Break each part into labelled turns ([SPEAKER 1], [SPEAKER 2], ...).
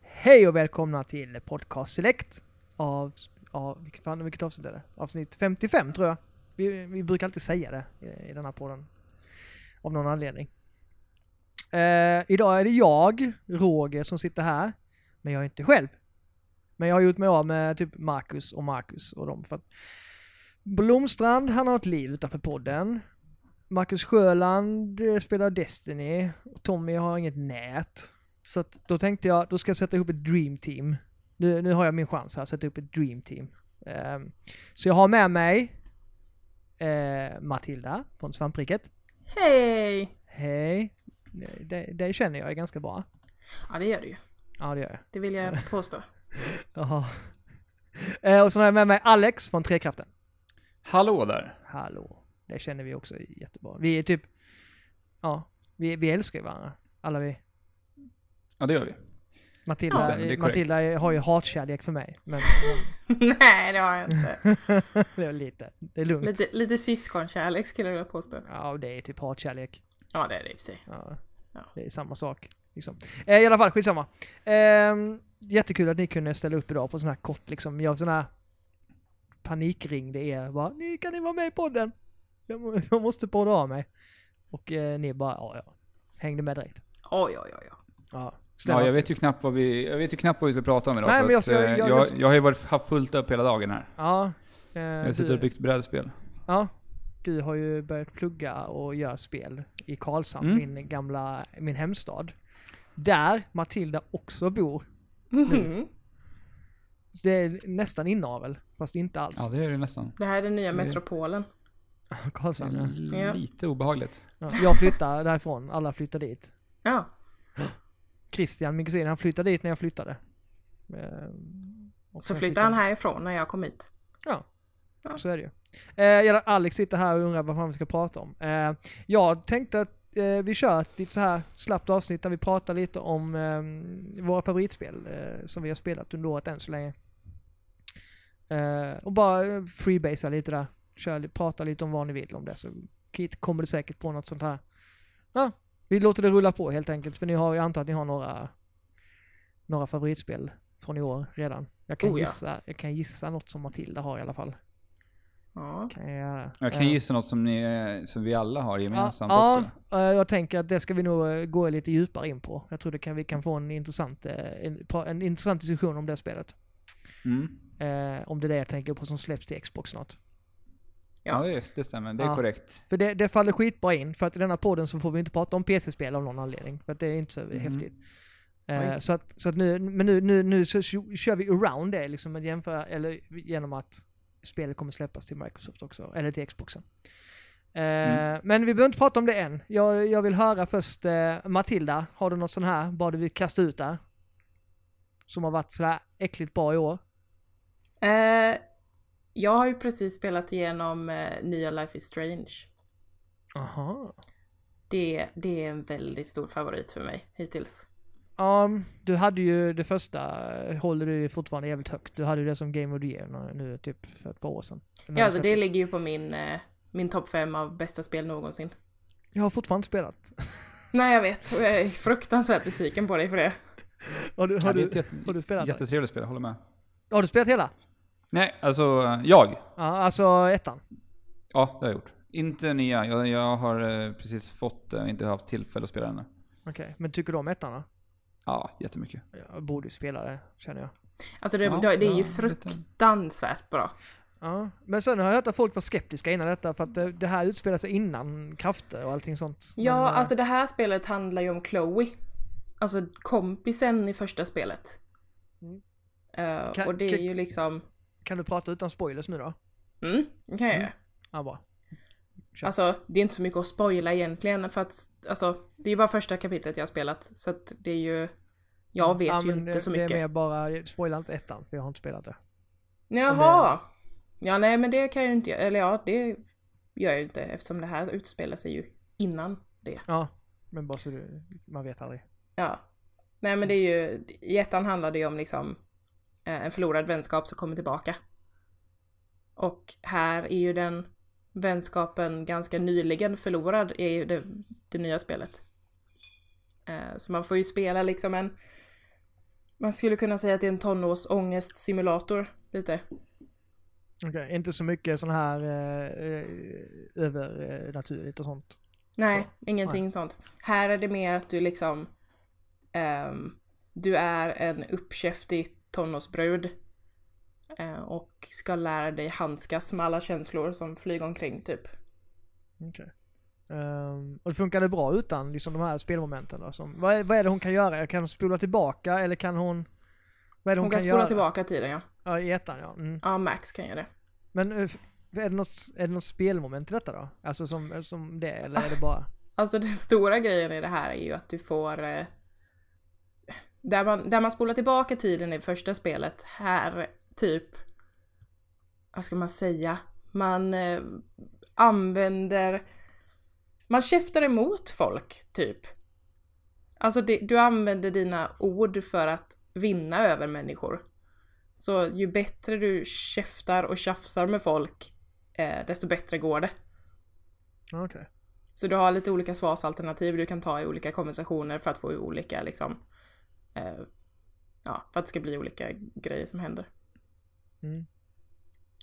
[SPEAKER 1] Hej och välkomna till Podcast Select av, av vilket, fan, vilket avsnitt är det? Avsnitt 55 tror jag. Vi, vi brukar alltid säga det i, i den här podden. Av någon anledning. Eh, idag är det jag, Roger, som sitter här. Men jag är inte själv. Men jag har gjort mig av med typ Marcus och Marcus och dem för att Blomstrand, han har ett liv utanför podden. Marcus Sjöland eh, spelar Destiny. Tommy har inget nät. Så att då tänkte jag, då ska jag sätta ihop ett dream team. Nu, nu har jag min chans här, sätta ihop ett dream team. Ehm, så jag har med mig eh, Matilda från Svampriket.
[SPEAKER 2] Hej!
[SPEAKER 1] Hej! Det, det känner jag är ganska bra.
[SPEAKER 2] Ja det gör du ju.
[SPEAKER 1] Ja, det gör jag.
[SPEAKER 2] Det vill jag påstå.
[SPEAKER 1] Jaha. Eh, och så har jag med mig Alex från Trekraften.
[SPEAKER 3] Hallå där!
[SPEAKER 1] Hallå. Det känner vi också jättebra. Vi är typ, ja, vi, vi älskar ju varandra. Alla vi.
[SPEAKER 3] Ja, det gör vi.
[SPEAKER 2] Ja,
[SPEAKER 1] Matilda,
[SPEAKER 3] det är korrekt.
[SPEAKER 1] Matilda har ju hatkärlek för mig. Men,
[SPEAKER 2] Nej det har jag inte.
[SPEAKER 1] men det är lite. Det är lugnt.
[SPEAKER 2] Lite, lite syskonkärlek skulle jag vilja påstå.
[SPEAKER 1] Ja, det är typ hatkärlek.
[SPEAKER 2] Ja det är det i och för sig.
[SPEAKER 1] Ja,
[SPEAKER 2] Ja.
[SPEAKER 1] Det är samma sak. Liksom. Eh, I alla fall, skitsamma. Ehm, jättekul att ni kunde ställa upp idag på sån här kort, liksom. Jag sån här panikringde er och bara, ni kan ni vara med i podden? Jag, må, jag måste podda av mig. Och eh, ni bara, ja ja. Hängde med direkt.
[SPEAKER 2] Oj oj oj. oj.
[SPEAKER 1] Ja,
[SPEAKER 3] Ja, jag vet ju knappt vad vi, jag vet ju knappt vad vi ska prata om idag.
[SPEAKER 1] Nej,
[SPEAKER 3] för
[SPEAKER 1] men jag
[SPEAKER 3] att,
[SPEAKER 1] ska-
[SPEAKER 3] eh,
[SPEAKER 1] jag-
[SPEAKER 3] jag,
[SPEAKER 1] jag
[SPEAKER 3] jag,
[SPEAKER 1] ska-
[SPEAKER 3] har ju varit, haft fullt upp hela dagen här.
[SPEAKER 1] Ja, eh,
[SPEAKER 3] Jag sitter
[SPEAKER 1] du-
[SPEAKER 3] och byggt brädspel.
[SPEAKER 1] Ja, du har ju börjat plugga och göra spel i Karlshamn,
[SPEAKER 3] Mm.
[SPEAKER 1] min gamla, min hemstad. Där Matilda också bor.
[SPEAKER 2] Mhm.
[SPEAKER 1] Så det är nästan inavel, fast inte alls.
[SPEAKER 3] Ja, det är det nästan.
[SPEAKER 2] Det här är den nya metropolen.
[SPEAKER 3] Det
[SPEAKER 1] Karlshamn, ja.
[SPEAKER 3] är
[SPEAKER 2] Ja.
[SPEAKER 3] Lite obehagligt.
[SPEAKER 1] Ja, jag flyttade därifrån, alla flyttade dit.
[SPEAKER 2] Ja.
[SPEAKER 1] Christian, min kusin, han flyttade dit när jag flyttade. Ehm, och
[SPEAKER 2] Så
[SPEAKER 1] sen
[SPEAKER 2] flyttade han härifrån när jag kom hit.
[SPEAKER 1] Ja,
[SPEAKER 2] Ja.
[SPEAKER 1] så är det ju. Eh, jävlar, Alex sitter här och undrar vad fan vi ska prata om. Eh, jag tänkte att eh, vi kör ett lite så här slappt avsnitt där vi pratar lite om eh, våra favoritspel eh, som vi har spelat under året än så länge. Eh, och bara eh, freebasea lite där. Kör, li- prata lite om vad ni vill om det så Kit kommer det säkert på något sånt här. Ja, vi låter det rulla på helt enkelt för ni har, jag antar att ni har några, några favoritspel från i år redan. Jag kan,
[SPEAKER 2] Oh ja.
[SPEAKER 1] gissa, jag kan gissa något som Matilda har i alla fall.
[SPEAKER 2] Ja.
[SPEAKER 1] Kan jag göra.
[SPEAKER 3] Jag kan
[SPEAKER 1] Eh,
[SPEAKER 3] gissa något som, ni, eh, som vi alla har gemensamt
[SPEAKER 1] ja,
[SPEAKER 3] också.
[SPEAKER 1] Ja, eh, jag tänker att det ska vi nog eh, gå lite djupare in på. Jag tror det kan, vi kan få en intressant, eh, en, pra- en intressant diskussion om det spelet.
[SPEAKER 3] Mm.
[SPEAKER 1] Eh, om det är det jag tänker på som släpps till Xbox snart.
[SPEAKER 3] Ja, det, är- det stämmer. Det är
[SPEAKER 1] Ja.
[SPEAKER 3] korrekt.
[SPEAKER 1] För det, det faller skitbra in, för att i denna podden så får vi inte prata om PC-spel av någon anledning. För att det är inte så häftigt. Eh,
[SPEAKER 2] Oj.
[SPEAKER 1] så att, så att nu, men nu, nu, nu så tjo- kör vi around det liksom, att jämföra, eller genom att spelet kommer släppas till Microsoft också, eller till Xboxen. Eh,
[SPEAKER 3] Mm.
[SPEAKER 1] Men vi behöver inte prata om det än. Jag, jag vill höra först, eh, Matilda, har du något sån här, bara du vill kasta ut där? Som har varit sådär äckligt bra i år?
[SPEAKER 2] Eh, jag har ju precis spelat igenom eh, nya Life is Strange.
[SPEAKER 1] Aha.
[SPEAKER 2] Det, det är en väldigt stor favorit för mig hittills.
[SPEAKER 1] Ja, du hade ju det första, eh, håller du ju fortfarande jävligt högt. Du hade ju det som Game of the Year nu- nu typ för ett par år sedan. När
[SPEAKER 2] Ja,
[SPEAKER 1] det
[SPEAKER 2] alltså, det
[SPEAKER 1] släpptes.
[SPEAKER 2] ligger ju på min, eh, min topp 5 av bästa spel någonsin.
[SPEAKER 1] Jag har fortfarande inte spelat.
[SPEAKER 2] Nej jag vet och jag är fruktansvärt besviken på dig för det.
[SPEAKER 1] Har du,
[SPEAKER 3] Ja,
[SPEAKER 1] har
[SPEAKER 3] det är
[SPEAKER 1] du,
[SPEAKER 3] ett jätte,
[SPEAKER 1] har du spelat det?
[SPEAKER 3] jättetrevligt spel, jag håller med.
[SPEAKER 1] har du spelat hela?
[SPEAKER 3] Nej, alltså jag.
[SPEAKER 1] Ja, alltså ettan.
[SPEAKER 3] Ja, det har jag gjort. Inte nya. Jag, jag har eh, precis fått det och inte haft tillfälle att spela den.
[SPEAKER 1] Okej, men tycker du om ettan då?
[SPEAKER 3] Ja, jättemycket.
[SPEAKER 1] Jag borde ju spela det, känner jag.
[SPEAKER 2] Alltså det,
[SPEAKER 3] Ja,
[SPEAKER 2] det, det är ju
[SPEAKER 3] ja, lite.
[SPEAKER 2] fruktansvärt bra.
[SPEAKER 1] Ja, men sen har jag hört att folk var skeptiska innan detta för att det, det här utspelar sig innan krafter och allting sånt.
[SPEAKER 2] Ja,
[SPEAKER 1] Men, eh,
[SPEAKER 2] alltså det här spelet handlar ju om Chloe. Alltså kompisen i första spelet. Eh,
[SPEAKER 1] Mm. Kan-
[SPEAKER 2] och det är
[SPEAKER 1] kan-
[SPEAKER 2] ju liksom...
[SPEAKER 1] Kan du prata utan spoilers nu då?
[SPEAKER 2] Mm, det kan jag göra.
[SPEAKER 1] Ja, bra. Kör.
[SPEAKER 2] Alltså det är inte så mycket att spoila egentligen för att alltså det är ju bara första kapitlet jag har spelat så att det är ju Jag vet ju
[SPEAKER 1] Mm. men
[SPEAKER 2] inte
[SPEAKER 1] det-
[SPEAKER 2] så
[SPEAKER 1] Det är
[SPEAKER 2] mycket.
[SPEAKER 1] mer bara, spoila inte ettan, för jag har inte spelat det.
[SPEAKER 2] Jaha! Ja, nej men det kan jag ju inte Eller ja, det gör jag ju inte eftersom det här utspelar sig ju innan det.
[SPEAKER 1] Ja, men bara så du, man vet aldrig.
[SPEAKER 2] Ja. Nej men det är ju, i ettan handlade det ju om liksom eh, en förlorad vänskap som kommer tillbaka. Och här är ju den vänskapen ganska nyligen förlorad är ju det, det nya spelet. Eh, så man får ju spela liksom en, man skulle kunna säga att det är en tonårsångestsimulator lite.
[SPEAKER 1] Okej, inte så mycket sån här eh, eh, övernaturligt och sånt.
[SPEAKER 2] Nej, ingenting sånt. Här är det mer att du liksom... ehm, du är en uppkäftig tonårsbrud. eh, och ska lära dig handskas med alla känslor som flyger omkring typ.
[SPEAKER 1] Okej. Ehm, och det funkade bra utan liksom de här spelmomenten då? Som, vad, är, vad är det hon kan göra? Kan hon spola tillbaka eller kan hon... Vad är det hon,
[SPEAKER 2] Hon kan spola
[SPEAKER 1] göra?
[SPEAKER 2] tillbaka tiden ja.
[SPEAKER 1] Ja, i ettan ja. Mm.
[SPEAKER 2] Ja, Max kan göra det.
[SPEAKER 1] Men eh, f- är det, något, är det något spelmoment i detta då? Alltså som, som det, eller är det bara...
[SPEAKER 2] Alltså den stora grejen i det här är ju att du får... Eh, där, man, där man spolar tillbaka tiden i första spelet, här typ... Vad ska man säga? Man eh, använder... Man käftar emot folk, typ. Alltså det, du använder dina ord för att vinna över människor. Så ju bättre du käftar och tjafsar med folk, eh, desto bättre går det.
[SPEAKER 1] Okej.
[SPEAKER 2] Så du har lite olika svarsalternativ du kan ta i olika konversationer för att få olika liksom, eh, ja, för att det ska bli olika grejer som händer.
[SPEAKER 1] Mm.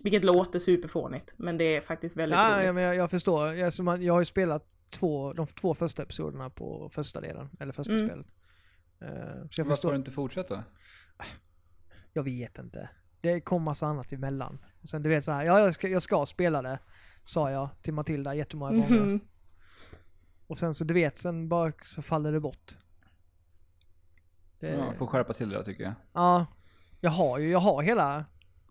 [SPEAKER 2] Vilket låter superfånigt, men det är faktiskt väldigt
[SPEAKER 1] Ja,
[SPEAKER 2] roligt.
[SPEAKER 1] ja, men jag, jag förstår. Jag, så man, jag har ju spelat två, de två första episoderna på första delen, eller första
[SPEAKER 2] Mm.
[SPEAKER 1] spelet. Eh, så jag
[SPEAKER 3] Varför får
[SPEAKER 1] förstår.
[SPEAKER 3] du inte fortsätta?
[SPEAKER 1] Jag vet inte. Det kom massa annat emellan. Sen du vet så här, ja jag ska, jag ska spela det, sa jag till Matilda jättemånga gånger.
[SPEAKER 2] Mhm.
[SPEAKER 1] Och sen så du vet, sen bara så faller det bort. Det,
[SPEAKER 3] Ja,
[SPEAKER 1] ja.
[SPEAKER 3] får skärpa till det där tycker jag.
[SPEAKER 1] jag har ju, jag har hela,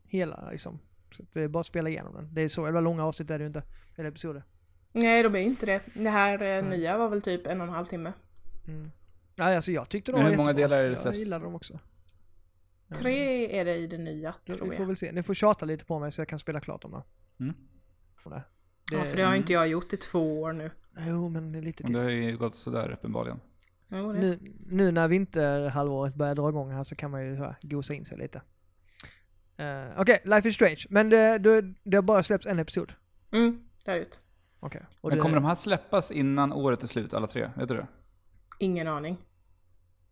[SPEAKER 1] hela liksom. Så att det är bara att spela igenom den. Det är så jävla långa avsnitt är det ju inte. Eller episoder.
[SPEAKER 2] Nej, de är ju inte det. Det här eh,
[SPEAKER 1] Nej.
[SPEAKER 2] nya var väl typ en och en halv timme.
[SPEAKER 1] Mm. Ja, alltså jag tyckte de
[SPEAKER 3] Men
[SPEAKER 1] var
[SPEAKER 3] hur många
[SPEAKER 1] jättebra.
[SPEAKER 3] delar är det
[SPEAKER 1] Jag
[SPEAKER 3] släpps?
[SPEAKER 1] gillade dem också. Ja.
[SPEAKER 2] Tre är det i det nya,
[SPEAKER 1] Då-
[SPEAKER 2] tror
[SPEAKER 1] Vi får
[SPEAKER 2] jag.
[SPEAKER 1] väl se. Ni får tjata lite på mig så jag kan spela klart dem då.
[SPEAKER 3] Mm.
[SPEAKER 1] Och där.
[SPEAKER 2] Ja, för det har ju inte jag gjort i två år nu.
[SPEAKER 1] Jo, men det är lite
[SPEAKER 3] Men det
[SPEAKER 1] till.
[SPEAKER 3] har ju gått sådär uppenbarligen.
[SPEAKER 2] Jo, det.
[SPEAKER 1] Nu, nu när vinterhalvåret börjar dra igång här så kan man ju så här, gosa in sig lite. Eh, Okej, Life is Strange. Men det, det, det har bara släppts en episod.
[SPEAKER 2] Mm, där ut.
[SPEAKER 1] Okej. Och
[SPEAKER 3] Men
[SPEAKER 1] det-
[SPEAKER 3] kommer de här släppas innan året är slut, alla tre? Vet du det?
[SPEAKER 2] Ingen aning.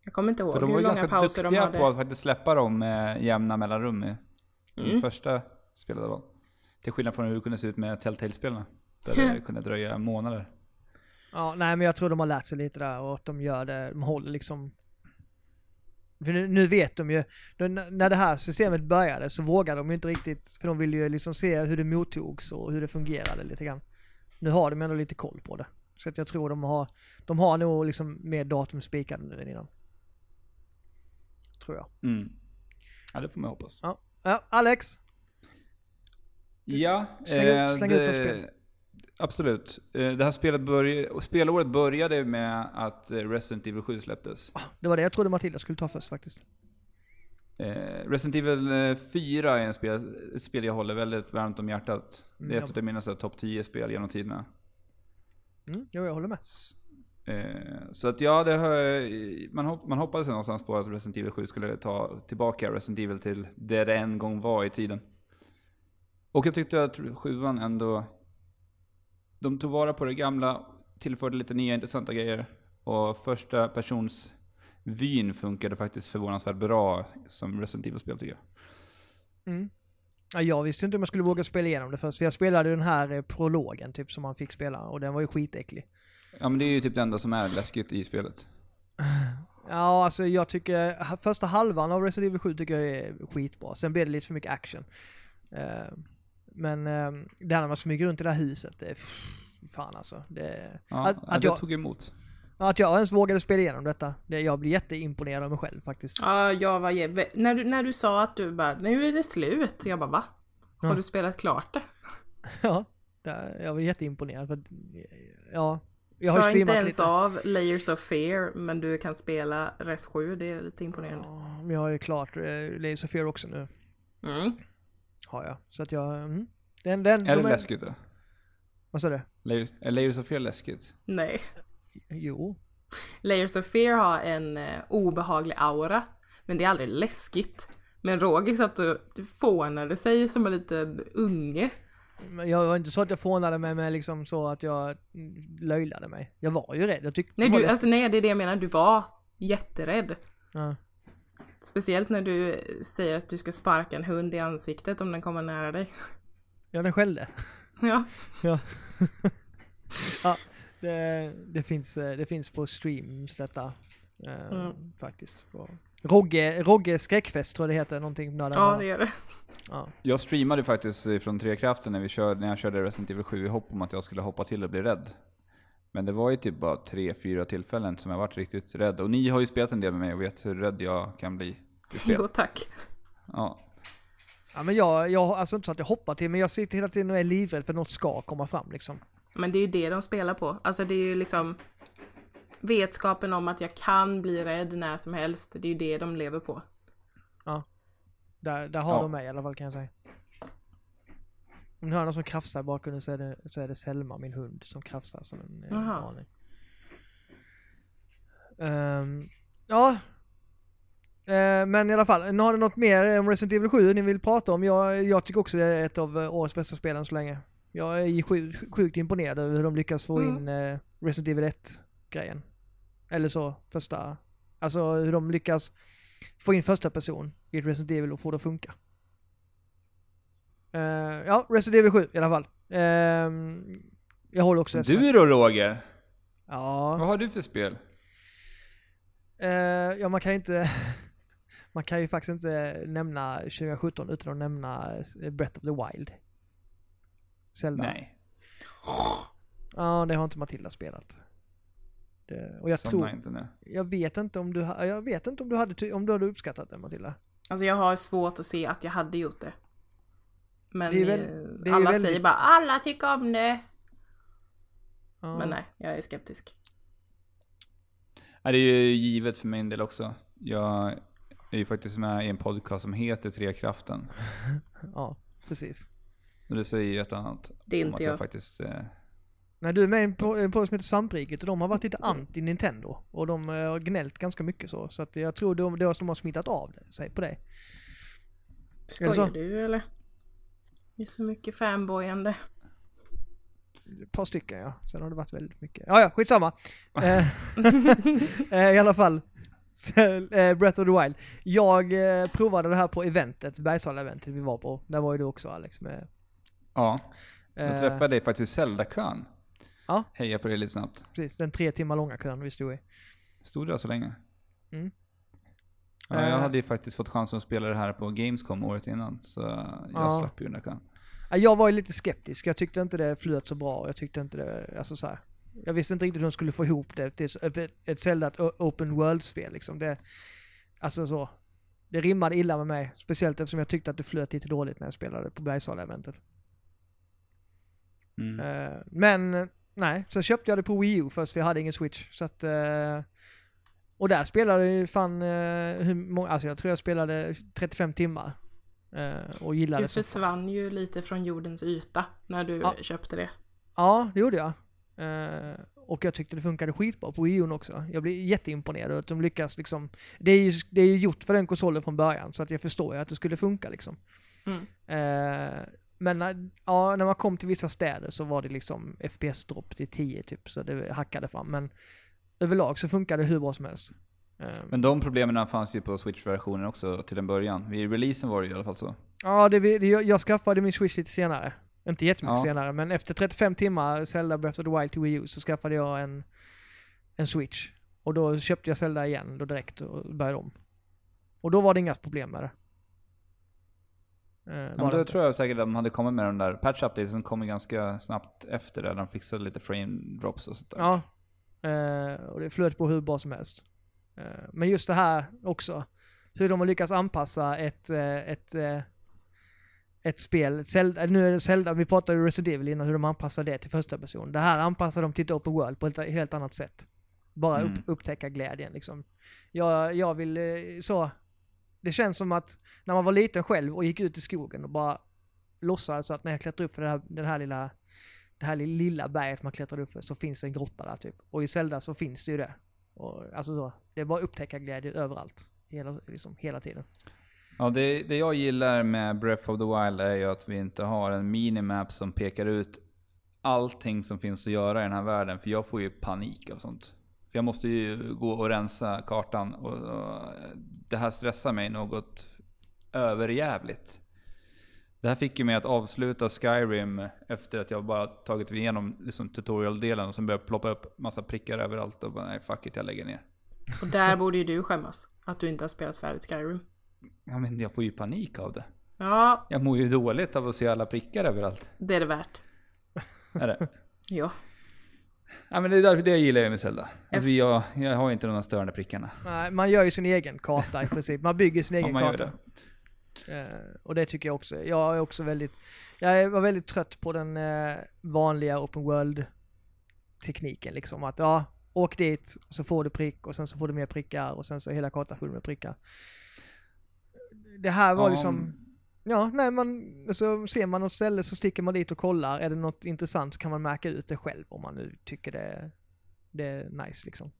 [SPEAKER 2] Jag kommer inte
[SPEAKER 3] För
[SPEAKER 2] ihåg
[SPEAKER 3] de var
[SPEAKER 2] hur
[SPEAKER 3] ju
[SPEAKER 2] långa
[SPEAKER 3] ganska
[SPEAKER 2] pauser
[SPEAKER 3] duktiga
[SPEAKER 2] de hade.
[SPEAKER 3] på att faktiskt släppa dem med jämna mellanrum i de
[SPEAKER 2] Mm.
[SPEAKER 3] första spelen. det var. Till skillnad från hur det kunde se ut med Telltale-spelarna. Där det kunde dröja månader.
[SPEAKER 1] Ja, nej men jag tror de har lärt sig lite där och att de gör det, de håller liksom... För nu, nu vet de ju, de, när det här systemet började så vågade de ju inte riktigt, för de ville ju liksom se hur det mottogs och hur det fungerade lite grann. Nu har de ändå lite koll på det. Så att jag tror de har, de har nog liksom mer datum spikade nu än innan. Tror jag.
[SPEAKER 3] Mm. Ja, det får man hoppas.
[SPEAKER 1] Ja, ja Alex!
[SPEAKER 3] Ja, eh,
[SPEAKER 1] släng ut- släng ut något spel.
[SPEAKER 3] Absolut. Eh, Det här spelet börj- och spelåret började med att eh, Resident Evil 7 släpptes.
[SPEAKER 1] Ah, Det var det jag trodde Matilda skulle ta först faktiskt.
[SPEAKER 3] Eh, Resident Evil eh, 4 är en spel, ett spel jag håller väldigt varmt om hjärtat. Det är
[SPEAKER 1] Mm,
[SPEAKER 3] ett av mina så här topp 10 spel genom tiderna.
[SPEAKER 1] Mm, jo, jag håller med.
[SPEAKER 3] S- Eh, så att ja, det har, eh, man, hopp, man hoppades någonstans på att Resident Evil 7 skulle ta tillbaka Resident Evil till det det en gång var i tiden. Och jag tyckte att 7 ändå... De tog vara på det gamla, tillförde lite nya intressanta grejer. Och första persons vyn funkade faktiskt förvånansvärt bra som Resident Evil-spel tycker jag.
[SPEAKER 1] Mm. Ja, jag visste inte om jag skulle våga spela igenom det först, för jag spelade den här eh, prologen typ som man fick spela och den var ju skitäcklig.
[SPEAKER 3] Ja men det är ju typ det enda som är läskigt i spelet.
[SPEAKER 1] Ja, alltså jag tycker, ha- första halvan av Resident Evil 7 tycker jag är skitbra, sen blir det lite för mycket action. Eh, Men eh, det här när man smyger runt i det här huset, det är pff, fan alltså. Det,
[SPEAKER 3] Ja,
[SPEAKER 1] att,
[SPEAKER 3] att,
[SPEAKER 1] att,
[SPEAKER 3] det
[SPEAKER 1] jag,
[SPEAKER 3] tog emot.
[SPEAKER 1] att jag ens vågade spela igenom detta, det, jag blir jätteimponerad av mig själv faktiskt.
[SPEAKER 2] Ja, jag var jäv... när, du, när du sa att du bara, nu är det slut. Jag bara, va? Har
[SPEAKER 1] Ja.
[SPEAKER 2] du spelat klart det?
[SPEAKER 1] Ja, det, jag var jätteimponerad. För, att- ja, Jag har ju
[SPEAKER 2] Klarar inte
[SPEAKER 1] streamat
[SPEAKER 2] ens
[SPEAKER 1] lite.
[SPEAKER 2] av Layers of Fear, men du kan spela Res 7, det är lite imponerande.
[SPEAKER 1] Ja, men jag har ju klart eh, Layers of Fear också nu.
[SPEAKER 2] Mm.
[SPEAKER 1] Har jag. Så att jag... Mm. Den, den,
[SPEAKER 3] Är
[SPEAKER 1] de
[SPEAKER 3] det läskigt då?
[SPEAKER 1] Vad sa du?
[SPEAKER 3] Layers, är Layers of Fear läskigt?
[SPEAKER 2] Nej.
[SPEAKER 1] Jo.
[SPEAKER 2] Layers of Fear har en eh, obehaglig aura, men det är aldrig läskigt. Men Roger satt och fånade sig som en liten unge.
[SPEAKER 1] Men jag var inte så att jag fånade mig med liksom så att jag mm, löjlade mig. Jag var ju rädd. Jag tyckte...
[SPEAKER 2] Nej,
[SPEAKER 1] det var
[SPEAKER 2] du,
[SPEAKER 1] läskigt.
[SPEAKER 2] alltså, nej, det är det jag menar, du var jätterädd.
[SPEAKER 1] Ja.
[SPEAKER 2] Speciellt när du säger att du ska sparka en hund i ansiktet om den kommer nära dig.
[SPEAKER 1] ja, den skällde.
[SPEAKER 2] Ja.
[SPEAKER 1] Ja. ja det, det, finns, eh, det finns på streams detta. Eh,
[SPEAKER 2] Mm.
[SPEAKER 1] Faktiskt. Och Rogge, Rogge skräckfest tror jag det heter. Någonting där den
[SPEAKER 2] ja,
[SPEAKER 1] var-
[SPEAKER 2] det gör det.
[SPEAKER 1] ja.
[SPEAKER 3] Jag streamade faktiskt från Trekraften när, vi körde, när jag körde Resident Evil 7 i hopp om att jag skulle hoppa till och bli rädd. Men det var ju typ bara tre, fyra tillfällen som jag varit riktigt rädd. Och ni har ju spelat en del med mig och vet hur rädd jag kan bli i
[SPEAKER 2] Jo,
[SPEAKER 3] spel.
[SPEAKER 2] tack.
[SPEAKER 3] Ja.
[SPEAKER 1] ja, men jag, jag, alltså inte så att jag hoppar till, men jag sitter hela tiden och är livrädd för att något ska komma fram liksom.
[SPEAKER 2] Men det är ju det de spelar på. Alltså det är ju liksom vetskapen om att jag kan bli rädd när som helst. Det är ju det de lever på.
[SPEAKER 1] Där, där har
[SPEAKER 3] Ja.
[SPEAKER 1] de mig i alla fall kan jag säga. Om ni hör någon som krafsar i bakgrunden så är, det, så är det Selma, min hund, som krafsar som en eh,
[SPEAKER 2] Jaha.
[SPEAKER 1] galning. Ehm, ja. Eh, men i alla fall, nu har ni något mer om Resident Evil 7 ni vill prata om? Jag, jag tycker också det är ett av eh, årets bästa spel än så länge. Jag är sjukt, sjukt imponerad över hur de lyckas få
[SPEAKER 2] Mm.
[SPEAKER 1] in eh, Resident Evil 1-grejen. Eller så, första... Alltså hur de lyckas få in första person i ett Resident Evil och få det att funka. Eh, ja, Resident Evil 7 i alla fall. Ehm, jag håller också
[SPEAKER 3] Du då Roger?
[SPEAKER 1] Ja.
[SPEAKER 3] Vad har du för spel?
[SPEAKER 1] Eh, ja, man kan ju inte... Man kan ju faktiskt inte nämna 2017 utan att nämna eh, Breath of the Wild. Zelda.
[SPEAKER 3] Nej.
[SPEAKER 1] Ja, det har inte Matilda spelat. Det, och jag
[SPEAKER 3] Somna
[SPEAKER 1] tror...
[SPEAKER 3] inte nu.
[SPEAKER 1] Jag vet inte om du, ha- jag vet inte om du, hade, ty- om du hade uppskattat det Matilda.
[SPEAKER 2] Alltså jag har svårt att se att jag hade gjort det. Men
[SPEAKER 1] Det är väl-
[SPEAKER 2] eh,
[SPEAKER 1] det är
[SPEAKER 2] alla
[SPEAKER 1] väldigt-
[SPEAKER 2] säger bara alla tycker om det.
[SPEAKER 1] Ja.
[SPEAKER 2] Men nej, jag är skeptisk.
[SPEAKER 3] Nej, det är ju givet för min del också. Jag är ju faktiskt med i en podcast som heter Trekraften.
[SPEAKER 1] Ja, precis.
[SPEAKER 3] Och det säger ju ett annat.
[SPEAKER 2] Det är
[SPEAKER 3] om att
[SPEAKER 2] inte
[SPEAKER 3] jag.
[SPEAKER 2] jag.
[SPEAKER 3] faktiskt... Eh,
[SPEAKER 1] Nej, du är med i en po- en podd som heter Svampriket och de har varit lite anti-Nintendo. Och de eh, har gnällt ganska mycket så. Så att jag tror de, de som har smittat av det- sig på dig. Är det så?
[SPEAKER 2] Skojar du eller? Det är så mycket fanboyande.
[SPEAKER 1] Ett par stycken ja. Sen har det varit väldigt mycket. Ja, ja, skitsamma. Eh, eh, I alla fall. Så, eh, Breath of the Wild. Jag eh, provade det här på eventet, Bergsala-eventet vi var på. Där var ju du också Alex med.
[SPEAKER 3] ja, jag
[SPEAKER 1] eh,
[SPEAKER 3] träffade dig faktiskt i Zelda-kön.
[SPEAKER 1] Ja.
[SPEAKER 3] Heja på dig lite snabbt.
[SPEAKER 1] Precis, den tre timmar långa kön vi stod i.
[SPEAKER 3] Stod det så länge?
[SPEAKER 1] Mm.
[SPEAKER 3] Ja,
[SPEAKER 1] Eh.
[SPEAKER 3] jag hade ju faktiskt fått chansen att spela det här på Gamescom året innan, så jag
[SPEAKER 1] Ja.
[SPEAKER 3] slapp ju den där kön.
[SPEAKER 1] Ja, Jag var ju lite skeptisk. Jag tyckte inte det flöt så bra. Jag tyckte inte det, alltså så här. Jag visste inte riktigt hur de skulle få ihop det till ett- ett Zelda ett o- Open World-spel liksom. Det, alltså så. Det rimmade illa med mig. Speciellt eftersom jag tyckte att det flöt lite dåligt när jag spelade på Bergsala-eventet.
[SPEAKER 3] Mm.
[SPEAKER 1] Eh, Men eh, nej, sen köpte jag det på Wii U först för jag hade ingen Switch. Så att, eh, och där spelade jag ju fan, eh, hur många, alltså jag tror jag spelade 35 timmar. eh, Och gillade
[SPEAKER 2] Du
[SPEAKER 1] det. som-
[SPEAKER 2] försvann ju lite från jordens yta när du
[SPEAKER 1] Ja.
[SPEAKER 2] köpte det.
[SPEAKER 1] Ja, det gjorde jag. Eh, Och jag tyckte det funkade skitbra på Wii U också. Jag blev jätteimponerad över att de lyckas liksom. Det är ju, det är ju gjort för den konsolen från början så att jag förstår ju att det skulle funka liksom.
[SPEAKER 2] Mm.
[SPEAKER 1] Eh, men när, ja, när man kom till vissa städer så var det liksom FPS-dropp till 10 typ, så det hackade fram. Men överlag så funkade det hur bra som helst. Eh,
[SPEAKER 3] Men de problemen fanns ju på Switch-versionen också till en början. Vid releasen var det ju i alla fall så.
[SPEAKER 1] ja, det, vi- det, jag, jag skaffade min Switch lite senare. Inte jättemycket
[SPEAKER 3] Ja.
[SPEAKER 1] senare, men efter 35 timmar Zelda Breath of the Wild till Wii U så skaffade jag en, en Switch. Och då köpte jag Zelda igen då direkt och började om. Och då var det inga problem med det. Eh,
[SPEAKER 3] Ja,
[SPEAKER 1] var
[SPEAKER 3] men
[SPEAKER 1] det
[SPEAKER 3] då
[SPEAKER 1] inte.
[SPEAKER 3] tror jag säkert att de hade kommit med de där patch-updates som kom ganska snabbt efter där. De fixade lite frame drops och sånt där.
[SPEAKER 1] Ja. Eh, och det flöt på hur bra som helst. Eh, men just det här också. Hur de har lyckats anpassa ett, eh, ett, eh, ett spel, Zelda, nu är det Zelda, vi pratade ju Resident Evil innan hur de anpassar det till första person. Det här anpassar de till ett open world på ett helt annat sätt. Bara upp,
[SPEAKER 3] Mm.
[SPEAKER 1] upptäcka glädjen liksom. Jag, jag vill eh, så, det känns som att när man var liten själv och gick ut i skogen och bara låtsades att när jag klättrar upp för det här, den här lilla det här lilla berget man klättrar upp för så finns det en grotta där typ. Och i Zelda så finns det ju det. Och, alltså så, det är bara upptäckarglädje överallt. Hela, liksom, hela tiden.
[SPEAKER 3] Ja, det, det jag gillar med Breath of the Wild är ju att vi inte har en minimap som pekar ut allting som finns att göra i den här världen. För jag får ju panik av sånt. För jag måste ju gå och rensa kartan och, och det här stressar mig något överjävligt. Det här fick ju mig att avsluta Skyrim efter att jag bara tagit mig igenom liksom tutorial-delen och sen började ploppa upp massa prickar överallt och bara nej fuck it, jag lägger ner.
[SPEAKER 2] Och där borde ju du skämmas. Att du inte har spelat färdigt Skyrim.
[SPEAKER 3] Ja men jag får ju panik av det.
[SPEAKER 2] Ja,
[SPEAKER 3] Jag mår ju dåligt av att se alla prickar överallt.
[SPEAKER 2] det är det värt.
[SPEAKER 3] Är det?
[SPEAKER 2] Ja.
[SPEAKER 3] Ja, men det är därför det gillar jag med Zelda. Alltså, jag, jag har inte de där störande prickarna.
[SPEAKER 1] Nej, man gör ju sin egen karta i princip. Man bygger sin
[SPEAKER 3] Ja,
[SPEAKER 1] egen
[SPEAKER 3] man gör
[SPEAKER 1] karta.
[SPEAKER 3] det.
[SPEAKER 1] Eh, och det tycker jag också. Jag är också väldigt, jag var väldigt trött på den eh, vanliga open world tekniken liksom. Att ja, åk dit, så får du prick och sen så får du mer prickar och sen så är hela kartan full med prickar. Det här var
[SPEAKER 3] Ja,
[SPEAKER 1] liksom, ja, nej man, så ser man något ställe så sticker man dit och kollar. Är det något intressant så kan man märka ut det själv om man nu tycker det, det är nice liksom.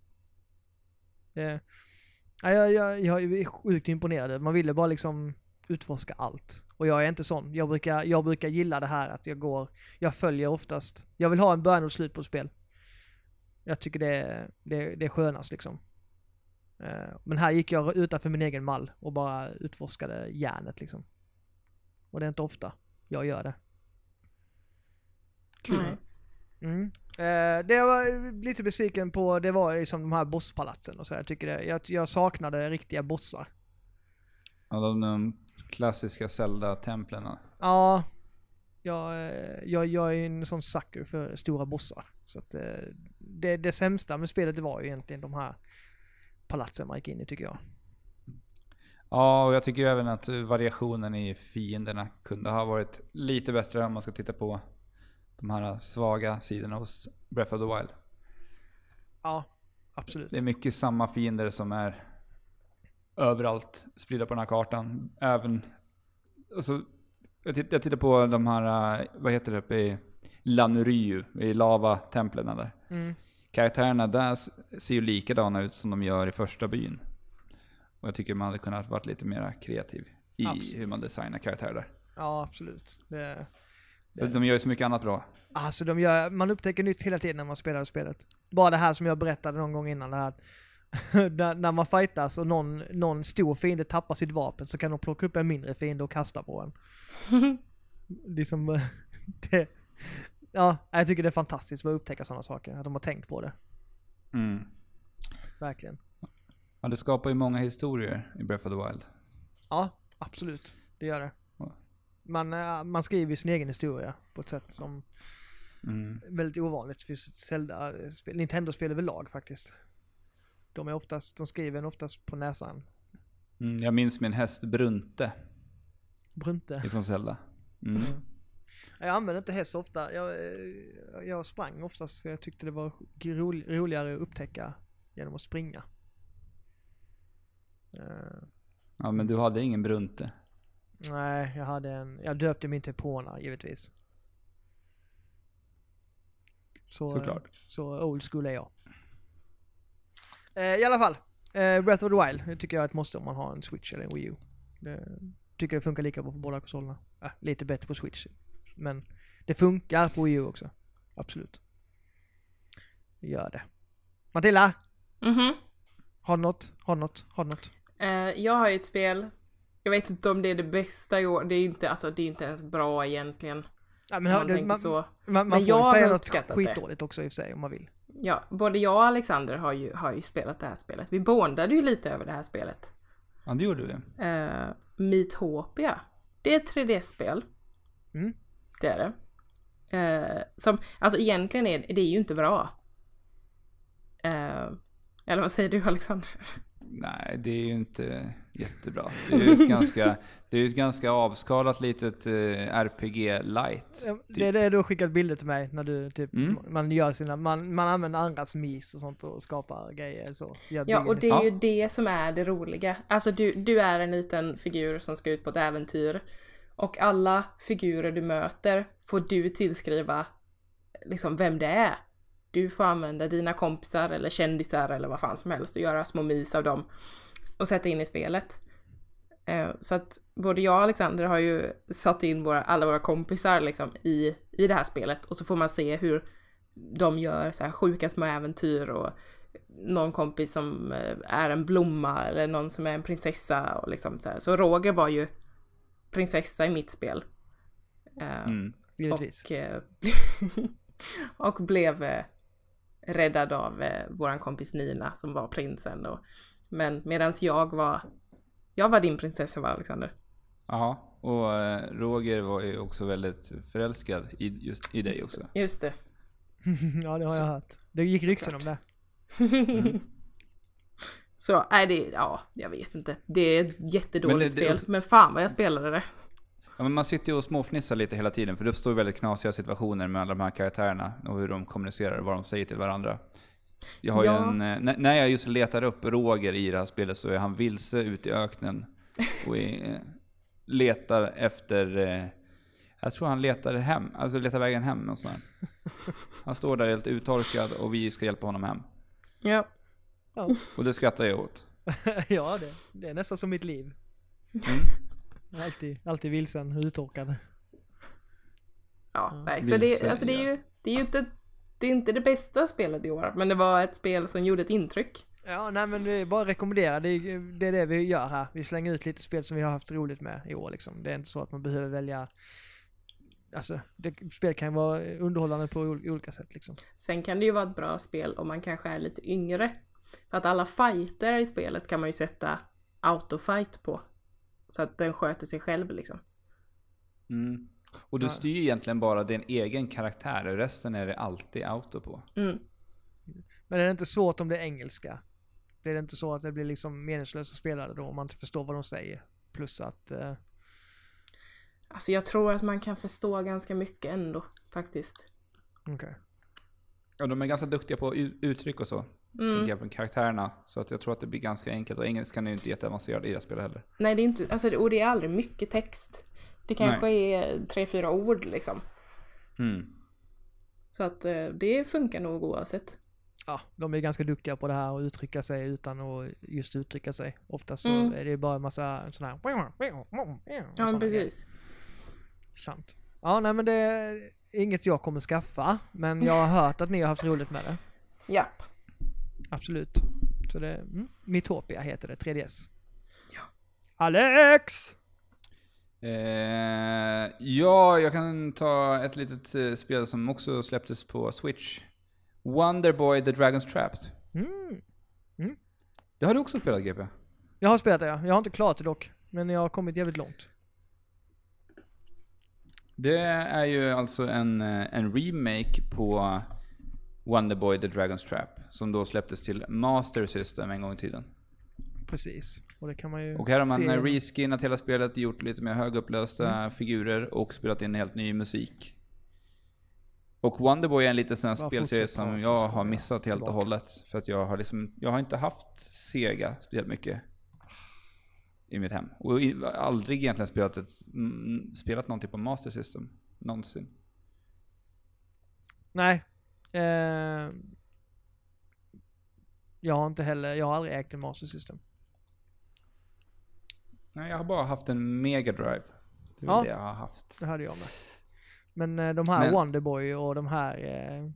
[SPEAKER 1] Det, ja, jag, jag, jag är sjukt imponerad. Man ville bara liksom utforska allt. Och jag är inte sån. Jag brukar, jag brukar gilla det här att jag går, jag följer oftast, jag vill ha en början och slut på ett spel. Jag tycker det, är- det, är- det är skönast liksom. Eh, Men här gick jag utanför min egen mall och bara utforskade järnet liksom. Och det är inte ofta jag gör det.
[SPEAKER 3] Kul.
[SPEAKER 2] Nej.
[SPEAKER 1] Mm. Eh, det jag var lite besviken på, det var ju som de här bosspalatsen och så. Jag, tycker det, jag, jag saknade riktiga bossar.
[SPEAKER 3] Ja, de, de klassiska Zelda-templen.
[SPEAKER 1] Ja, jag, eh, jag, jag är en sån sucker för stora bossar. Så att, eh, det, det sämsta med spelet det var ju egentligen de här palatsen man gick in i tycker jag.
[SPEAKER 3] Ja, och jag tycker ju även att eh, variationen i fienderna kunde ha varit lite bättre om man ska titta på de här svaga sidorna hos Breath of the Wild.
[SPEAKER 1] Ja, absolut.
[SPEAKER 3] Det är mycket samma fiender som är överallt spridda på den här kartan. Även... Alltså, jag, titt, jag tittar på de här, eh, vad heter det, uppe i Lanryu, i lavatemplen där.
[SPEAKER 1] Mm.
[SPEAKER 3] Karaktärerna där s- ser ju likadana ut som de gör i första byn. Och jag tycker man hade kunnat varit lite mer kreativ i
[SPEAKER 1] Absolut.
[SPEAKER 3] hur man designar karaktärer där.
[SPEAKER 1] Ja, absolut. Det,
[SPEAKER 3] För de gör ju så mycket annat bra.
[SPEAKER 1] alltså de gör, man upptäcker nytt hela tiden när man spelar spelet. Bara det här som jag berättade någon gång innan, det här när, när man fightas och någon, någon stor fiende tappar sitt vapen så kan de plocka upp en mindre fiende och kasta på en. liksom, eh, det, ja, jag tycker det är fantastiskt att upptäcka sådana saker, att de har tänkt på det.
[SPEAKER 3] Mm.
[SPEAKER 1] Verkligen.
[SPEAKER 3] Ja, det skapar ju många historier i Breath of the Wild.
[SPEAKER 1] Ja, absolut. Det gör det.
[SPEAKER 3] Ja.
[SPEAKER 1] Man, eh, man skriver ju sin egen historia på ett sätt som
[SPEAKER 3] Mm.
[SPEAKER 1] är väldigt ovanligt för Zelda-spel, Nintendo-spel överlag faktiskt. De är oftast, de skriver en oftast på näsan.
[SPEAKER 3] Mm, jag minns min häst Brunte
[SPEAKER 1] Brunte.
[SPEAKER 3] ifrån Zelda. Mm.
[SPEAKER 1] Jag använde inte häst så ofta. Jag, eh, jag sprang oftast. Jag tyckte det var rol- roligare att upptäcka genom att springa. Eh,
[SPEAKER 3] Ja, men du hade ingen Brunte.
[SPEAKER 1] nej, jag hade en... Jag döpte min till Pona, givetvis. Så, eh,
[SPEAKER 3] Såklart.
[SPEAKER 1] Så old school är jag. Eh, I alla fall. Eh, Breath of the Wild det tycker jag är ett måste om man har en Switch eller en Wii U. Det, tycker det funkar lika bra på båda konsolerna. Eh, lite bättre på Switch. Men det funkar på Wii U också. Absolut. Det gör det. Matilda!
[SPEAKER 2] Mhm.
[SPEAKER 1] Har du något? Har du något? Har du något?
[SPEAKER 2] Eh, jag har ju ett spel. Jag vet inte om det är det bästa i år. Det är inte, alltså, det är inte ens bra egentligen.
[SPEAKER 1] Ja,
[SPEAKER 2] Om
[SPEAKER 1] men,
[SPEAKER 2] man
[SPEAKER 1] det,
[SPEAKER 2] tänker
[SPEAKER 1] man,
[SPEAKER 2] så.
[SPEAKER 1] man, man
[SPEAKER 2] Men
[SPEAKER 1] får
[SPEAKER 2] jag
[SPEAKER 1] ju
[SPEAKER 2] har
[SPEAKER 1] säga något
[SPEAKER 2] uppskattat det.
[SPEAKER 1] skitdåligt också i och för sig om man vill.
[SPEAKER 2] Ja, både jag och Alexander har ju, har ju spelat det här spelet. Vi bondade ju lite över det här spelet.
[SPEAKER 3] Ja, det gjorde vi.
[SPEAKER 2] Uh, Meetopia. Det är ett 3D-spel.
[SPEAKER 1] Mm.
[SPEAKER 2] Det är det. Eh, som, alltså egentligen är det är ju inte bra. Eh, eller vad säger du Alexander?
[SPEAKER 3] Nej, det är ju inte jättebra. Det är ju ett ganska, det är ju ett ganska avskalat litet eh, RPG light.
[SPEAKER 1] Ja, Det är det du har skickat bilder till mig när du typ,
[SPEAKER 3] Typ. Mm.
[SPEAKER 1] man gör sina, man, man använder andras memes och sånt och skapar grejer så. Gör
[SPEAKER 2] Ja,
[SPEAKER 1] bilder.
[SPEAKER 2] och det är ju det som är det roliga. Alltså du, du är en liten figur som ska ut på ett äventyr. Och alla figurer du möter får du tillskriva liksom vem det är. Du får använda dina kompisar eller kändisar eller vad fan som helst och göra små mis av dem och sätta in i spelet. Eh, Så att både jag och Alexander har ju satt in våra, alla våra kompisar liksom i, i det här spelet och så får man se hur de gör så här sjuka små äventyr och någon kompis som eh, är en blomma eller någon som är en prinsessa och liksom så här. Så Roger var ju prinsessa i mitt spel. Eh,
[SPEAKER 3] Mm.
[SPEAKER 1] Givetvis.
[SPEAKER 2] och, eh, och blev eh, räddad av eh, våran kompis Nina som var prinsen. Och, men medan jag var, jag var din prinsessa va Alexander?
[SPEAKER 3] Ja, och eh, Roger var ju också väldigt förälskad i, just i dig också.
[SPEAKER 2] Just det.
[SPEAKER 1] ja, det har jag hört. Det gick rykten om det.
[SPEAKER 2] Så, nej det, ja, jag vet inte. Det är ett jättedåligt
[SPEAKER 3] Men det- det-
[SPEAKER 2] spel, men fan vad jag spelade det.
[SPEAKER 3] Ja, men man sitter ju och småfnissar lite hela tiden, för det uppstår ju väldigt knasiga situationer med alla de här karaktärerna och hur de kommunicerar och vad de säger till varandra. Jag har
[SPEAKER 2] Ja.
[SPEAKER 3] ju en, eh, när- när jag just letar upp Roger i det här spelet så är han vilse ute i öknen och är, eh, letar efter, eh, jag tror han letar hem, alltså letar vägen hem och sådär. Han står där helt uttorkad och vi ska hjälpa honom hem.
[SPEAKER 2] Ja.
[SPEAKER 1] Ja,
[SPEAKER 3] Och det skrattar jag åt. Mm.
[SPEAKER 1] ja det, det är nästan som mitt liv. Alltid, alltid vilsen, uttorkad.
[SPEAKER 2] Ja, nej. Så det,
[SPEAKER 3] Vilse,
[SPEAKER 2] alltså det är
[SPEAKER 3] ja.
[SPEAKER 2] ju, det är ju inte, det är inte det bästa spelet i år, men det var ett spel som gjorde ett intryck.
[SPEAKER 1] Ja, nej men det är bara att rekommendera. Det är, det är det vi gör här. Vi slänger ut lite spel som vi har haft roligt med i år liksom. Det är inte så att man behöver välja Alltså, det, spel kan ju vara underhållande på ol- olika sätt liksom.
[SPEAKER 2] Sen kan det ju vara ett bra spel om man kanske är lite yngre. För att alla fighter i spelet kan man ju sätta autofight på. Så att den sköter sig själv liksom.
[SPEAKER 3] Mm. Och du
[SPEAKER 1] Ja.
[SPEAKER 3] styr egentligen bara din egen karaktär, och resten är det alltid auto på.
[SPEAKER 2] Mm.
[SPEAKER 1] Men är det inte svårt om det är engelska? Blir det inte så att det blir liksom meningslöst att spela det då om man inte förstår vad de säger? Plus att... eh,
[SPEAKER 2] Alltså jag tror att man kan förstå ganska mycket ändå faktiskt.
[SPEAKER 1] Okej.
[SPEAKER 3] Ja, de är ganska duktiga på u- uttryck och så.
[SPEAKER 1] Mm.
[SPEAKER 2] Mm.
[SPEAKER 3] Tänker jag på karaktärerna. Så att jag tror att det blir ganska enkelt. Och engelskan är ju inte jätteavancerad i det här spelet heller.
[SPEAKER 2] Nej, det är inte, alltså, och det är aldrig mycket text. Det kanske är eh, tre, fyra ord liksom.
[SPEAKER 3] Mm.
[SPEAKER 2] Så att eh, det funkar nog oavsett.
[SPEAKER 1] Ja, de är ganska duktiga på det här att uttrycka sig utan att just uttrycka sig. Ofta så
[SPEAKER 2] Mm.
[SPEAKER 1] är det ju bara en massa sådana här...
[SPEAKER 2] Ja,
[SPEAKER 1] såna
[SPEAKER 2] men
[SPEAKER 1] grejer.
[SPEAKER 2] precis.
[SPEAKER 1] Sant. Ja, nej men det är inget jag kommer skaffa. Men jag har hört att ni har haft roligt med det.
[SPEAKER 2] Japp.
[SPEAKER 1] Absolut. Så det... Mm. Mitopia heter det, 3DS. Ja. Alex!
[SPEAKER 3] Eh, ja, jag kan ta ett litet eh, spel som också släpptes på Switch. Wonderboy The Dragon's Trapped.
[SPEAKER 1] Mm.
[SPEAKER 3] Det har du också spelat GP?
[SPEAKER 1] Jag har spelat det, ja. jag har inte klarat det dock. Men jag har kommit jävligt långt.
[SPEAKER 3] Det är ju alltså en, eh, en remake på Wonderboy The Dragon's Trap. Som då släpptes till Master System en gång i tiden.
[SPEAKER 1] Precis. Och det kan man ju
[SPEAKER 3] Och här har man
[SPEAKER 1] se.
[SPEAKER 3] eh, reskinnat hela spelet, gjort lite mer högupplösta
[SPEAKER 1] Mm.
[SPEAKER 3] figurer och spelat in helt ny musik. Och Wonderboy är en liten sån här
[SPEAKER 1] Bara
[SPEAKER 3] spelserie
[SPEAKER 1] fortsätt prata,
[SPEAKER 3] som
[SPEAKER 1] så
[SPEAKER 3] jag
[SPEAKER 1] kommer
[SPEAKER 3] har
[SPEAKER 1] jag
[SPEAKER 3] missat helt och
[SPEAKER 1] tillbaka.
[SPEAKER 3] hållet. För att jag har liksom, jag har inte haft Sega speciellt mycket i mitt hem. Och i, aldrig egentligen spelat, ett, mm, spelat någonting på Master System. Någonsin.
[SPEAKER 1] Nej. Eh, jag har inte heller, jag har aldrig ägt en Master System.
[SPEAKER 3] Nej, jag har bara haft en Mega Drive. Det är
[SPEAKER 1] Ja.
[SPEAKER 3] väl det jag har haft.
[SPEAKER 1] Det hade jag med. Men eh, de här
[SPEAKER 3] Men-
[SPEAKER 1] Wonderboy och de här... Eh,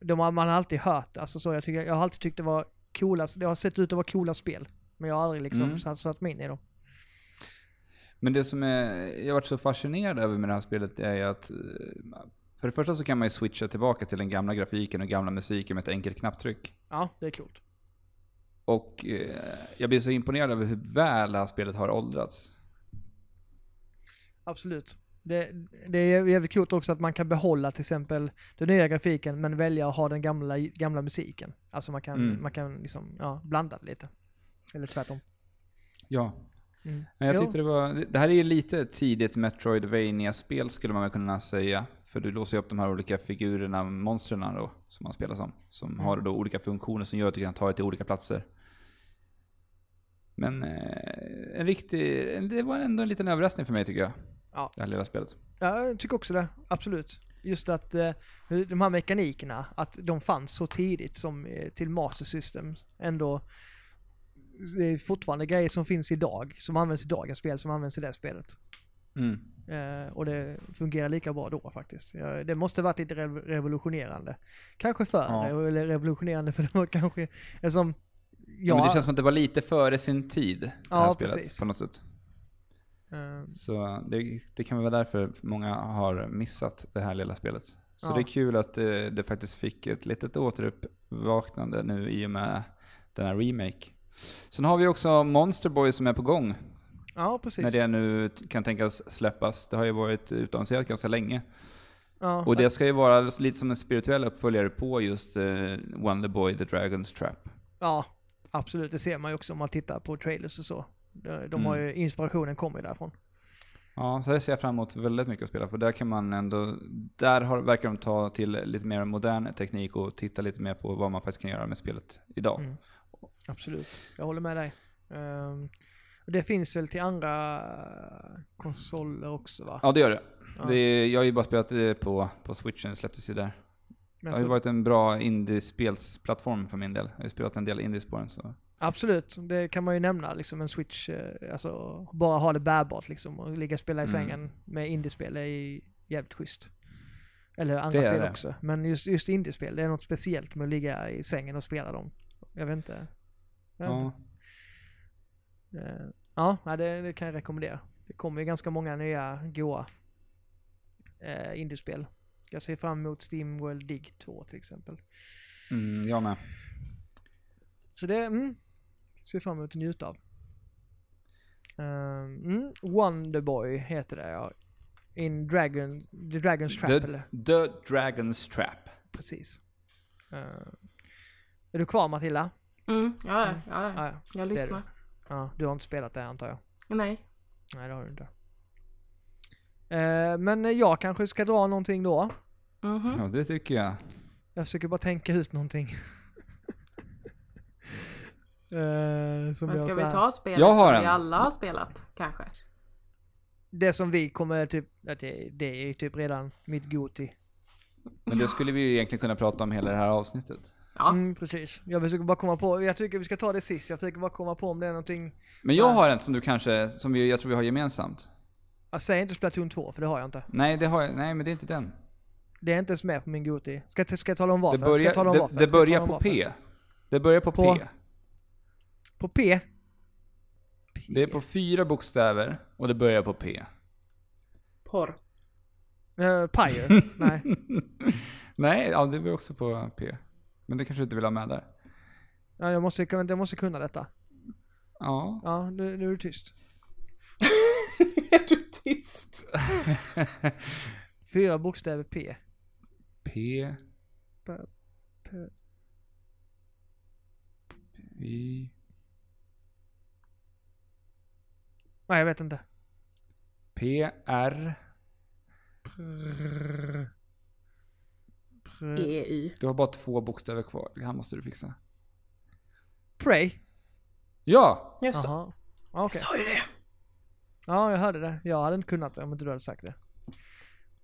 [SPEAKER 1] de har man har alltid hört, alltså så. Jag, tycker, jag har alltid tyckt det var coola, det har sett ut att vara coola spel. Men jag har aldrig liksom
[SPEAKER 3] Mm.
[SPEAKER 1] satt, satt mig in i dem.
[SPEAKER 3] Men det som är, jag har varit så fascinerad över med det här spelet är ju att eh, för det första så kan man ju switcha tillbaka till den gamla grafiken och gamla musiken med ett enkelt knapptryck.
[SPEAKER 1] Ja, det är coolt.
[SPEAKER 3] Och eh, jag blir så imponerad över hur väl det här spelet har åldrats.
[SPEAKER 1] Absolut. Det, det är jävligt coolt också att man kan behålla till exempel den nya grafiken men välja att ha den gamla, gamla musiken. Alltså man kan,
[SPEAKER 3] Mm.
[SPEAKER 1] man kan liksom, ja, blanda det lite. Eller tvärtom.
[SPEAKER 3] Ja.
[SPEAKER 1] Mm.
[SPEAKER 3] Men Jag
[SPEAKER 1] Jo.
[SPEAKER 3] tyckte det var... Det här är ju lite ett tidigt Metroidvania-spel skulle man väl kunna säga. För du låser ju upp de här olika figurerna, monstren då, som man spelar som. Som
[SPEAKER 1] Mm.
[SPEAKER 3] har då olika funktioner som gör att du kan ta dig till olika platser. Men eh, en riktig... en- Det var ändå en liten överraskning för mig tycker jag.
[SPEAKER 1] Ja.
[SPEAKER 3] Det här lilla spelet.
[SPEAKER 1] Ja, jag tycker också det. Absolut. Just att eh, hur de här mekanikerna, att de fanns så tidigt som eh, till Master System. Ändå, det är fortfarande grejer som finns idag, som används i dagens spel, som används i det spelet.
[SPEAKER 3] Mm.
[SPEAKER 1] Eh, och det fungerar lika bra då faktiskt. Ja, det måste varit lite rev- revolutionerande. Kanske för, eh,
[SPEAKER 3] Ja.
[SPEAKER 1] eller revolutionerande för det var kanske, eftersom,
[SPEAKER 3] Ja.
[SPEAKER 1] ja,
[SPEAKER 3] Men det känns som att det var lite före sin tid. Det
[SPEAKER 1] Ja,
[SPEAKER 3] här spelet,
[SPEAKER 1] precis.
[SPEAKER 3] På något sätt.
[SPEAKER 1] eh,
[SPEAKER 3] Så det, det kan vara därför många har missat det här lilla spelet. Så
[SPEAKER 1] Ja.
[SPEAKER 3] det är kul att det, det faktiskt fick ett litet återuppvaknande nu i och med den här remake. Sen har vi också Monster Boy som är på gång.
[SPEAKER 1] ja precis.
[SPEAKER 3] När det nu t- kan tänkas släppas. Det har ju varit utannonserat ganska länge.
[SPEAKER 1] ja,
[SPEAKER 3] Och det ska ju vara lite som en spirituell uppföljare på just eh, Wonderboy The Dragon's Trap.
[SPEAKER 1] Ja, absolut. Det ser man ju också om man tittar på trailers och så. De de har
[SPEAKER 3] Mm.
[SPEAKER 1] ju, inspirationen kommer ju därifrån.
[SPEAKER 3] Ja, så det ser jag fram emot väldigt mycket att spela för där kan man ändå, där har, verkar de ta till lite mer modern teknik och titta lite mer på vad man faktiskt kan göra med spelet idag.
[SPEAKER 1] Mm. Absolut. Jag håller med dig. Ehm, och det finns väl till andra konsoler också va?
[SPEAKER 3] Ja, det gör det.
[SPEAKER 1] Ja.
[SPEAKER 3] det är, jag har ju bara spelat det på, på switchen, det släpptes ju där. Det
[SPEAKER 1] Men jag
[SPEAKER 3] har ju
[SPEAKER 1] tror-
[SPEAKER 3] varit en bra indiespelsplattform för min del. Jag har ju spelat en del indies på den så.
[SPEAKER 1] Absolut, det kan man ju nämna. Liksom en switch, eh, alltså bara ha det bärbart liksom och ligga och spela i
[SPEAKER 3] Mm.
[SPEAKER 1] sängen med indiespel är ju jävligt schysst. Eller andra
[SPEAKER 3] Det är
[SPEAKER 1] spel
[SPEAKER 3] det.
[SPEAKER 1] också. Men just, just indiespel, det är något speciellt med att ligga i sängen och spela dem. Jag vet inte. Jag vet
[SPEAKER 3] Ja.
[SPEAKER 1] Eh, Ja, nej, det, det kan jag rekommendera. Det kommer ju ganska många nya goa eh, indiespel. Jag ser fram emot Steam World Dig 2 till exempel.
[SPEAKER 3] Mm, jag med.
[SPEAKER 1] Så det, mm, ser fram emot att njuta av. Eh, mm, Wonderboy heter det ja. In Dragon, The Dragon's Trap eller?
[SPEAKER 3] The, the Dragon's Trap.
[SPEAKER 1] Precis. Eh, är du kvar Matilda?
[SPEAKER 2] Mm, ja, ja, ja,
[SPEAKER 1] Ja, ja.
[SPEAKER 2] jag
[SPEAKER 1] det är
[SPEAKER 2] lyssnar.
[SPEAKER 1] ja, du har inte spelat det antar jag?
[SPEAKER 2] Nej.
[SPEAKER 1] Nej, det har du inte. Eh, men jag kanske ska dra någonting då. Mm.
[SPEAKER 2] Mhm.
[SPEAKER 3] Ja, det tycker jag.
[SPEAKER 1] Jag försöker bara tänka ut någonting. Eh, som
[SPEAKER 2] Men
[SPEAKER 1] jag
[SPEAKER 2] ska
[SPEAKER 1] så
[SPEAKER 2] vi
[SPEAKER 1] här-
[SPEAKER 2] ta spelet
[SPEAKER 3] Jag har
[SPEAKER 2] som vi
[SPEAKER 3] en.
[SPEAKER 2] alla har spelat, kanske?
[SPEAKER 1] Det som vi kommer typ, ja, det, det är ju typ redan mitt Goti.
[SPEAKER 3] Men det skulle vi ju egentligen kunna prata om hela det här avsnittet.
[SPEAKER 2] Ja.
[SPEAKER 1] Mm, precis. Jag försöker bara komma på, jag tycker vi ska ta det sist, jag försöker bara komma på om det är någonting.
[SPEAKER 3] Men jag har en som du kanske, som vi, jag tror vi har gemensamt.
[SPEAKER 1] Jag säger inte Splatoon 2, för det har jag inte.
[SPEAKER 3] Nej, det har jag, nej men det är inte den.
[SPEAKER 1] Det är inte ens med på min Goti. Ska, jag- ska jag tala om varför?
[SPEAKER 3] Det
[SPEAKER 1] ska
[SPEAKER 3] börjar,
[SPEAKER 1] jag tala om
[SPEAKER 3] det,
[SPEAKER 1] varför?
[SPEAKER 3] det
[SPEAKER 1] Ska jag
[SPEAKER 3] börjar
[SPEAKER 1] tala om
[SPEAKER 3] på
[SPEAKER 1] varför?
[SPEAKER 3] P. Det börjar på,
[SPEAKER 1] På-
[SPEAKER 3] P.
[SPEAKER 1] På P?
[SPEAKER 3] Det är på fyra bokstäver och det börjar på P.
[SPEAKER 2] Porr.
[SPEAKER 1] Eh, Pyre? Nej.
[SPEAKER 3] Nej, ja, det börjar också på P. Men det kanske du inte vill ha med där.
[SPEAKER 1] Ja, jag, måste, kunna- jag måste kunna detta.
[SPEAKER 3] Ja.
[SPEAKER 1] Ja, nu, nu är du tyst.
[SPEAKER 2] är du tyst?
[SPEAKER 1] Fyra bokstäver P.
[SPEAKER 3] P.
[SPEAKER 1] P, P.
[SPEAKER 3] I.
[SPEAKER 1] Nej, jag vet inte.
[SPEAKER 3] P. R.
[SPEAKER 1] Prr,
[SPEAKER 2] Mm.
[SPEAKER 1] prr.
[SPEAKER 2] EY.
[SPEAKER 3] Du har bara två bokstäver kvar. Det här måste du fixa.
[SPEAKER 1] Pray?
[SPEAKER 3] Ja!
[SPEAKER 2] Jag sa
[SPEAKER 1] Jaha. Ja,
[SPEAKER 2] jag
[SPEAKER 1] okej.
[SPEAKER 2] sa ju det.
[SPEAKER 1] Ja, jag hörde det. Jag hade inte kunnat det om inte du hade sagt det.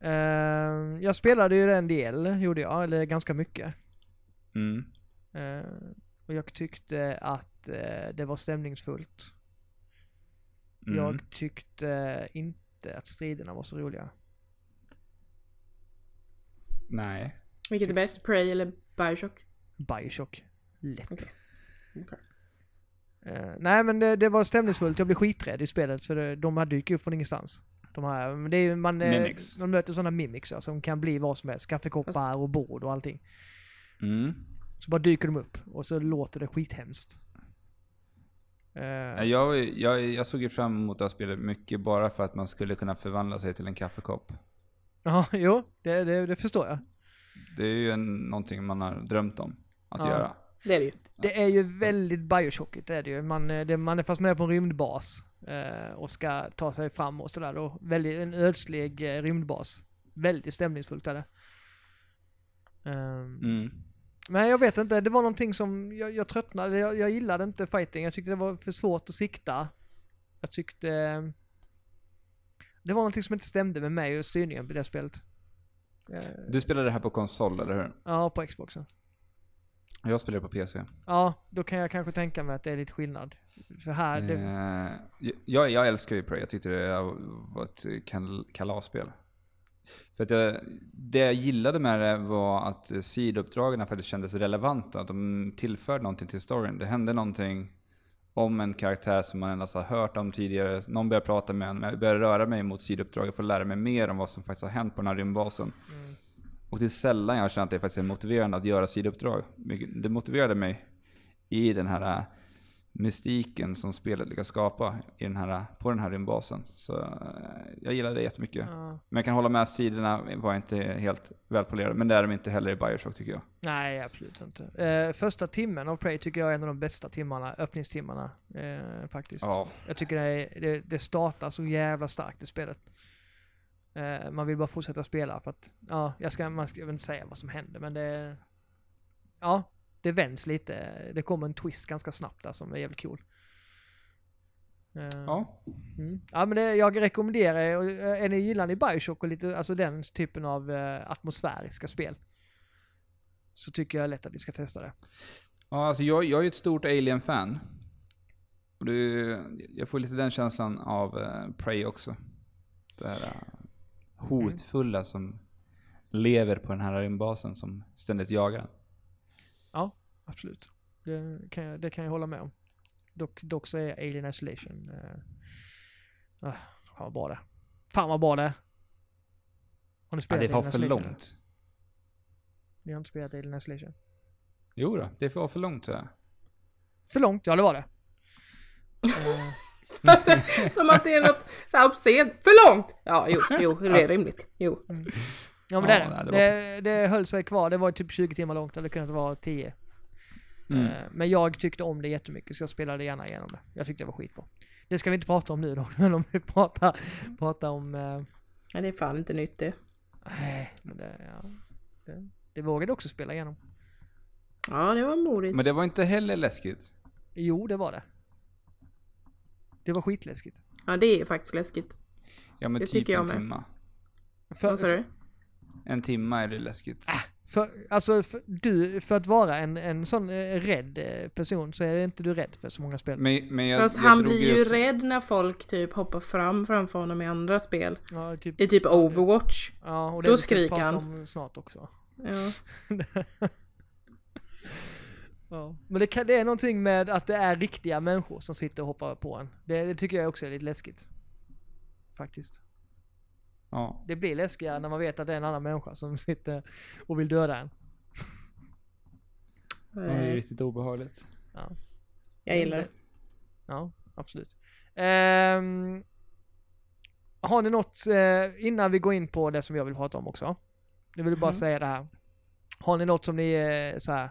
[SPEAKER 1] Eh, jag spelade ju det en del, gjorde jag. Eller ganska mycket.
[SPEAKER 3] Mm.
[SPEAKER 1] Eh, och jag tyckte att eh, det var stämningsfullt.
[SPEAKER 3] Mm.
[SPEAKER 1] Jag tyckte inte att striderna var så roliga.
[SPEAKER 3] Nej.
[SPEAKER 2] Vilket är bäst? Prey eller Bioshock?
[SPEAKER 1] Bioshock. Lätt.
[SPEAKER 2] Okej. Okej.
[SPEAKER 1] Eh, nej men det, det var stämningsfullt, jag blev skiträdd i spelet för det, de hade dykt upp från ingenstans. De här, men det är ju, man, eh,
[SPEAKER 3] Mimics.
[SPEAKER 1] De möter sådana mimics ja, som kan bli vad som helst, kaffekoppar
[SPEAKER 2] Fast-
[SPEAKER 1] och bord och allting.
[SPEAKER 3] Mm.
[SPEAKER 1] Så bara dyker de upp och så låter det skithemskt. Eh,
[SPEAKER 3] Nej, Jag, jag, jag såg ju fram emot det här spelet mycket bara för att man skulle kunna förvandla sig till en kaffekopp.
[SPEAKER 1] Ja, jo, det, det, det förstår jag.
[SPEAKER 3] Det är ju en, någonting man har drömt om att
[SPEAKER 1] Ja.
[SPEAKER 3] göra.
[SPEAKER 2] Det är det ju.
[SPEAKER 1] Det är ju väldigt Bioshockigt, det är det ju. Man, eh, det, man är fast med på en rymdbas eh, och ska ta sig fram och sådär då. Väldigt, en ödslig eh, rymdbas. Väldigt stämningsfullt är det. Ehm,
[SPEAKER 3] Mm.
[SPEAKER 1] Men jag vet inte, det var någonting som jag, jag tröttnade. Jag, jag gillade inte fighting. Jag tyckte det var för svårt att sikta. Jag tyckte... Det var någonting som inte stämde med mig och styrningen på det spelet.
[SPEAKER 2] Eh,
[SPEAKER 3] Du spelade det här på konsol, eller hur?
[SPEAKER 1] Ja, på Xboxen.
[SPEAKER 3] Jag spelade på PC.
[SPEAKER 1] Ja, då kan jag kanske tänka mig att det är lite skillnad. För här, det,
[SPEAKER 3] Eh, jag, jag älskar ju Prey. Jag tyckte det var ett kal- kalasspel. För att jag, det jag gillade med det var att eh, sidouppdragen faktiskt kändes relevanta. De tillförde någonting till storyn. Det hände någonting om en karaktär som man endast har hört om tidigare. Någon började prata med en. Jag började röra mig mot sidouppdraget för att lära mig mer om vad som faktiskt har hänt på den här rymdbasen. Och det är sällan jag känner att det faktiskt är motiverande att göra sidouppdrag. Vilket- Det motiverade mig i den här eh, mystiken som spelet lyckas skapa i den här, på den här rymdbasen. Så eh, jag gillar det jättemycket.
[SPEAKER 1] ja,
[SPEAKER 3] Men jag kan hålla med, striderna var inte helt välpolerade. Men det är de inte heller i Bioshock tycker jag.
[SPEAKER 1] nej, absolut inte. Eh, första timmen av Prey tycker jag är en av de bästa timmarna, öppningstimmarna eh, faktiskt.
[SPEAKER 3] Ja.
[SPEAKER 1] Jag tycker det, är- det, det startar så jävla starkt i spelet. Eh, man vill bara fortsätta spela för att, ja, jag ska, man ska jag vill inte säga vad som händer men det... Ja, det vänds lite. Det kommer en twist ganska snabbt där som är jävligt cool. Eh,
[SPEAKER 3] ja.
[SPEAKER 1] Mm. Ja men det, jag rekommenderar er, och, eh, är ni gillar ni Bioshock och lite, alltså den typen av eh, atmosfäriska spel. Så tycker jag lätt att ni ska testa det.
[SPEAKER 3] ja alltså jag, jag är ju ett stort Alien-fan. Och det, jag får lite den känslan av eh, Prey också. Det här eh,
[SPEAKER 1] Mm.
[SPEAKER 3] hotfulla som lever på den här rymdbasen som ständigt jagar den.
[SPEAKER 1] Absolut. Det kan jag, det kan jag hålla med om. Dock, dock så är Alien Isolation... Eh, ah, fan vad bra det är. Fan vad bra det är. Har ni
[SPEAKER 3] Ja,
[SPEAKER 1] spelat
[SPEAKER 3] det tar
[SPEAKER 1] Alien
[SPEAKER 3] för
[SPEAKER 1] Isolation?
[SPEAKER 3] långt.
[SPEAKER 1] Ni har inte spelat Alien Isolation?
[SPEAKER 3] Jo då, det var för långt. tror jag.
[SPEAKER 1] För långt? Ja det var det. Eh,
[SPEAKER 2] Alltså, som att det är något så här obscent. För långt! Ja, jo, jo, det är rimligt. Jo.
[SPEAKER 1] ja men
[SPEAKER 3] Ja,
[SPEAKER 1] det är
[SPEAKER 3] nej,
[SPEAKER 1] det. Det,
[SPEAKER 3] det
[SPEAKER 1] det höll sig kvar. Det var typ 20 timmar långt. Det hade kunnat vara 10.
[SPEAKER 3] Mm.
[SPEAKER 1] Eh, men jag tyckte om det jättemycket så jag spelade gärna igenom det. Jag tyckte det var skitbra. Det ska vi inte prata om nu dock. Men om vi pratar, pratar om... Eh,
[SPEAKER 2] Nej, det är fan inte nytt det.
[SPEAKER 1] nej, men det, ja, det, det vågade jag också spela igenom.
[SPEAKER 2] Ja, det var modigt.
[SPEAKER 3] Men det var inte heller läskigt.
[SPEAKER 1] Jo, det var det. Det var skitläskigt.
[SPEAKER 2] Ja, det är faktiskt läskigt.
[SPEAKER 3] Ja men
[SPEAKER 2] Det
[SPEAKER 3] typ
[SPEAKER 2] tycker jag
[SPEAKER 3] en
[SPEAKER 2] med.
[SPEAKER 3] timma.
[SPEAKER 1] För,
[SPEAKER 2] Vad sa du?
[SPEAKER 3] En timma är det läskigt.
[SPEAKER 2] Äh.
[SPEAKER 1] för, alltså, för, du, för att vara en, en sån eh, rädd eh, person så är inte du rädd för så många spel.
[SPEAKER 3] Men, men jag,
[SPEAKER 2] Fast
[SPEAKER 3] jag
[SPEAKER 2] han
[SPEAKER 3] drog
[SPEAKER 2] blir ju
[SPEAKER 3] upp-
[SPEAKER 2] rädd när folk typ hoppar fram framför honom i andra spel.
[SPEAKER 1] Ja, typ,
[SPEAKER 2] I typ Overwatch.
[SPEAKER 1] ja, och
[SPEAKER 2] då
[SPEAKER 1] vi ska
[SPEAKER 2] skriker
[SPEAKER 1] prata
[SPEAKER 2] han.
[SPEAKER 1] om snart också.
[SPEAKER 2] Ja.
[SPEAKER 1] Ja. Men det, kan, det är någonting med att det är riktiga människor som sitter och hoppar på en. Det, det tycker jag också är lite läskigt. Faktiskt.
[SPEAKER 3] Ja.
[SPEAKER 1] Det blir läskigare när man vet att det är en annan människa som sitter och vill döda en.
[SPEAKER 3] Det är ju riktigt obehagligt.
[SPEAKER 2] eh, Jag gillar det.
[SPEAKER 1] Mm. Ja, absolut. Ehm, har ni något, eh, innan vi går in på det som jag vill prata om också. Nu vill jag bara
[SPEAKER 2] Mhm.
[SPEAKER 1] säga det här. Har ni något som ni eh, så här,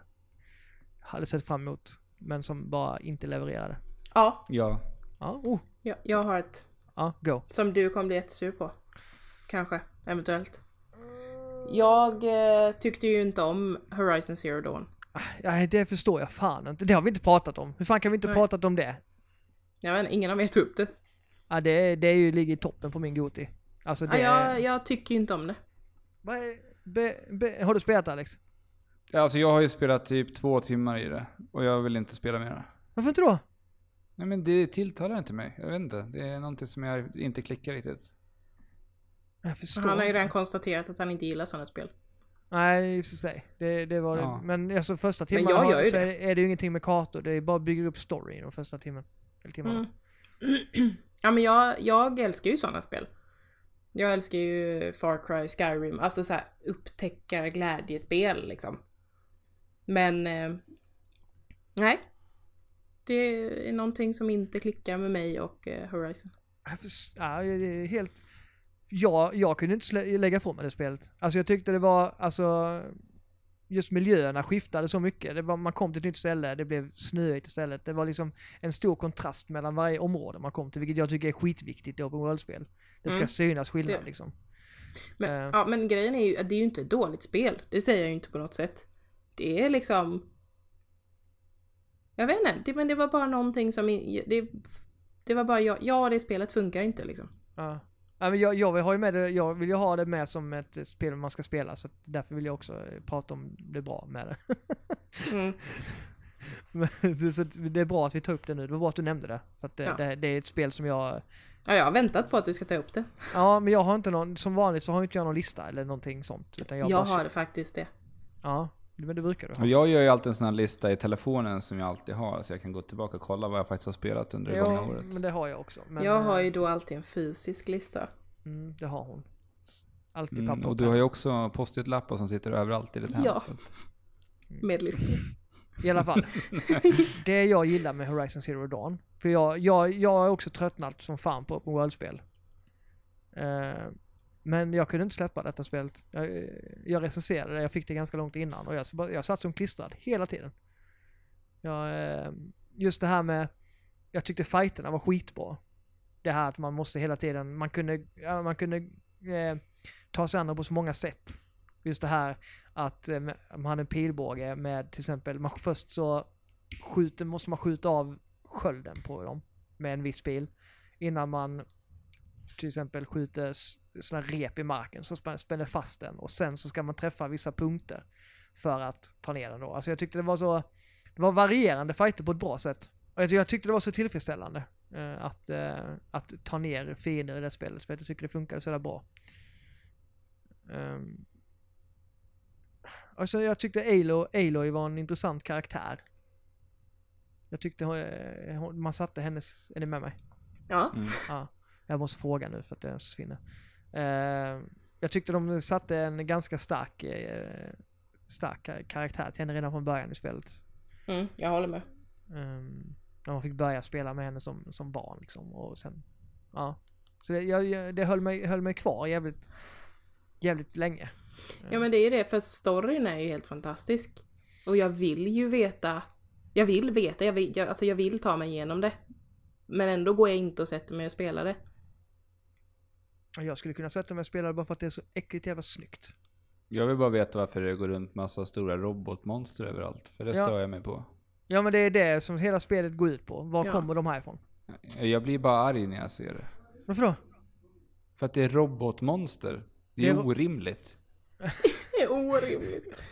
[SPEAKER 1] hade sett fram emot, men som bara inte levererade?
[SPEAKER 2] Ja,
[SPEAKER 3] Ja.
[SPEAKER 1] Ja, oh,
[SPEAKER 2] jag, jag har ett.
[SPEAKER 1] ja, go.
[SPEAKER 2] Som du kommer bli jättesur på. Kanske, eventuellt.
[SPEAKER 1] Mm.
[SPEAKER 2] Jag eh, tyckte ju inte om Horizon Zero Dawn.
[SPEAKER 1] Ja, det förstår jag fan inte. Det har vi inte pratat om. Hur fan kan vi inte
[SPEAKER 2] Nej.
[SPEAKER 1] pratat om det?
[SPEAKER 2] Jag vet, inte, ingen av er tog upp det.
[SPEAKER 1] Ja, det, det är ju, ligger i toppen på min Goti. Alltså
[SPEAKER 2] Ja,
[SPEAKER 1] det...
[SPEAKER 2] jag, jag tycker ju inte om det.
[SPEAKER 1] Vad är, be, be, har du spelat Alex?
[SPEAKER 3] Alltså jag har ju spelat typ två timmar i det. Och jag vill inte spela mer.
[SPEAKER 1] Varför inte då?
[SPEAKER 3] Nej men det tilltalar inte mig. Jag vet inte. Det är någonting som jag inte klickar riktigt.
[SPEAKER 1] Jag förstår
[SPEAKER 2] Han har ju
[SPEAKER 1] inte.
[SPEAKER 2] redan konstaterat att han inte gillar sådana spel.
[SPEAKER 1] Nej, i och för sig. Det, det var
[SPEAKER 3] Ja.
[SPEAKER 1] det. Men alltså första
[SPEAKER 2] Men
[SPEAKER 1] timmen
[SPEAKER 2] jag
[SPEAKER 1] har-
[SPEAKER 2] gör ju
[SPEAKER 1] så
[SPEAKER 2] det.
[SPEAKER 1] är- är det ju ingenting med kartor. Det är bara bygger upp storyn de första timmen. Eller timmarna.
[SPEAKER 2] Mm. ja men jag, jag älskar ju sådana spel. Jag älskar ju Far Cry, Skyrim, alltså såhär upptäckarglädjespel liksom. Men... Eh, nej. Det är någonting som inte klickar med mig och eh, Horizon.
[SPEAKER 1] Jag förs- Ja, det är helt... Jag, jag kunde inte slä- lägga ifrån mig det spelet. Alltså jag tyckte det var, alltså... just miljöerna skiftade så mycket. Det var, man kom till ett nytt ställe, det blev snöigt istället. Det var liksom en stor kontrast mellan varje område man kom till, vilket jag tycker är skitviktigt i Open World-spel. Det ska
[SPEAKER 2] Mm.
[SPEAKER 1] synas skillnad
[SPEAKER 2] Det-
[SPEAKER 1] liksom.
[SPEAKER 2] Men,
[SPEAKER 1] Eh.
[SPEAKER 2] ja, men grejen är ju att det är ju inte ett dåligt spel. Det säger jag ju inte på något sätt. Det är liksom... Jag vet inte, det, men det var bara någonting som... i- Det, det var bara jag, ja det spelet funkar inte liksom.
[SPEAKER 1] Ja. Ja, men jag, jag, vill ha ju med det, jag vill ju ha det med som ett spel man ska spela, så att därför vill jag också eh, prata om det bra med det.
[SPEAKER 2] Mm.
[SPEAKER 1] Men, det- så att det är bra att vi tar upp det nu, det var bra att du nämnde det. För att det,
[SPEAKER 2] Ja.
[SPEAKER 1] det, det är ett spel som jag...
[SPEAKER 2] Ja, jag har väntat på att du ska ta upp det.
[SPEAKER 1] Ja, men jag har inte någon, som vanligt så har inte jag någon lista eller någonting sånt. Utan jag
[SPEAKER 2] Jag
[SPEAKER 1] bara,
[SPEAKER 2] har faktiskt det.
[SPEAKER 1] Ja, men det brukar du ha.
[SPEAKER 3] Och jag gör ju alltid en sån här lista i telefonen som jag alltid har så jag kan gå tillbaka och kolla vad jag faktiskt har spelat under det gångna
[SPEAKER 1] Ja,
[SPEAKER 3] året.
[SPEAKER 1] men det har jag också. Men,
[SPEAKER 2] jag har
[SPEAKER 1] eh,
[SPEAKER 2] ju då alltid en fysisk lista.
[SPEAKER 1] Mm, det har hon. Alltid
[SPEAKER 3] Mm,
[SPEAKER 1] papper.
[SPEAKER 3] och du har ju också post-it-lappar som sitter överallt i ditt hem.
[SPEAKER 2] Ja.
[SPEAKER 3] så att-
[SPEAKER 2] Med listor.
[SPEAKER 1] I alla fall. det jag gillar med Horizon Zero Dawn. För jag, jag, jag är också tröttnat som fan på open world-spel. Eh, men jag kunde inte släppa detta spelet. Jag, eh, jag recenserade det, jag fick det ganska långt innan och jag, s- bara- jag satt som klistrad hela tiden. Jag, eh, just det här med, jag tyckte fighterna var skitbra. Det här att man måste hela tiden, man kunde, ja, man kunde eh, ta sig an dem på så många sätt. Just det här att eh, med- man hade en pilbåge med till exempel, man först så skjuter, måste man skjuta av skölden på dem med en viss pil innan man till exempel skjuter s- såna rep i marken så spän- spänner fast den och sen så ska man träffa vissa punkter för att ta ner den då. Alltså jag tyckte det var så, det var varierande fighter på ett bra sätt. Och jag- jag tyckte det var så tillfredsställande eh, att, eh, att ta ner fiender i det spelet för att jag tycker det funkade så jävla bra. Ehm, Alltså jag tyckte Aloy, Aloy var en intressant karaktär. Jag tyckte hon, eh, hon, man satte hennes, är ni med mig?
[SPEAKER 2] Ja.
[SPEAKER 3] Mm.
[SPEAKER 1] Jag måste fråga nu för att det försvinner. Eh, jag tyckte de satte en ganska stark, eh, stark kar- karaktär till henne redan från början i spelet.
[SPEAKER 2] Mm, jag håller med.
[SPEAKER 1] Ehm, när man fick börja spela med henne som, som barn liksom. Och sen, ja. Så det, jag, jag, det höll, mig, höll mig kvar jävligt, jävligt länge.
[SPEAKER 2] Ja men det är ju det, för storyn är ju helt fantastisk. Och jag vill ju veta. Jag vill veta, jag vill, jag, alltså jag vill ta mig igenom det. Men ändå går jag inte och sätter mig och spelar det.
[SPEAKER 1] Och Jag skulle kunna sätta mig och spela bara för att det är så äckligt jävla snyggt.
[SPEAKER 3] Jag vill bara veta varför det går runt massa stora robotmonster överallt, för det
[SPEAKER 1] Ja.
[SPEAKER 3] stör jag mig på.
[SPEAKER 1] Ja men det är det som hela spelet går ut på. Var
[SPEAKER 2] Ja.
[SPEAKER 1] kommer de här ifrån?
[SPEAKER 3] Jag blir bara arg när jag ser det.
[SPEAKER 1] Varför då?
[SPEAKER 3] För att det är robotmonster. Det är
[SPEAKER 1] Det är-
[SPEAKER 3] orimligt.
[SPEAKER 2] Det är orimligt.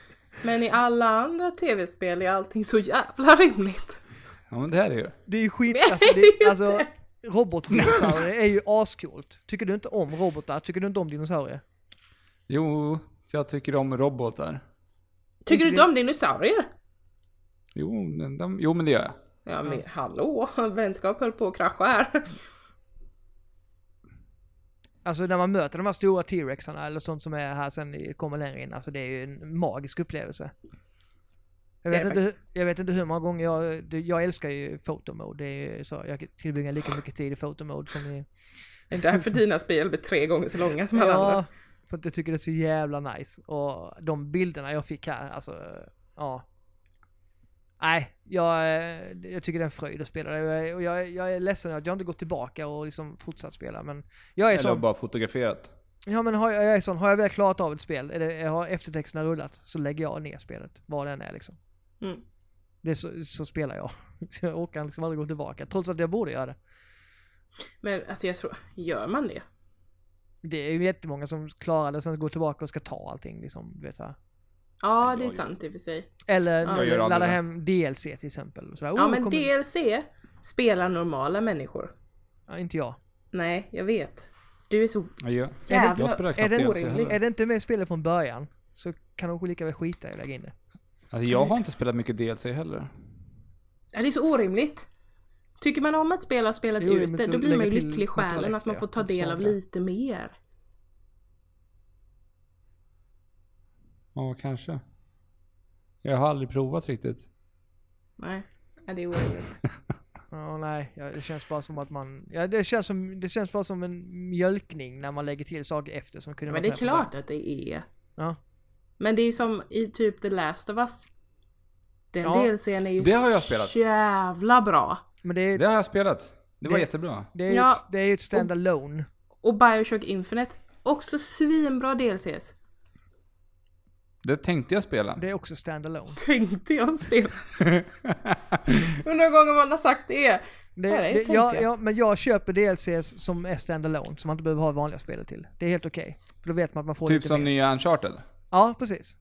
[SPEAKER 2] Men i alla andra tv-spel är allting så jävla rimligt.
[SPEAKER 3] Ja men det här är ju.
[SPEAKER 1] Det är ju skit, alltså, det, alltså robotdinosaurier är ju ascoolt. Tycker du inte om robotar? Tycker du inte om dinosaurier?
[SPEAKER 3] Jo, jag tycker om robotar.
[SPEAKER 2] Tycker du inte om dinosaurier?
[SPEAKER 3] Jo, men de, jo men det gör jag.
[SPEAKER 2] Ja men hallå, vänskap höll på att krascha här.
[SPEAKER 1] Alltså när man möter de här stora T-rexarna eller sånt som är här sen i- kommer längre in, alltså det är ju en magisk upplevelse. Jag
[SPEAKER 2] Det
[SPEAKER 1] vet,
[SPEAKER 2] är
[SPEAKER 1] inte, hu- jag vet inte hur många gånger jag, det- jag älskar ju fotomode, det är ju så, jag tillbringar lika mycket tid i fotomode som i
[SPEAKER 2] Det är därför dina spel blir tre gånger så långa som alla andras.
[SPEAKER 1] för att jag tycker det är så jävla nice. Och de bilderna jag fick här, alltså, ja. Nej, jag, eh, jag tycker det är en fröjd att spela det. Och jag, och jag, jag är ledsen att jag inte gått tillbaka och liksom fortsatt spela. Men jag är
[SPEAKER 3] Eller
[SPEAKER 1] sån,
[SPEAKER 3] bara fotograferat.
[SPEAKER 1] ja, men har, jag jag är sån, har jag väl klarat av ett spel, eller har eftertexterna rullat, så lägger jag ner spelet. Vad det än är liksom.
[SPEAKER 2] Mm.
[SPEAKER 1] Det är så, så spelar jag. Så jag orkar liksom aldrig gå tillbaka, trots att jag borde göra det.
[SPEAKER 2] Men alltså jag tror, gör man det?
[SPEAKER 1] Det är ju jättemånga som klarar det, sen går tillbaka och ska ta allting liksom. Du vet, så här.
[SPEAKER 2] Ja Oh, det är
[SPEAKER 3] Jag-
[SPEAKER 2] sant i och för sig.
[SPEAKER 1] Eller
[SPEAKER 2] Ja.
[SPEAKER 3] Jag gör aldrig
[SPEAKER 1] ladda
[SPEAKER 3] det.
[SPEAKER 1] hem DLC till exempel. Sådär,
[SPEAKER 2] Ja
[SPEAKER 1] "Oh,
[SPEAKER 2] men
[SPEAKER 1] kom in."
[SPEAKER 2] DLC spelar normala människor.
[SPEAKER 1] Ja, inte jag.
[SPEAKER 2] Nej, jag vet. Du är så...
[SPEAKER 3] Jag, gör.
[SPEAKER 2] Jävlar,
[SPEAKER 3] jag spelar
[SPEAKER 1] är
[SPEAKER 3] knappt
[SPEAKER 1] det
[SPEAKER 3] DLC
[SPEAKER 2] orimligt?
[SPEAKER 3] heller.
[SPEAKER 1] Är det inte med i spelet från början så kan de lika väl skita i att lägga in det.
[SPEAKER 3] Alltså, jag har inte spelat mycket DLC heller.
[SPEAKER 2] Ja, det är så orimligt. Tycker man om att spela spelet
[SPEAKER 1] Jo, men
[SPEAKER 2] ute,
[SPEAKER 1] så
[SPEAKER 2] då blir man
[SPEAKER 1] lägga
[SPEAKER 2] ju
[SPEAKER 1] till
[SPEAKER 2] lycklig i själen
[SPEAKER 1] kontroll
[SPEAKER 2] att man
[SPEAKER 1] efter, ja.
[SPEAKER 2] får ta
[SPEAKER 1] Jag förstår
[SPEAKER 2] del av
[SPEAKER 1] det.
[SPEAKER 2] lite mer.
[SPEAKER 3] Ja, kanske. Jag har aldrig provat riktigt.
[SPEAKER 2] Nej, ja, det är orimligt.
[SPEAKER 1] Ja, nej, ja, det känns bara som att man... Ja, det, känns som, det känns bara som en mjölkning när man lägger till saker efter som kunde
[SPEAKER 2] Men
[SPEAKER 1] varit
[SPEAKER 2] det är
[SPEAKER 1] med från
[SPEAKER 2] klart att det är.
[SPEAKER 1] början. Ja.
[SPEAKER 2] Men det är som i typ The Last of Us. Den
[SPEAKER 1] Ja.
[SPEAKER 2] DLCn är ju
[SPEAKER 3] Det har jag
[SPEAKER 2] så
[SPEAKER 3] spelat.
[SPEAKER 2] jävla bra.
[SPEAKER 1] Men det är,
[SPEAKER 3] Det har jag spelat. Det var
[SPEAKER 1] Det-
[SPEAKER 3] jättebra.
[SPEAKER 1] det är,
[SPEAKER 2] Ja.
[SPEAKER 1] ju, ett, det är ju ett stand-alone.
[SPEAKER 2] Och Bioshock Infinite, också svinbra DLCs.
[SPEAKER 3] Det tänkte jag spela.
[SPEAKER 1] Det är också stand-alone.
[SPEAKER 2] Tänkte jag spela. Undrar gånger man har sagt det.
[SPEAKER 1] Det,
[SPEAKER 2] Ja, det
[SPEAKER 1] det,
[SPEAKER 2] tänkte
[SPEAKER 1] ja,
[SPEAKER 2] jag.
[SPEAKER 1] ja, men jag köper DLCs som är stand-alone, som man inte behöver ha i vanliga spelet till. Det är helt okej. För då vet man att man får
[SPEAKER 3] Typ
[SPEAKER 1] lite
[SPEAKER 3] som
[SPEAKER 1] mer.
[SPEAKER 3] nya Uncharted.
[SPEAKER 1] Ja, precis.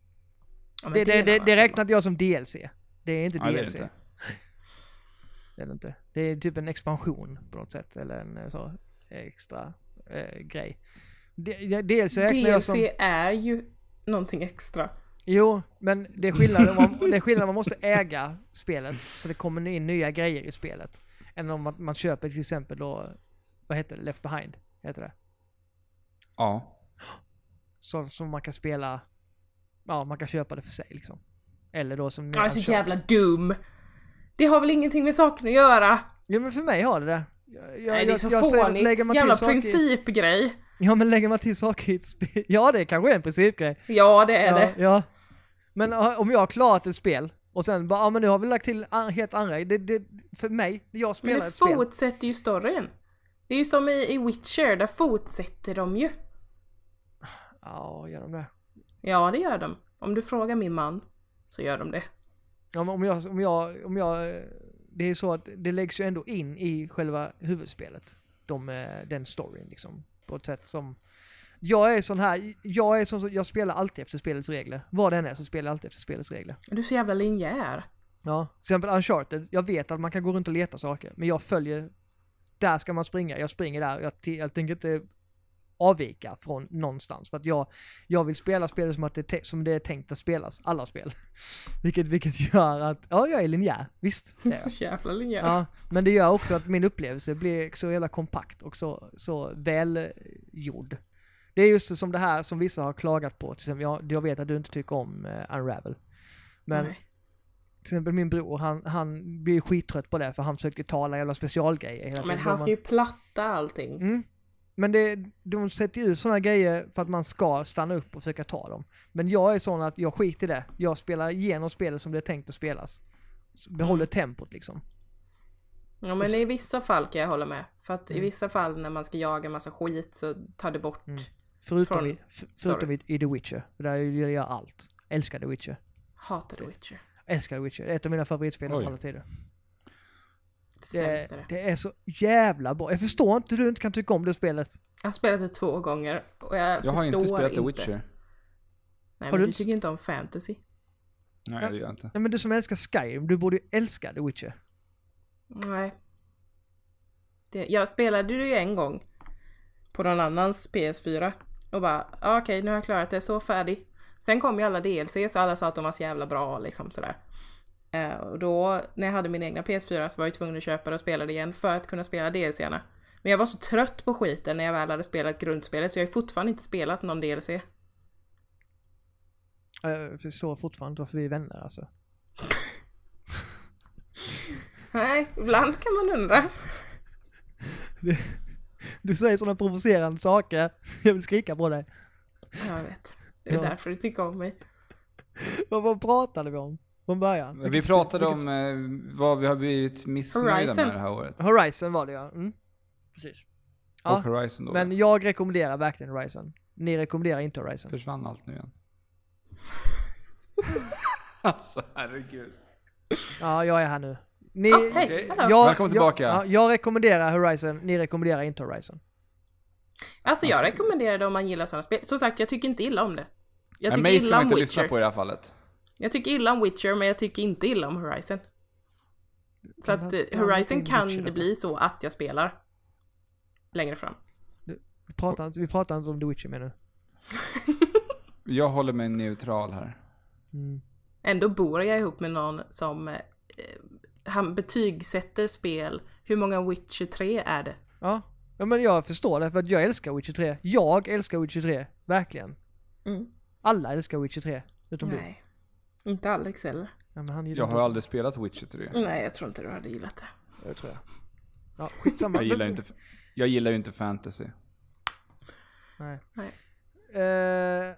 [SPEAKER 2] Ja, men
[SPEAKER 1] Det, det,
[SPEAKER 2] är alltså. en
[SPEAKER 1] det,
[SPEAKER 2] annan
[SPEAKER 1] det
[SPEAKER 2] femma.
[SPEAKER 1] räknade jag som DLC. Det är inte
[SPEAKER 3] Nej, det är
[SPEAKER 1] DLC.
[SPEAKER 3] det inte.
[SPEAKER 1] Det är det inte. Det är typ en expansion på något sätt. Eller en eh, så, extra eh, grej. D- d- DLC räknar jag
[SPEAKER 2] DLC
[SPEAKER 1] som...
[SPEAKER 2] är ju någonting extra.
[SPEAKER 1] Jo, men det är skillnaden. Man, det är skillnaden man måste äga spelet. Så det kommer in nya grejer i spelet. Än om man, man köper till exempel då... Vad heter det? Left behind? Heter det.
[SPEAKER 3] Ja.
[SPEAKER 1] Så, som man kan spela... Ja, man kan köpa det för sig liksom. Eller då som...
[SPEAKER 2] Jag är så alltså jävla dum. Det har väl ingenting med saken att göra?
[SPEAKER 1] Jo men för mig har det det. Jag, jag,
[SPEAKER 2] Nej, det är
[SPEAKER 1] jag,
[SPEAKER 2] så
[SPEAKER 1] jag säger att lägger
[SPEAKER 2] fånigt.
[SPEAKER 1] man
[SPEAKER 2] Jävla
[SPEAKER 1] till saker, i-
[SPEAKER 2] principgrej.
[SPEAKER 1] Ja men lägger man till saker i ett spel. Ja det kanske är en principgrej.
[SPEAKER 2] Ja, det är
[SPEAKER 1] Ja,
[SPEAKER 2] det.
[SPEAKER 1] ja. Men ja, om jag har klarat ett spel och sen bara, ja men nu har vi lagt till an- helt andra, det, det, för mig, jag
[SPEAKER 2] Men
[SPEAKER 1] spelar
[SPEAKER 2] det
[SPEAKER 1] ett spel.
[SPEAKER 2] fortsätter ju storyn. Det är ju som i, i Witcher, där fortsätter de ju.
[SPEAKER 1] Ja, gör de det?
[SPEAKER 2] Ja, det gör de. Om du frågar min man så gör de det.
[SPEAKER 1] Ja, men om jag, om jag, om jag, eh, det är ju så att det läggs ju ändå in i själva huvudspelet. De, eh, den storyn liksom. På ett sätt som, jag är sån här, jag är sån, jag spelar alltid efter spelets regler. Vad det än är så spelar jag alltid efter spelets regler.
[SPEAKER 2] Du är så jävla linjär.
[SPEAKER 1] Ja, till exempel Uncharted. Jag vet att man kan gå runt och leta saker, men jag följer... Där ska man springa, jag springer där. Jag, t- jag tänker inte avvika från någonstans. För att jag, jag vill spela spelet som, att det, är te- som det är tänkt att spelas, alla spel. Vilket, vilket gör att, ja jag är linjär, visst. Det är jag.
[SPEAKER 2] Så jävla linjär.
[SPEAKER 1] Ja, men det gör också att min upplevelse blir så jävla kompakt och så, så välgjord. Det är just som det här som vissa har klagat på, till exempel, jag, jag vet att du inte tycker om eh, Unravel. Men
[SPEAKER 2] Nej.
[SPEAKER 1] till exempel min bror, han, han blir skittrött på det för han försöker tala jävla specialgrejer hela tiden.
[SPEAKER 2] Men han ska ju platta allting.
[SPEAKER 1] Mm. Men det, de sätter ju ut sådana grejer för att man ska stanna upp och försöka ta dem. Men jag är sån att jag skiter i det. Jag spelar igenom spelet som det är tänkt att spelas. Så Behåller
[SPEAKER 2] Mm.
[SPEAKER 1] tempot liksom.
[SPEAKER 2] Ja, men i vissa fall kan jag hålla med. För att i vissa fall när man ska jaga en massa skit så tar det bort.
[SPEAKER 1] Förutom,
[SPEAKER 2] Från-
[SPEAKER 1] i, f- förutom i, i The Witcher. Där gör jag allt. Älskar The Witcher.
[SPEAKER 2] Hatar The Witcher.
[SPEAKER 1] Älskar The Witcher. Det är ett av mina favoritspel av
[SPEAKER 3] Oj.
[SPEAKER 1] alla tider.
[SPEAKER 2] Sämst
[SPEAKER 1] Det,
[SPEAKER 2] är det.
[SPEAKER 1] det är så jävla bra. Jag förstår inte hur du inte kan tycka om det spelet.
[SPEAKER 2] Jag har spelat det två gånger och jag,
[SPEAKER 3] Jag har
[SPEAKER 2] förstår
[SPEAKER 3] inte spelat The
[SPEAKER 2] inte.
[SPEAKER 3] Witcher.
[SPEAKER 1] Har
[SPEAKER 2] Nej, men
[SPEAKER 1] du
[SPEAKER 2] du
[SPEAKER 1] inte-
[SPEAKER 2] tycker inte om fantasy.
[SPEAKER 3] Nej, det gör jag inte.
[SPEAKER 1] Nej men du som älskar Skyrim, du borde ju älska The Witcher.
[SPEAKER 2] Nej. Det, jag spelade det ju en gång på någon annans PS4 och bara ah, okej nu har jag klarat det, så färdig. Sen kom ju alla DLCs och alla sa att de var så jävla bra liksom sådär. Eh, och då när jag hade min egna PS4 så var jag ju tvungen att köpa det och spela det igen för att kunna spela DLCerna. Men jag var så trött på skiten när jag väl hade spelat grundspelet så jag har ju fortfarande inte spelat någon DLC.
[SPEAKER 1] Eh, Jag förstår fortfarande inte varför vi är vänner alltså.
[SPEAKER 2] Nej, ibland kan man undra.
[SPEAKER 1] Du säger sådana provocerande saker. Jag vill skrika på dig.
[SPEAKER 2] Jag vet. Det är
[SPEAKER 1] Ja.
[SPEAKER 2] därför du tycker om mig.
[SPEAKER 1] Vad, vad pratade vi om från början?
[SPEAKER 3] Vi
[SPEAKER 1] Vilket
[SPEAKER 3] pratade
[SPEAKER 1] vilket
[SPEAKER 3] om eh, vad vi har blivit missnöjda
[SPEAKER 2] Horizon.
[SPEAKER 3] med det här året.
[SPEAKER 1] sp- Horizon var det ja. Mm. Precis.
[SPEAKER 3] Och
[SPEAKER 1] Ja,
[SPEAKER 3] Horizon då.
[SPEAKER 1] men jag rekommenderar verkligen Horizon. Ni rekommenderar inte Horizon.
[SPEAKER 3] Försvann allt nu igen. alltså, herregud.
[SPEAKER 1] Ja, jag är här nu. Ni,
[SPEAKER 2] Ah, hej!
[SPEAKER 3] Okej.
[SPEAKER 2] hallå.
[SPEAKER 1] jag,
[SPEAKER 3] Välkommen tillbaka.
[SPEAKER 1] Jag, ja, jag rekommenderar Horizon, ni rekommenderar inte Horizon.
[SPEAKER 2] Alltså jag rekommenderar det om man gillar sådana spel. Som sagt, jag tycker inte illa om det. Jag
[SPEAKER 3] Nej,
[SPEAKER 2] tycker
[SPEAKER 3] mig ska
[SPEAKER 2] illa om
[SPEAKER 3] man inte lyssna
[SPEAKER 2] Witcher.
[SPEAKER 3] på i det här fallet.
[SPEAKER 2] Jag tycker illa om Witcher, men jag tycker inte illa om Horizon. Så
[SPEAKER 1] Kan
[SPEAKER 2] att
[SPEAKER 1] ha-
[SPEAKER 2] eh,
[SPEAKER 1] blandat
[SPEAKER 2] Horizon
[SPEAKER 1] in
[SPEAKER 2] kan
[SPEAKER 1] Witcher
[SPEAKER 2] det
[SPEAKER 1] då.
[SPEAKER 2] bli så att jag spelar. Längre fram.
[SPEAKER 1] Vi pratar, inte- vi pratar inte om The Witcher mer nu.
[SPEAKER 3] Jag håller mig neutral här.
[SPEAKER 1] Mm.
[SPEAKER 2] Ändå bor jag ihop med någon som eh, han betygsätter spel. Hur många Witcher 3 är det?
[SPEAKER 1] Ja. ja, men jag förstår det för att jag älskar Witcher 3. Jag älskar Witcher 3, verkligen.
[SPEAKER 2] Mm.
[SPEAKER 1] Alla älskar Witcher 3, utom du.
[SPEAKER 2] Nej. Inte Alex heller.
[SPEAKER 1] Ja, men han gillar
[SPEAKER 3] Jag
[SPEAKER 1] inte
[SPEAKER 3] har aldrig spelat Witcher 3.
[SPEAKER 2] Nej, jag tror inte du hade gillat det.
[SPEAKER 1] det, tror jag. Ja, skitsamma.
[SPEAKER 3] Jag gillar ju inte, jag gillar ju inte fantasy.
[SPEAKER 1] Nej.
[SPEAKER 2] Nej.
[SPEAKER 1] Eh,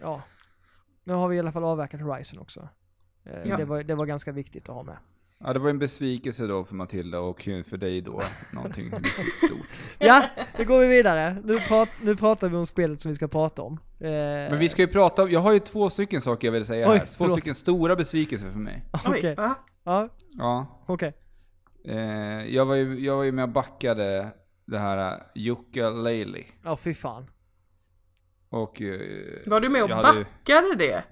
[SPEAKER 1] ja. Nu har vi i alla fall avverkat Horizon också. Eh,
[SPEAKER 2] Ja.
[SPEAKER 1] Det, var, det var ganska viktigt att ha med.
[SPEAKER 3] Ja, det var en besvikelse då för Matilda och ju för dig då, någonting stort.
[SPEAKER 1] Ja, nu går vi vidare. Nu, prat, nu pratar vi om spelet som vi ska prata om. Eh,
[SPEAKER 3] Men vi ska ju prata om, jag har ju två stycken saker jag vill säga
[SPEAKER 1] Oj,
[SPEAKER 3] här. Två
[SPEAKER 1] förlåt.
[SPEAKER 3] stycken stora besvikelser för mig.
[SPEAKER 2] Oj,
[SPEAKER 1] Okej.
[SPEAKER 2] va?
[SPEAKER 1] Ja,
[SPEAKER 3] Ja,
[SPEAKER 1] okej.
[SPEAKER 3] eh, jag, var ju, jag var ju med och backade det här eh, Jukka Leili.
[SPEAKER 1] Ja, fy fan.
[SPEAKER 3] Och... eh,
[SPEAKER 2] Var du med och
[SPEAKER 3] jag hade ju-
[SPEAKER 2] backade det?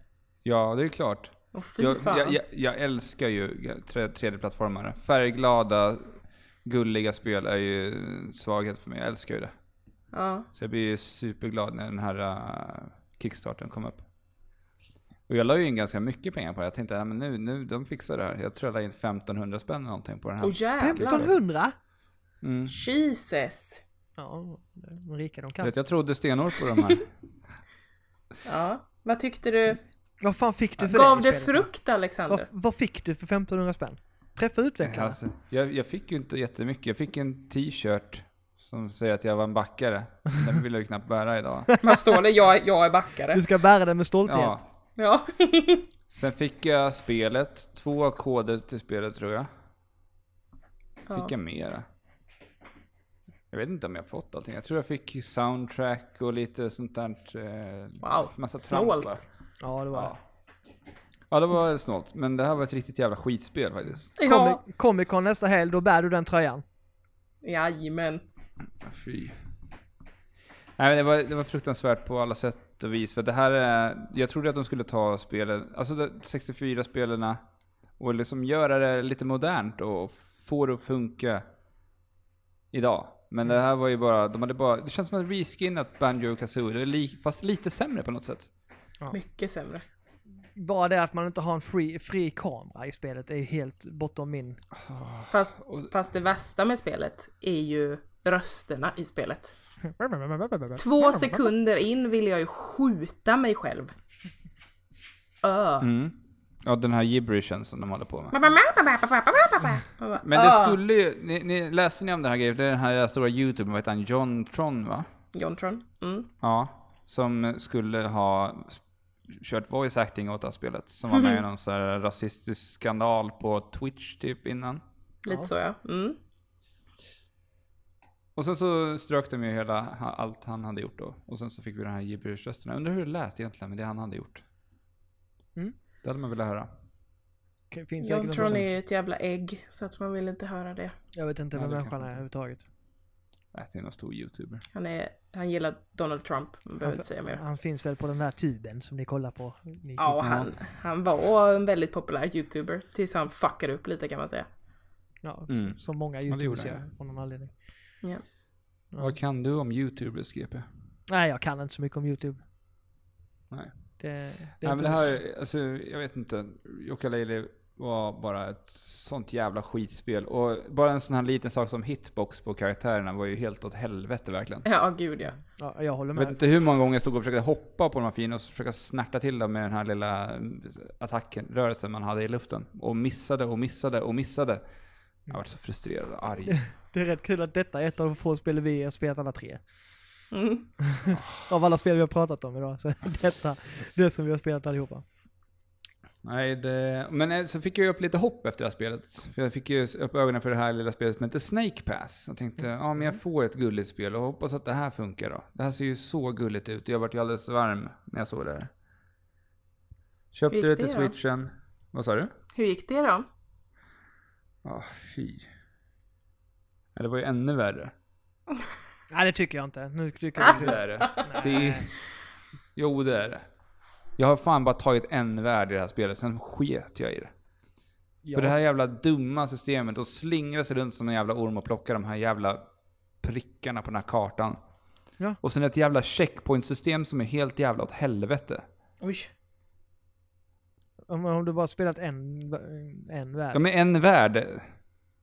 [SPEAKER 3] Ja, det är klart.
[SPEAKER 2] Åh fy
[SPEAKER 3] Jag,
[SPEAKER 2] fan.
[SPEAKER 3] jag, jag, jag älskar ju 3D-plattformare. Färgglada, gulliga spel är ju en svaghet för mig. Jag älskar ju det.
[SPEAKER 2] Ja.
[SPEAKER 3] Så jag blir ju superglad när den här uh, kickstarten kom upp. Och jag la ju in ganska mycket pengar på det. Jag tänkte, ja, men nu, nu, de fixar det här. Jag tror jag la in 1500 spänn eller någonting på den här.
[SPEAKER 2] Åh jävlar.
[SPEAKER 1] 1500?
[SPEAKER 3] Mm.
[SPEAKER 2] Jesus.
[SPEAKER 1] Ja, de rika de
[SPEAKER 3] Du
[SPEAKER 1] kan.
[SPEAKER 3] Vet, jag trodde stenhårt på de här.
[SPEAKER 2] Ja. Vad tyckte du?
[SPEAKER 1] Vad fan fick du för
[SPEAKER 2] Gav
[SPEAKER 1] i
[SPEAKER 2] det
[SPEAKER 1] spelet?
[SPEAKER 2] frukt Alexander?
[SPEAKER 1] Vad, vad fick du för 1500 spänn? Träffa utvecklarna.
[SPEAKER 3] alltså, jag, jag fick ju inte jättemycket. Jag fick en t-shirt som säger att jag var en backare. Den vill jag ju knappt bära idag.
[SPEAKER 2] Vad står det? Jag, jag är backare.
[SPEAKER 1] Du ska bära den med stolthet.
[SPEAKER 3] Ja.
[SPEAKER 2] Ja.
[SPEAKER 3] Sen fick jag spelet. Två koder till spelet tror jag. Fick
[SPEAKER 2] Ja.
[SPEAKER 3] jag mera? Jag vet inte om jag fått allting. Jag tror jag fick soundtrack och lite sånt där. Eh,
[SPEAKER 2] Wow.
[SPEAKER 3] Massa trams bara.
[SPEAKER 2] Snålt.
[SPEAKER 1] Ja, det var
[SPEAKER 3] Ja. ja, det var snålt. Men det här var ett riktigt jävla skitspel faktiskt.
[SPEAKER 1] det.
[SPEAKER 2] Ja.
[SPEAKER 1] Comic- Comic Con nästa helg, då bär du den tröjan.
[SPEAKER 2] Jajamän.
[SPEAKER 3] Fy. Nej, men det, var, det var fruktansvärt på alla sätt och vis. För det här är, jag trodde att de skulle ta spelen, alltså 64-spelarna och liksom göra det lite modernt och få det att funka idag. Men det här var ju bara, de hade bara, det känns som att reskinnat Banjo och Kazooie, li, fast lite sämre på något sätt.
[SPEAKER 2] Mycket sämre.
[SPEAKER 1] Bara det att man inte har en fri, fri kamera i spelet är ju helt bortom min...
[SPEAKER 2] Fast, fast det värsta med spelet är ju rösterna i spelet. Två sekunder in ville jag ju skjuta mig själv. Ö.
[SPEAKER 1] Mm.
[SPEAKER 3] Ja, den här gibberishen som de håller på med. Men det skulle ju, ni, ni läste ni om den här grejen? Det är den här stora youtubern, vad heter han? John Tron va?
[SPEAKER 2] Jontron. Mm.
[SPEAKER 3] Ja, som skulle ha s- kört voice acting åt det här spelet. Som var med i någon så här rasistisk skandal på Twitch typ innan.
[SPEAKER 2] Lite så ja. Mm.
[SPEAKER 3] Och sen så strök de ju hela, ha- allt han hade gjort då. Och sen så fick vi den här gibberish-rösten. Jag Undrar hur det lät egentligen med det han hade gjort.
[SPEAKER 1] Mm.
[SPEAKER 3] Det hade man velat höra.
[SPEAKER 1] Finns säkert en
[SPEAKER 2] Jontron
[SPEAKER 1] sån-
[SPEAKER 2] är ju ett jävla ägg så att man vill inte höra det.
[SPEAKER 1] Jag vet inte
[SPEAKER 3] Ja,
[SPEAKER 1] vem
[SPEAKER 3] det
[SPEAKER 1] människan
[SPEAKER 3] kanske-
[SPEAKER 1] är överhuvudtaget.
[SPEAKER 3] Äh, det är någon stor youtuber.
[SPEAKER 2] Han, är, han gillar Donald Trump, man behöver inte säga mer.
[SPEAKER 1] Han finns väl på den här tuben som ni kollar på. Ni
[SPEAKER 2] Ja,
[SPEAKER 1] kids.
[SPEAKER 2] han, han var en väldigt populär youtuber tills han fuckade upp lite kan man säga.
[SPEAKER 1] ja,
[SPEAKER 3] Mm.
[SPEAKER 1] Som många
[SPEAKER 3] det
[SPEAKER 1] youtubers
[SPEAKER 3] gjorde han,
[SPEAKER 1] gör av någon anledning.
[SPEAKER 2] Ja.
[SPEAKER 3] Vad kan du om youtubers GP?
[SPEAKER 1] Nej, jag kan inte så mycket om youtube.
[SPEAKER 3] Nej.
[SPEAKER 1] Det, det är
[SPEAKER 3] Nej, men
[SPEAKER 1] inte-
[SPEAKER 3] det här, alltså, jag vet inte. Yooka-Laylee var bara ett sånt jävla skitspel. Och bara en sån här liten sak som hitbox på karaktärerna var ju helt åt helvete verkligen.
[SPEAKER 2] Ja, gud ja.
[SPEAKER 1] ja, jag håller
[SPEAKER 3] Jag vet
[SPEAKER 1] med.
[SPEAKER 3] inte hur många gånger jag stod och försökte hoppa på de här fina och försöka snärta till dem med den här lilla mm, attacken, rörelsen man hade i luften. Och missade och missade och missade. Jag var så frustrerad och arg.
[SPEAKER 1] Det är rätt kul att detta är ett av de få spel vi har spelat alla tre.
[SPEAKER 2] Mm.
[SPEAKER 1] Av alla spel vi har pratat om idag så är detta det som vi har spelat allihopa.
[SPEAKER 3] Nej, det... Men eh, så fick jag ju upp lite hopp efter det här spelet. För jag fick ju upp ögonen för det här lilla spelet som heter Snake Pass. Jag tänkte,
[SPEAKER 2] Mm.
[SPEAKER 3] ja men jag får ett gulligt spel och hoppas att det här funkar då. Det här ser ju så gulligt ut och jag vart ju alldeles varm när jag såg det här. Köpte
[SPEAKER 2] Hur gick
[SPEAKER 3] det till
[SPEAKER 2] det då?
[SPEAKER 3] switchen. Vad sa du?
[SPEAKER 2] Hur gick det då?
[SPEAKER 3] Ja, fy. Ja, det var ju ännu värre.
[SPEAKER 1] Nej, det tycker jag inte. Nu tycker jag
[SPEAKER 3] Det
[SPEAKER 1] inte.
[SPEAKER 3] är det. det är... Jo, det är det. Jag har fan bara tagit en värld i det här spelet, sen sket jag i det. För det här jävla dumma systemet och slingra sig runt som en jävla orm och plocka de här jävla prickarna på den här kartan.
[SPEAKER 1] Ja.
[SPEAKER 3] Och sen ett jävla checkpointsystem som är helt jävla åt helvete.
[SPEAKER 2] Oj.
[SPEAKER 1] Om, om du bara spelat en, en värld.
[SPEAKER 3] Ja, men en värld.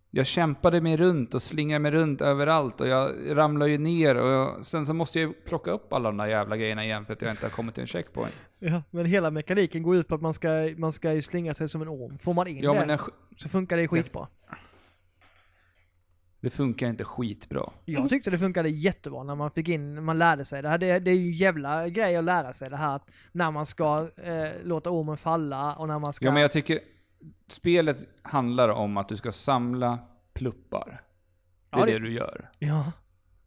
[SPEAKER 3] Jag kämpade mig runt och slingrade mig runt överallt och jag ramlade ju ner och jag, sen så måste jag ju plocka upp alla de där jävla grejerna igen för att jag inte har kommit till en checkpoint.
[SPEAKER 1] Ja, men hela mekaniken går ut på att man ska, man ska ju slingra sig som en orm. Får man in
[SPEAKER 3] Ja,
[SPEAKER 1] det
[SPEAKER 3] men när,
[SPEAKER 1] så funkar det skitbra.
[SPEAKER 3] Det funkar inte skitbra.
[SPEAKER 1] Jag tyckte det funkade jättebra när man fick in, man lärde sig det här. Det, det är ju en jävla grej att lära sig det här att när man ska eh, låta ormen falla och när man ska...
[SPEAKER 3] Ja, men jag tycker spelet handlar om att du ska samla pluppar. Det är
[SPEAKER 1] Ja,
[SPEAKER 3] det,
[SPEAKER 1] det-
[SPEAKER 3] du gör.
[SPEAKER 1] Ja.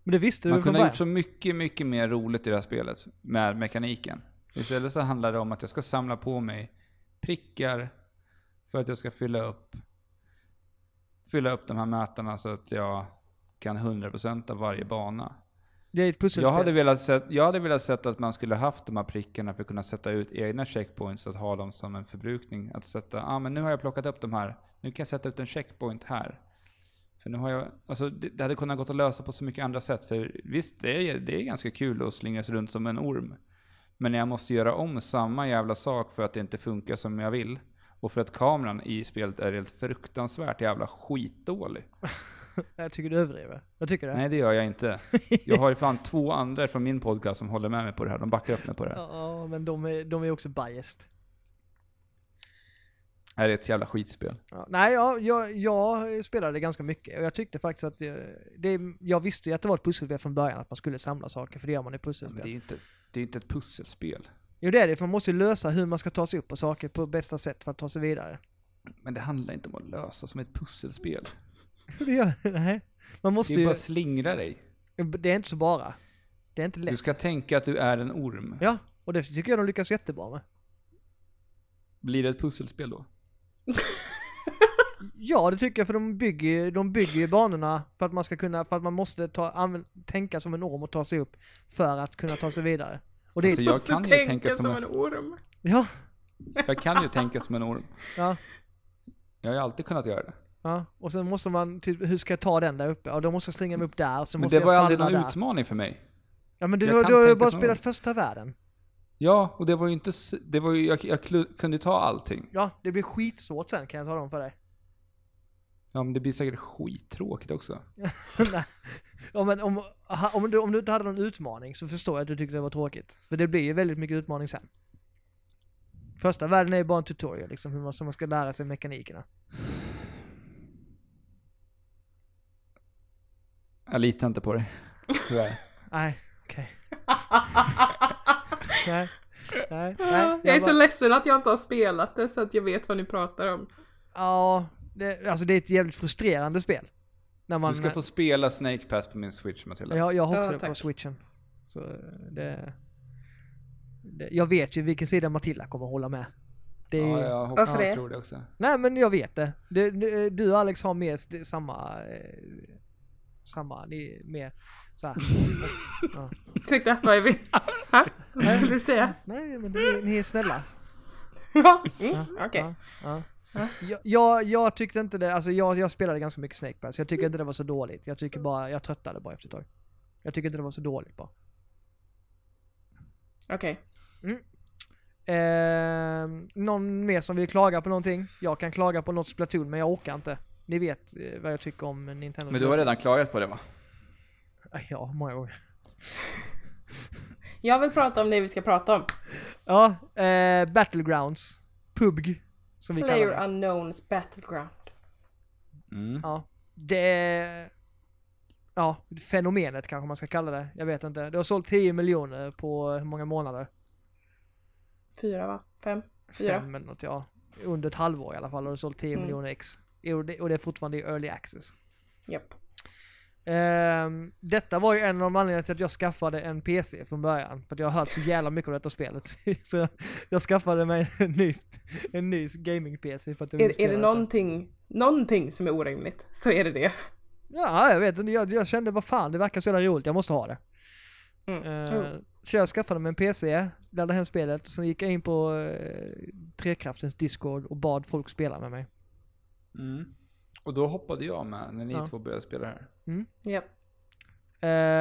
[SPEAKER 1] Men det visste
[SPEAKER 3] Man
[SPEAKER 1] du från
[SPEAKER 3] kunde ha
[SPEAKER 1] början.
[SPEAKER 3] gjort så mycket, mycket mer roligt i det här spelet med mekaniken. Istället så handlar det om att jag ska samla på mig prickar för att jag ska fylla upp fylla upp de här mätarna så att jag kan 100% av varje bana.
[SPEAKER 1] Det är ett pusselspel.
[SPEAKER 3] Jag hade, velat sett, jag hade velat sett att man skulle haft de här prickarna för att kunna sätta ut egna checkpoints, att ha dem som en förbrukning. Att sätta, ah, men nu har jag plockat upp de här, nu kan jag sätta ut en checkpoint här. För nu har jag, alltså det, det hade kunnat gått att lösa på så mycket andra sätt. För visst, det är, det är ganska kul att slingra sig runt som en orm. Men när jag måste göra om samma jävla sak för att det inte funkar som jag vill. Och för att kameran i spelet är helt fruktansvärt jävla skitdålig.
[SPEAKER 1] Jag tycker du överdriver. Jag tycker det.
[SPEAKER 3] Nej, det gör jag inte. Jag har ju fan två andra från min podcast som håller med mig på det här. De backar upp mig på det här.
[SPEAKER 1] Ja, men de är, de är också biased.
[SPEAKER 3] Det här är ett jävla skitspel.
[SPEAKER 1] Ja, nej, jag, jag, jag spelade ganska mycket och jag tyckte faktiskt att det, det, jag visste ju att det var ett pusselspel från början att man skulle samla saker, för det gör man i
[SPEAKER 3] Ja, men
[SPEAKER 1] pusselspel.
[SPEAKER 3] det är ju inte, det är inte ett pusselspel.
[SPEAKER 1] Jo det är det, för man måste ju lösa hur man ska ta sig upp på saker på bästa sätt för att ta sig vidare.
[SPEAKER 3] Men det handlar inte om att lösa som ett pusselspel.
[SPEAKER 1] Hur du gör? Nej. Man måste
[SPEAKER 3] Det är
[SPEAKER 1] ju,
[SPEAKER 3] bara att slingra dig.
[SPEAKER 1] det är inte så bara. Det är inte
[SPEAKER 3] Du
[SPEAKER 1] lätt.
[SPEAKER 3] ska tänka att du är en orm.
[SPEAKER 1] Ja, och det tycker jag de lyckas jättebra med.
[SPEAKER 3] Blir det ett pusselspel då?
[SPEAKER 1] Ja, det tycker jag för de bygger, ju- de bygger ju banorna för att man ska kunna, för att man måste ta, använd, tänka som en orm och ta sig upp för att kunna ta sig vidare. Och det
[SPEAKER 3] Alltså,
[SPEAKER 1] är,
[SPEAKER 3] jag, kan ju tänka som
[SPEAKER 2] en
[SPEAKER 3] en,
[SPEAKER 2] orm.
[SPEAKER 1] ja,
[SPEAKER 3] jag kan ju tänka som en orm.
[SPEAKER 1] ja,
[SPEAKER 3] Jag har ju alltid kunnat göra det.
[SPEAKER 1] ja. Och sen måste man, typ, hur ska jag ta den där uppe? Ja, då måste jag slinga mig upp där och så
[SPEAKER 3] Men
[SPEAKER 1] måste
[SPEAKER 3] det
[SPEAKER 1] jag
[SPEAKER 3] var ju
[SPEAKER 1] falla
[SPEAKER 3] aldrig
[SPEAKER 1] där.
[SPEAKER 3] någon utmaning för mig.
[SPEAKER 1] ja, men du,
[SPEAKER 3] jag
[SPEAKER 1] har-
[SPEAKER 3] kan
[SPEAKER 1] du har ju
[SPEAKER 3] tänka
[SPEAKER 1] bara
[SPEAKER 3] som en
[SPEAKER 1] spelat
[SPEAKER 3] orm.
[SPEAKER 1] första världen.
[SPEAKER 3] Ja, och det var ju inte... s- Det var ju, jag jag klu- kunde ju ta allting.
[SPEAKER 1] Ja, det blir skitsvårt sen kan jag tala om för dig.
[SPEAKER 3] Ja, men det blir säkert skittråkigt också.
[SPEAKER 1] Nej. Ja, men om, aha, om, du, om du inte hade någon utmaning så förstår jag att du tyckte det var tråkigt. För det blir ju väldigt mycket utmaning sen. Första världen är ju bara en tutorial liksom, hur man, så man ska lära sig mekanikerna.
[SPEAKER 3] Jag litar inte på dig. Tyvärr.
[SPEAKER 1] Nej, okej. Nej, nej, nej.
[SPEAKER 2] jag är så
[SPEAKER 1] bara-
[SPEAKER 2] ledsen att jag inte har spelat det så att jag vet vad ni pratar om.
[SPEAKER 1] Ja, det, alltså det är ett jävligt frustrerande spel. När man...
[SPEAKER 3] Du ska få spela Snake Pass på min Switch Matilda.
[SPEAKER 1] jag, jag har också
[SPEAKER 2] Ja,
[SPEAKER 1] det på
[SPEAKER 2] tack.
[SPEAKER 1] switchen. Så eh, det, det... Jag vet ju vilken sida Matilda kommer hålla med. Det Mm. är
[SPEAKER 3] ja
[SPEAKER 1] ju,
[SPEAKER 3] jag hoppas
[SPEAKER 2] Varför
[SPEAKER 3] jag
[SPEAKER 2] det?
[SPEAKER 3] tror det också.
[SPEAKER 1] Nej men jag vet det. Du, du, du och Alex har mer st- samma... Eh, samma, ni är mer såhär.
[SPEAKER 2] Ursäkta, vad är vi? Ha? Vad skulle du säga?
[SPEAKER 1] Nej men ni, ni är snälla.
[SPEAKER 2] Ja, mm, okej.
[SPEAKER 1] Ja, ja. Jag, jag, jag tyckte inte det, alltså jag, jag spelade ganska mycket Snake Pass. Jag tycker inte det var så dåligt. Jag tycker bara, jag tröttnade bara efter ett tag. Jag tycker inte det var så dåligt bara.
[SPEAKER 2] Okej.
[SPEAKER 1] Ehm, någon mer som vill klaga på någonting? Jag kan klaga på något Splatoon men jag orkar inte. Ni vet eh, vad jag tycker om Nintendo.
[SPEAKER 3] Men du har redan klagat på det va?
[SPEAKER 1] Ja, många gånger.
[SPEAKER 2] Jag vill prata om det vi ska prata om.
[SPEAKER 1] Ja, eh, Battlegrounds. PUBG. Som vi kallar
[SPEAKER 2] Player
[SPEAKER 1] det.
[SPEAKER 2] Unknowns Battleground.
[SPEAKER 3] Mm.
[SPEAKER 1] Ja. Det... Ja, fenomenet kanske man ska kalla det. Jag vet inte. Det har sålt 10 miljoner på hur många månader?
[SPEAKER 2] Fyra va? Fem? Fyra?
[SPEAKER 1] Fem eller något, ja. Under ett halvår i alla fall har det sålt 10
[SPEAKER 2] Mm.
[SPEAKER 1] miljoner ex. Och det, och det är fortfarande i early access.
[SPEAKER 2] Japp.
[SPEAKER 1] Ehm, detta var ju en av anledningarna till att jag skaffade en PC från början. För att jag har hört så jävla mycket om detta spelet. Så jag, jag skaffade mig en ny, en ny gaming-PC för att jag ville
[SPEAKER 2] Är,
[SPEAKER 1] spela
[SPEAKER 2] är det
[SPEAKER 1] detta.
[SPEAKER 2] någonting, någonting som är orimligt så är det det.
[SPEAKER 1] Ja, jag vet inte. Jag, jag kände vad fan, det verkar så jävla roligt. Jag måste ha det.
[SPEAKER 2] Mm.
[SPEAKER 1] Eh, Så jag skaffade mig en PC, laddade hem spelet och sen gick jag in på eh, Trekraftens Discord och bad folk spela med mig.
[SPEAKER 3] Mm. Och då hoppade jag med när ni
[SPEAKER 1] Ja.
[SPEAKER 3] två började spela det här.
[SPEAKER 2] Japp.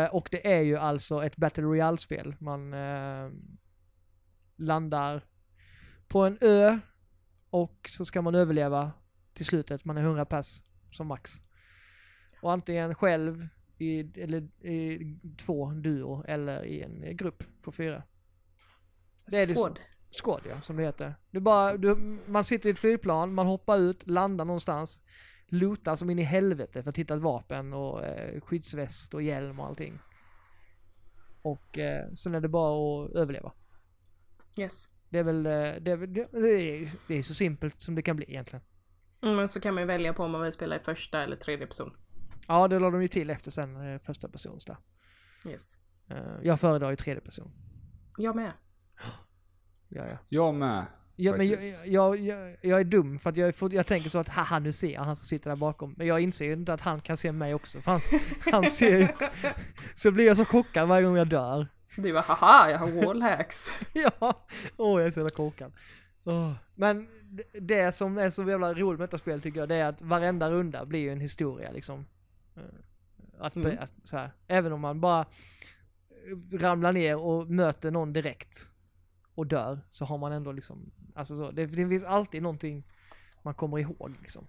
[SPEAKER 1] Eh, och det är ju alltså ett Battle Royale-spel. Man eh, landar på en ö och så ska man överleva till slutet. Man är 100 pass som max. Och antingen själv, i, eller i två duo, eller i en eh, grupp på fyra. Det är det-
[SPEAKER 2] Skåd.
[SPEAKER 1] Squad ja, som det heter. Du bara, du, man sitter i ett flygplan, man hoppar ut, landar någonstans, lootar som in i helvete för att hitta ett vapen och eh, skyddsväst och hjälm och allting. Och eh, sen är det bara att överleva.
[SPEAKER 2] Yes.
[SPEAKER 1] Det är väl, eh, det är, väl- det är, det är så simpelt som det kan bli egentligen.
[SPEAKER 2] Mm, Men så kan man ju välja på om man vill spela i första eller tredje person.
[SPEAKER 1] Ja, det la de ju till efter sen eh, första persons där.
[SPEAKER 2] Yes.
[SPEAKER 1] Eh, jag föredrar ju tredje person.
[SPEAKER 2] Jag med.
[SPEAKER 1] Ja, ja.
[SPEAKER 3] Jag med.
[SPEAKER 1] Ja, men jag,
[SPEAKER 3] faktiskt.
[SPEAKER 1] jag, jag, jag är dum för att jag, är fort- jag tänker så att haha nu ser jag han som sitter där bakom. Men jag inser ju inte att han kan se mig också. För han, han ser ju också. Så blir jag så chockad varje gång jag dör.
[SPEAKER 2] Du bara haha, jag har wallhacks.
[SPEAKER 1] Ja, åh jag är så jävla korkad. Åh. Men det- det som är så jävla roligt med detta spel tycker jag det är att varenda runda blir ju en historia liksom. Eh, Att,
[SPEAKER 2] Mm.
[SPEAKER 1] att, så här, även om man bara eh, ramlar ner och möter någon direkt och dör så har man ändå liksom, alltså så, det, det finns alltid någonting man kommer ihåg liksom.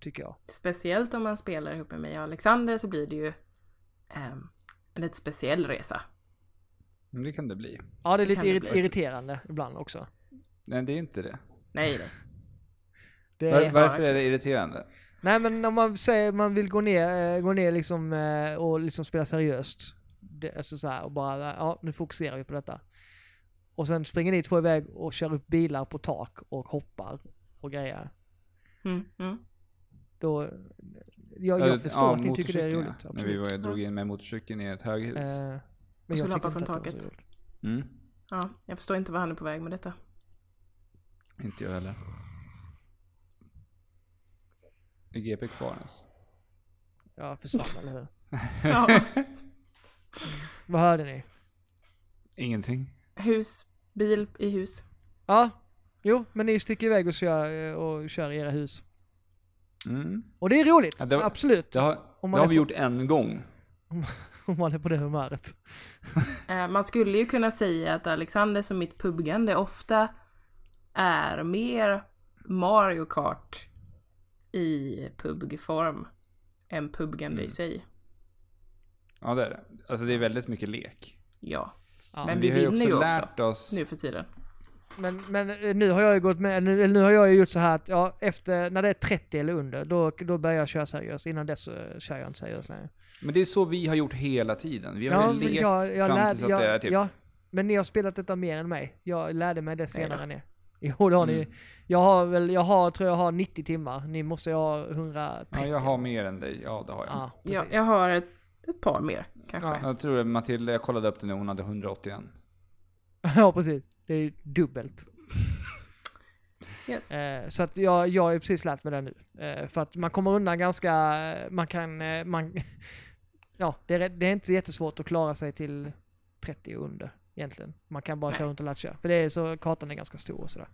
[SPEAKER 1] Tycker jag.
[SPEAKER 2] Speciellt om man spelar ihop med mig och Alexander så blir det ju ehm, en lite speciell resa.
[SPEAKER 3] Men Det kan det bli.
[SPEAKER 1] Ja det är
[SPEAKER 2] Det
[SPEAKER 1] lite
[SPEAKER 2] kan det
[SPEAKER 1] irrit-
[SPEAKER 2] bli.
[SPEAKER 1] irriterande ibland också.
[SPEAKER 3] Nej, det är inte det.
[SPEAKER 2] Nej, nej.
[SPEAKER 1] Det
[SPEAKER 3] Var,
[SPEAKER 1] är-
[SPEAKER 3] varför är det irriterande?
[SPEAKER 1] Nej men om man säger man vill gå ner, eh, gå ner liksom, eh, och liksom spela seriöst. Det, alltså så här, och bara, ja nu fokuserar vi på detta. Och sen springer ni två iväg och kör upp bilar på tak och hoppar och grejer.
[SPEAKER 2] Mm, mm.
[SPEAKER 1] Då, jag, jag förstår att ni tycker det är
[SPEAKER 3] motorcykeln,
[SPEAKER 1] roligt.
[SPEAKER 3] ja. När vi
[SPEAKER 1] Absolut.
[SPEAKER 3] var, drog in med motorcykeln i ett höghus.
[SPEAKER 1] Eh, men
[SPEAKER 2] skulle
[SPEAKER 1] jag
[SPEAKER 2] hoppa
[SPEAKER 1] tycker inte
[SPEAKER 2] från
[SPEAKER 1] att det var så
[SPEAKER 2] taket.
[SPEAKER 1] roligt.
[SPEAKER 3] Mm.
[SPEAKER 2] Ja, jag förstår inte vad han är på väg med detta.
[SPEAKER 3] Inte jag heller. Är GP kvar ens?
[SPEAKER 1] Ja, försvann eller hur?
[SPEAKER 2] Ja.
[SPEAKER 1] Vad hörde ni?
[SPEAKER 3] Ingenting.
[SPEAKER 2] Hus, bil i hus.
[SPEAKER 1] Ja, jo, men ni sticker iväg och kör, eh, och kör i era hus.
[SPEAKER 3] Mm.
[SPEAKER 1] Och det är roligt,
[SPEAKER 3] Ja, det var-
[SPEAKER 1] absolut.
[SPEAKER 3] Det har,
[SPEAKER 1] Om
[SPEAKER 3] det
[SPEAKER 1] man
[SPEAKER 3] har
[SPEAKER 1] är
[SPEAKER 3] vi
[SPEAKER 1] på-
[SPEAKER 3] gjort en gång.
[SPEAKER 1] Om man är på det humöret.
[SPEAKER 2] Eh, Man skulle ju kunna säga att Alexanders och mitt puggande ofta är mer Mario Kart i pubgform än pubgande
[SPEAKER 1] Mm.
[SPEAKER 2] i sig.
[SPEAKER 3] Ja, det är det. Alltså det är väldigt mycket lek.
[SPEAKER 2] Ja,
[SPEAKER 1] Ja.
[SPEAKER 2] Men
[SPEAKER 3] vi
[SPEAKER 2] vi
[SPEAKER 3] har ju
[SPEAKER 2] vinner ju
[SPEAKER 3] också
[SPEAKER 2] också.
[SPEAKER 3] lärt oss...
[SPEAKER 2] nu för tiden.
[SPEAKER 1] Men, men eh, nu har jag ju gått med, nu, nu har jag ju gjort så här att ja, efter, när det är 30 eller under, då, då börjar jag köra seriöst. Innan dess så eh, kör jag inte seriöst längre.
[SPEAKER 3] Men det är så vi har gjort hela tiden. Vi har
[SPEAKER 1] Ja,
[SPEAKER 3] ju
[SPEAKER 1] men
[SPEAKER 3] lekt
[SPEAKER 1] jag- jag
[SPEAKER 3] fram
[SPEAKER 1] lärde-
[SPEAKER 3] tills att
[SPEAKER 1] jag-
[SPEAKER 3] det är typ...
[SPEAKER 1] ja, men ni har spelat detta mer än mig. Jag lärde mig det senare
[SPEAKER 2] då.
[SPEAKER 1] än er. Jo, det har ni.
[SPEAKER 3] Mm.
[SPEAKER 1] Jag har väl, jag har, tror jag har 90 timmar. Ni måste ju ha 130.
[SPEAKER 3] Ja, jag har mer än dig. Ja, det har jag.
[SPEAKER 1] Ja,
[SPEAKER 2] Ja,
[SPEAKER 1] precis.
[SPEAKER 2] jag har ett, ett par mer kanske.
[SPEAKER 1] Ja.
[SPEAKER 3] Jag tror att Matilda, jag kollade upp det nu, hon hade 181.
[SPEAKER 1] ja, precis. Det är ju dubbelt.
[SPEAKER 2] Yes.
[SPEAKER 1] Eh, så att jag, jag har ju precis lärt mig det nu. Eh, för att man kommer undan ganska, man kan, eh, man, ja det är, rätt- det är inte så jättesvårt att klara sig till 30 och under egentligen. Man kan bara köra runt och latcha. För det är så, kartan är ganska stor och sådär.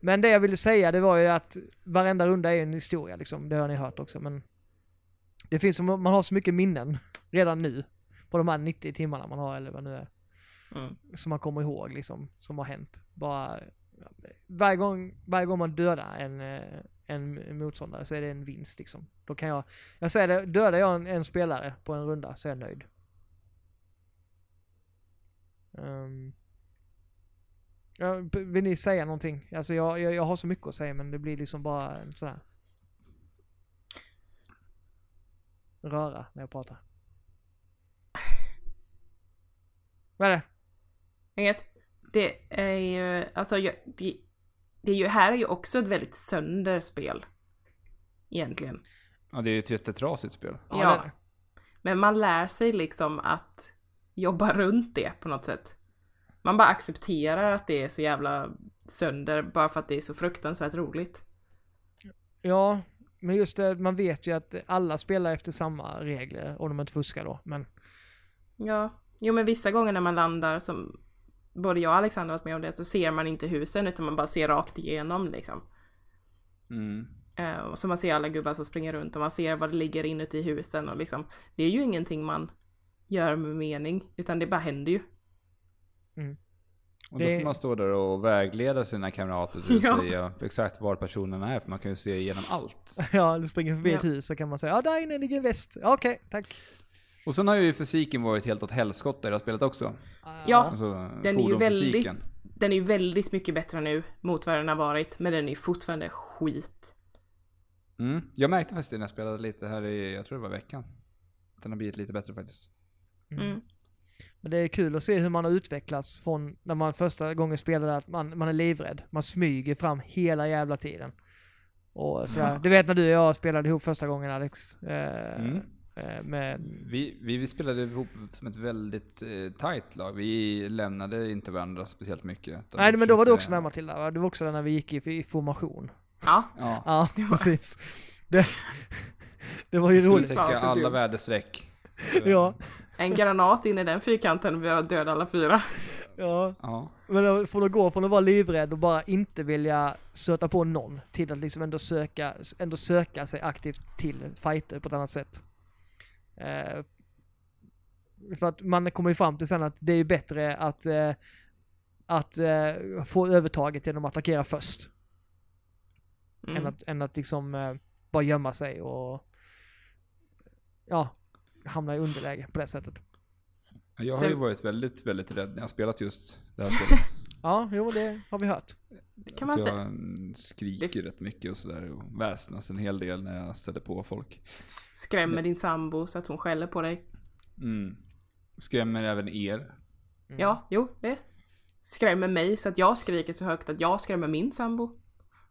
[SPEAKER 1] Men det jag ville säga det var ju att varenda runda är en historia liksom, det har ni hört också men det finns, så- man har så mycket minnen redan nu på de här 90 timmarna man har eller vad nu är
[SPEAKER 2] Mm.
[SPEAKER 1] som man kommer ihåg liksom, som har hänt. Bara, varje, gång, varje gång man dödar en, eh, en motståndare så är det en vinst liksom. Då kan jag, jag säger det, dödar jag en, en spelare på en runda så är jag nöjd. Ehm. ja, b- vill ni säga någonting? Alltså jag, jag, jag har så mycket att säga men det blir liksom bara en sån här röra när jag pratar. Vad är det?
[SPEAKER 2] Inget. Det är ju, alltså jag, det, det är ju, här är ju också ett väldigt sönder spel. Egentligen.
[SPEAKER 3] Ja, det är ju ett jättetrasigt spel.
[SPEAKER 1] Ja,
[SPEAKER 2] Ja.
[SPEAKER 1] det är det.
[SPEAKER 2] Men man lär sig liksom att jobba runt det på något sätt. Man bara accepterar att det är så jävla sönder bara för att det är så fruktansvärt roligt.
[SPEAKER 1] Ja, men just det, man vet ju att alla spelar efter samma regler om de inte fuskar då. Men
[SPEAKER 2] Ja, jo men vissa gånger när man landar som både jag och Alexander har varit med om det så ser man inte husen utan man bara ser rakt igenom liksom.
[SPEAKER 3] Mm.
[SPEAKER 2] Eh, och så man ser alla gubbar som springer runt och man ser vad det ligger inuti husen och liksom det är ju ingenting man gör med mening utan det bara händer ju.
[SPEAKER 3] Och då
[SPEAKER 1] Det-
[SPEAKER 3] får man stå där och vägleda sina kamrater till
[SPEAKER 2] Ja.
[SPEAKER 3] att säga exakt var personerna är, för man kan ju se igenom allt.
[SPEAKER 1] ja, du springer förbi
[SPEAKER 2] Ja.
[SPEAKER 1] ett hus så kan man säga ja, där inne ligger en väst. Ja, Okej, tack.
[SPEAKER 3] Och sen har ju fysiken varit helt åt helskotta i det här spelet också.
[SPEAKER 2] Ja,
[SPEAKER 3] Alltså,
[SPEAKER 2] Den är ju väldigt,
[SPEAKER 3] fordonsfysiken.
[SPEAKER 2] den är ju väldigt mycket bättre nu mot vad den har varit, men den är ju fortfarande skit.
[SPEAKER 3] Mm. Jag märkte faktiskt det när jag spelade lite här i, jag tror det var veckan. Den har blivit lite bättre faktiskt.
[SPEAKER 2] Mm.
[SPEAKER 1] Men det är kul att se hur man har utvecklats från när man första gången spelade att man, man är livrädd. Man smyger fram hela jävla tiden. Och sådär. Du vet när du och jag spelade ihop första gången Alex. Eh,
[SPEAKER 3] Mm.
[SPEAKER 1] eh, med,
[SPEAKER 3] Vi, vi, vi spelade ihop som ett väldigt eh, tight lag. Vi lämnade inte varandra speciellt mycket. utan
[SPEAKER 1] nej
[SPEAKER 3] vi
[SPEAKER 1] men då var du
[SPEAKER 3] försökte-
[SPEAKER 1] också med Matilda va? Du var också där när vi gick i, i formation.
[SPEAKER 2] Ja,
[SPEAKER 3] Ja.
[SPEAKER 1] Ja, precis. Det, det var ju
[SPEAKER 3] Skulle
[SPEAKER 1] roligt.
[SPEAKER 3] täcka
[SPEAKER 2] Fan, så
[SPEAKER 3] alla
[SPEAKER 2] dumt.
[SPEAKER 3] väderstreck.
[SPEAKER 1] Ja,
[SPEAKER 2] en granat in i den fyrkanten och vi har dödat alla fyra.
[SPEAKER 1] ja.
[SPEAKER 3] Ja.
[SPEAKER 1] Men då- från att gå från att vara livrädd och bara inte vilja stöta på någon till att liksom ändå söka, ändå söka sig aktivt till fighter på ett annat sätt. Eh, för att man kommer ju fram till sen att det är ju bättre att, eh, att eh, få övertaget genom att attackera först. Än,
[SPEAKER 2] Mm.
[SPEAKER 1] att, än att liksom eh, bara gömma sig och ja, hamna i underläge på det sättet.
[SPEAKER 3] Jag har
[SPEAKER 2] Sen-
[SPEAKER 3] ju varit väldigt, väldigt rädd när jag har spelat just det här spelet.
[SPEAKER 1] Ja, jo det har vi hört.
[SPEAKER 2] Det kan man
[SPEAKER 3] Att jag
[SPEAKER 2] säga.
[SPEAKER 3] mm, skriker rätt mycket och sådär och väsnas en hel del när jag stöter på folk.
[SPEAKER 2] Skrämmer din sambo så att hon skäller på dig.
[SPEAKER 3] Mm. Skrämmer även er.
[SPEAKER 2] Ja, jo, det skrämmer mig så att jag skriker så högt att jag skrämmer min sambo.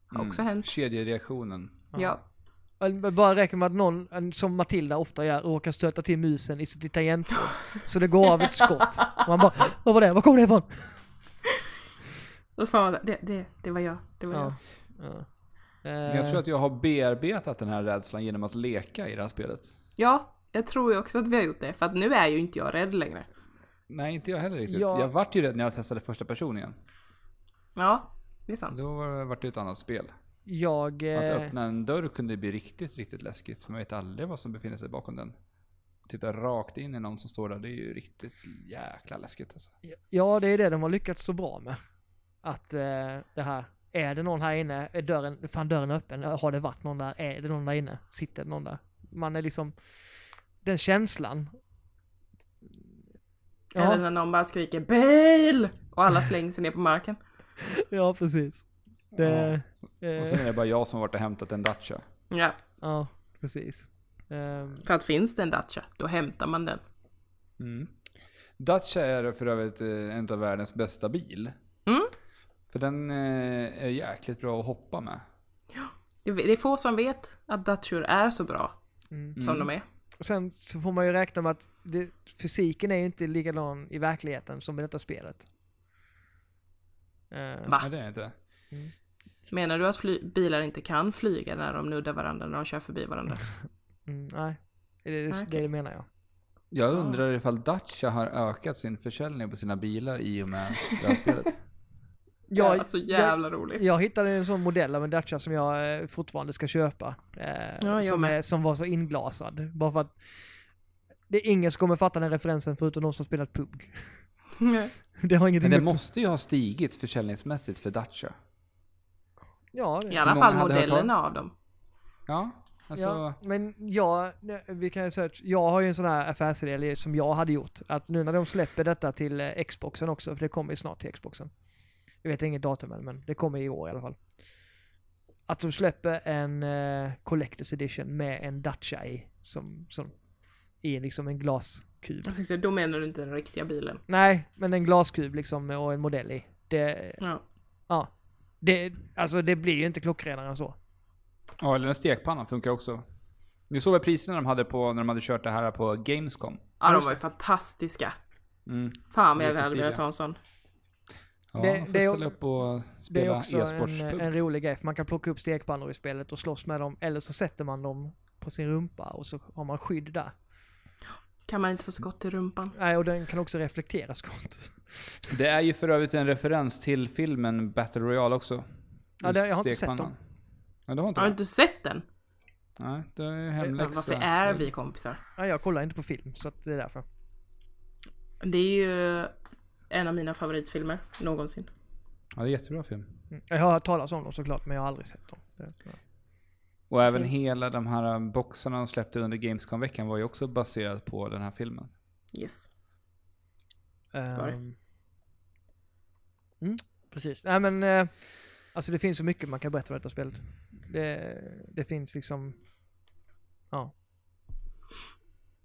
[SPEAKER 2] Har också hänt.
[SPEAKER 3] Mm. Kedjereaktionen.
[SPEAKER 2] Ja.
[SPEAKER 1] Eller Bara räcker med att någon, en- som Matilda ofta gör, råkar stöta till musen i sitt tangentbord. Så det går av ett skott. Och man bara, vad var det? Var kom det ifrån?
[SPEAKER 2] Då svarar man det, det, det var jag. Det var jag.
[SPEAKER 1] Ja. ja.
[SPEAKER 3] Men jag tror
[SPEAKER 1] Eh,
[SPEAKER 3] att jag har bearbetat den här rädslan genom att leka i det här spelet.
[SPEAKER 2] Ja, jag tror ju också att vi har gjort det. För att nu är ju inte jag rädd längre.
[SPEAKER 3] Nej, inte jag heller riktigt.
[SPEAKER 1] Ja.
[SPEAKER 3] Jag vart ju rädd när jag testade första person igen.
[SPEAKER 2] Ja, det är sant.
[SPEAKER 3] Då var det- vart det ett annat spel.
[SPEAKER 1] jag,
[SPEAKER 3] Att
[SPEAKER 1] eh,
[SPEAKER 3] öppna en dörr kunde bli riktigt, riktigt läskigt. För man vet aldrig vad som befinner sig bakom den. Titta rakt in i någon som står där, det är ju riktigt jäkla läskigt alltså.
[SPEAKER 1] ja, det är det de har lyckats så bra med. Att eh, det här, är det någon här inne? Är dörren, fan dörren är öppen? Har det varit någon där? Är det någon där inne? Sitter det någon där? Man är liksom, den känslan.
[SPEAKER 2] Eller
[SPEAKER 1] Ja,
[SPEAKER 2] när någon bara skriker BAIL! Och alla slänger sig ner på marken.
[SPEAKER 1] ja precis. Det,
[SPEAKER 3] Och
[SPEAKER 1] eh,
[SPEAKER 3] sen är det bara jag som har varit och hämtat en Dacia.
[SPEAKER 2] Ja,
[SPEAKER 1] Ja, precis. Ehm,
[SPEAKER 2] för att finns det en Dacia, då hämtar man den.
[SPEAKER 3] Mm. Dacia är för övrigt eh, en av världens bästa bil.
[SPEAKER 2] Mm.
[SPEAKER 3] För den eh, är jäkligt bra att hoppa med.
[SPEAKER 2] Det, det är få som vet att Dacior är så bra
[SPEAKER 1] mm.
[SPEAKER 3] Mm.
[SPEAKER 2] som de är.
[SPEAKER 1] och sen så får man ju räkna med att det, fysiken är ju inte likadan i verkligheten som i detta spelet. Ehm,
[SPEAKER 2] Va?
[SPEAKER 3] Nej, det är det inte.
[SPEAKER 2] Menar du att fly- bilar inte kan flyga när de nuddar varandra, när de kör förbi varandra?
[SPEAKER 1] Mm, nej, det är det,
[SPEAKER 2] Okej.
[SPEAKER 1] det menar jag.
[SPEAKER 3] Jag undrar ifall Dacia har ökat sin försäljning på sina bilar i och med det här spelet.
[SPEAKER 2] Det
[SPEAKER 1] Jag,
[SPEAKER 2] är alltså så jävla roligt.
[SPEAKER 1] jag hittade en sån modell av en Dacia som jag eh, fortfarande ska köpa. eh,
[SPEAKER 2] jag
[SPEAKER 1] som,
[SPEAKER 2] med.
[SPEAKER 1] är, som var så inglasad. Bara för att det är ingen som kommer fatta den referensen förutom de som spelat PUG.
[SPEAKER 2] Mm.
[SPEAKER 1] Det har ingenting
[SPEAKER 3] Men det
[SPEAKER 1] med...
[SPEAKER 3] måste ju ha stigit försäljningsmässigt för Dacia.
[SPEAKER 1] Ja, det,
[SPEAKER 2] I alla
[SPEAKER 3] många
[SPEAKER 2] fall
[SPEAKER 3] hade hört
[SPEAKER 2] modellerna av dem.
[SPEAKER 3] Ja, alltså.
[SPEAKER 1] Ja, men jag, vi kan ju säga att jag har ju en sån här affärsidé eller som jag hade gjort. Att nu när de släpper detta till eh, Xboxen också, för det kommer ju snart till Xboxen. Jag vet inget datum än, men det kommer i år i alla fall. Att de släpper en eh, Collector's Edition med en Dacia i, som, som i liksom en glaskub.
[SPEAKER 2] Jag tänkte, Då menar du inte den riktiga bilen.
[SPEAKER 1] Nej, men en glaskub liksom och en modell i. Det,
[SPEAKER 2] Ja.
[SPEAKER 1] ja. Det, alltså det blir ju inte klockrenare än så.
[SPEAKER 3] Ja, eller den stekpannan funkar också. Ni såg väl priserna de hade på när de hade kört det här på Gamescom?
[SPEAKER 2] ja, de var ju fantastiska.
[SPEAKER 3] Mm.
[SPEAKER 2] Fan vad jag hade
[SPEAKER 3] Jättestiliga.
[SPEAKER 2] velat ha en sån.
[SPEAKER 3] Ja,
[SPEAKER 1] Det-
[SPEAKER 3] det, får
[SPEAKER 1] det är-
[SPEAKER 3] ställa upp och
[SPEAKER 1] Det är
[SPEAKER 3] spela
[SPEAKER 1] också en, eh,
[SPEAKER 3] e-sportspub.
[SPEAKER 1] en rolig grej, för man kan plocka upp stekpannor i spelet och slåss med dem, eller så sätter man dem på sin rumpa och så har man skydd där.
[SPEAKER 2] Kan man inte få skott i rumpan?
[SPEAKER 1] Nej, och den kan också reflektera skott.
[SPEAKER 3] Det är ju för övrigt en referens till filmen Battle Royale också.
[SPEAKER 1] Ja, det- jag har inte sett
[SPEAKER 3] Stekpannan. Ja, du har inte
[SPEAKER 2] Har du
[SPEAKER 3] det?
[SPEAKER 2] inte sett den?
[SPEAKER 3] Nej, det är
[SPEAKER 2] Men
[SPEAKER 3] hemläxa.
[SPEAKER 2] varför är vi kompisar?
[SPEAKER 1] Nej, jag kollar inte på film, så att det är därför.
[SPEAKER 2] Det är ju en av mina favoritfilmer någonsin.
[SPEAKER 3] Ja, det är en jättebra film.
[SPEAKER 1] Mm. Jag har hört talas om dem såklart, men jag har aldrig sett dem. Det- ja.
[SPEAKER 3] Och även
[SPEAKER 2] Finns-
[SPEAKER 3] hela de här boxarna de släppte under Gamescom-veckan var ju också baserat på den här filmen.
[SPEAKER 2] Yes.
[SPEAKER 1] Ehm,
[SPEAKER 2] det?
[SPEAKER 1] mm, precis. Nej men, eh, alltså det finns så mycket man kan berätta om detta spelet. Det, det finns liksom... Ja.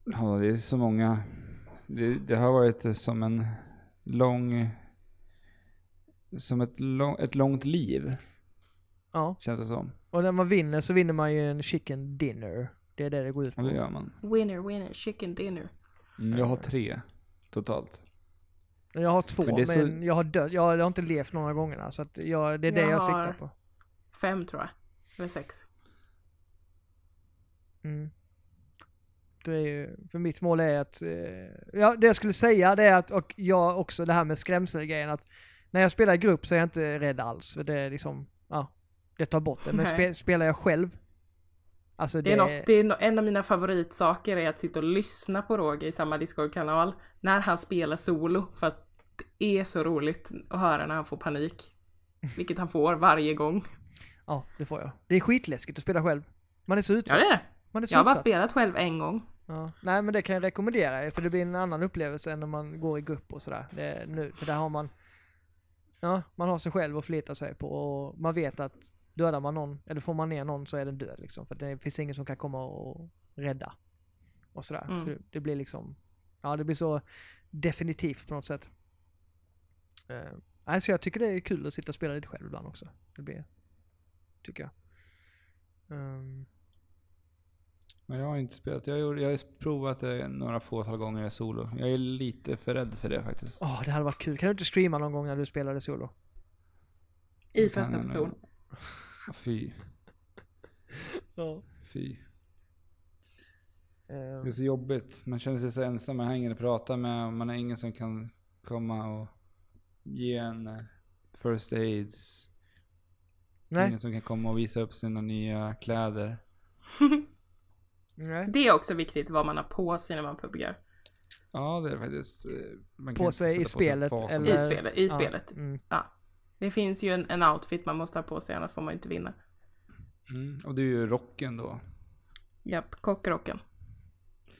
[SPEAKER 3] Ja, det är så många. Det, det har varit eh, som en lång... Som ett, lång, ett långt liv,
[SPEAKER 1] Ja.
[SPEAKER 3] känns det som.
[SPEAKER 1] Och när man vinner så vinner man ju en chicken dinner. Det är det det går ut
[SPEAKER 3] Ja,
[SPEAKER 1] på.
[SPEAKER 3] det gör man.
[SPEAKER 2] Winner, winner, chicken dinner.
[SPEAKER 3] Mm, Jag har tre totalt.
[SPEAKER 1] Jag har två,
[SPEAKER 3] Men det
[SPEAKER 1] men,
[SPEAKER 3] är så-
[SPEAKER 1] jag har dött. Jag har inte levt några gånger så att jag, det är det jag,
[SPEAKER 2] Jag
[SPEAKER 1] siktar
[SPEAKER 2] har-
[SPEAKER 1] på.
[SPEAKER 2] Fem tror jag. Eller sex.
[SPEAKER 1] Mm. Det är ju, för mitt mål är att, eh, ja det jag skulle säga det är att, och jag också det här med skrämselgrejen att när jag spelar i grupp så är jag inte rädd alls. För det är liksom, ja, det tar bort det. Men
[SPEAKER 2] Nej.
[SPEAKER 1] spe, spelar jag själv, alltså
[SPEAKER 2] Det är, något, det är no- en av mina favoritsaker är att sitta och lyssna på Roger i samma Discord-kanal när han spelar solo för att det är så roligt att höra när han får panik. Vilket han får varje gång.
[SPEAKER 1] ja det får jag. Det är skitläskigt att spela själv. Man är så
[SPEAKER 2] Ja
[SPEAKER 1] utsatt.
[SPEAKER 2] det är det.
[SPEAKER 1] Man är så
[SPEAKER 2] Jag har bara
[SPEAKER 1] utsatt.
[SPEAKER 2] spelat själv en gång.
[SPEAKER 1] Ja. Nej men det kan jag rekommendera för det blir en annan upplevelse än när man går i grupp och sådär. Det, är nu, för där har man, ja, man har sig själv att förlita sig på och man vet att dödar man någon, eller får man ner någon så är den död liksom. För det finns ingen som kan komma och rädda. Och sådär.
[SPEAKER 2] Mm.
[SPEAKER 1] Så det, det blir liksom, ja det blir så definitivt på något sätt. Eh, nej, så jag tycker det är kul att sitta och spela lite själv ibland också. Det blir, tycker jag. Ehm,
[SPEAKER 3] Men jag har inte spelat. Jag, gjorde, jag har provat det några fåtal gånger solo. Jag är lite för rädd för det faktiskt.
[SPEAKER 1] Åh, det hade varit kul. Kan du inte streama någon gång när du spelade solo?
[SPEAKER 2] I
[SPEAKER 3] Jag kan
[SPEAKER 2] första
[SPEAKER 3] ändå-
[SPEAKER 2] person.
[SPEAKER 3] Fy,
[SPEAKER 1] Ja.
[SPEAKER 3] fy.
[SPEAKER 1] Eh,
[SPEAKER 3] Det är så jobbigt. Man känner sig så ensam. Man har ingen att prata med. och Man har ingen som kan komma och ge en eh, first aids.
[SPEAKER 1] Nej.
[SPEAKER 3] Ingen som kan komma och visa upp sina nya kläder.
[SPEAKER 1] Nej.
[SPEAKER 2] Det är också viktigt vad man har på sig när man pubgar.
[SPEAKER 3] Ja, det är faktiskt. eh, Man
[SPEAKER 1] På
[SPEAKER 3] kan
[SPEAKER 1] sig
[SPEAKER 3] inte
[SPEAKER 1] i
[SPEAKER 3] sätta på
[SPEAKER 1] spelet
[SPEAKER 3] vad
[SPEAKER 1] eller-
[SPEAKER 3] som
[SPEAKER 2] I
[SPEAKER 3] helst.
[SPEAKER 1] Eh,
[SPEAKER 2] spelet. I
[SPEAKER 1] ja.
[SPEAKER 2] spelet.
[SPEAKER 1] Mm.
[SPEAKER 2] Ja. Det finns ju en, en outfit man måste ha på sig annars får man ju inte vinna.
[SPEAKER 3] Mm, och det är ju rocken då.
[SPEAKER 2] Japp, kockrocken.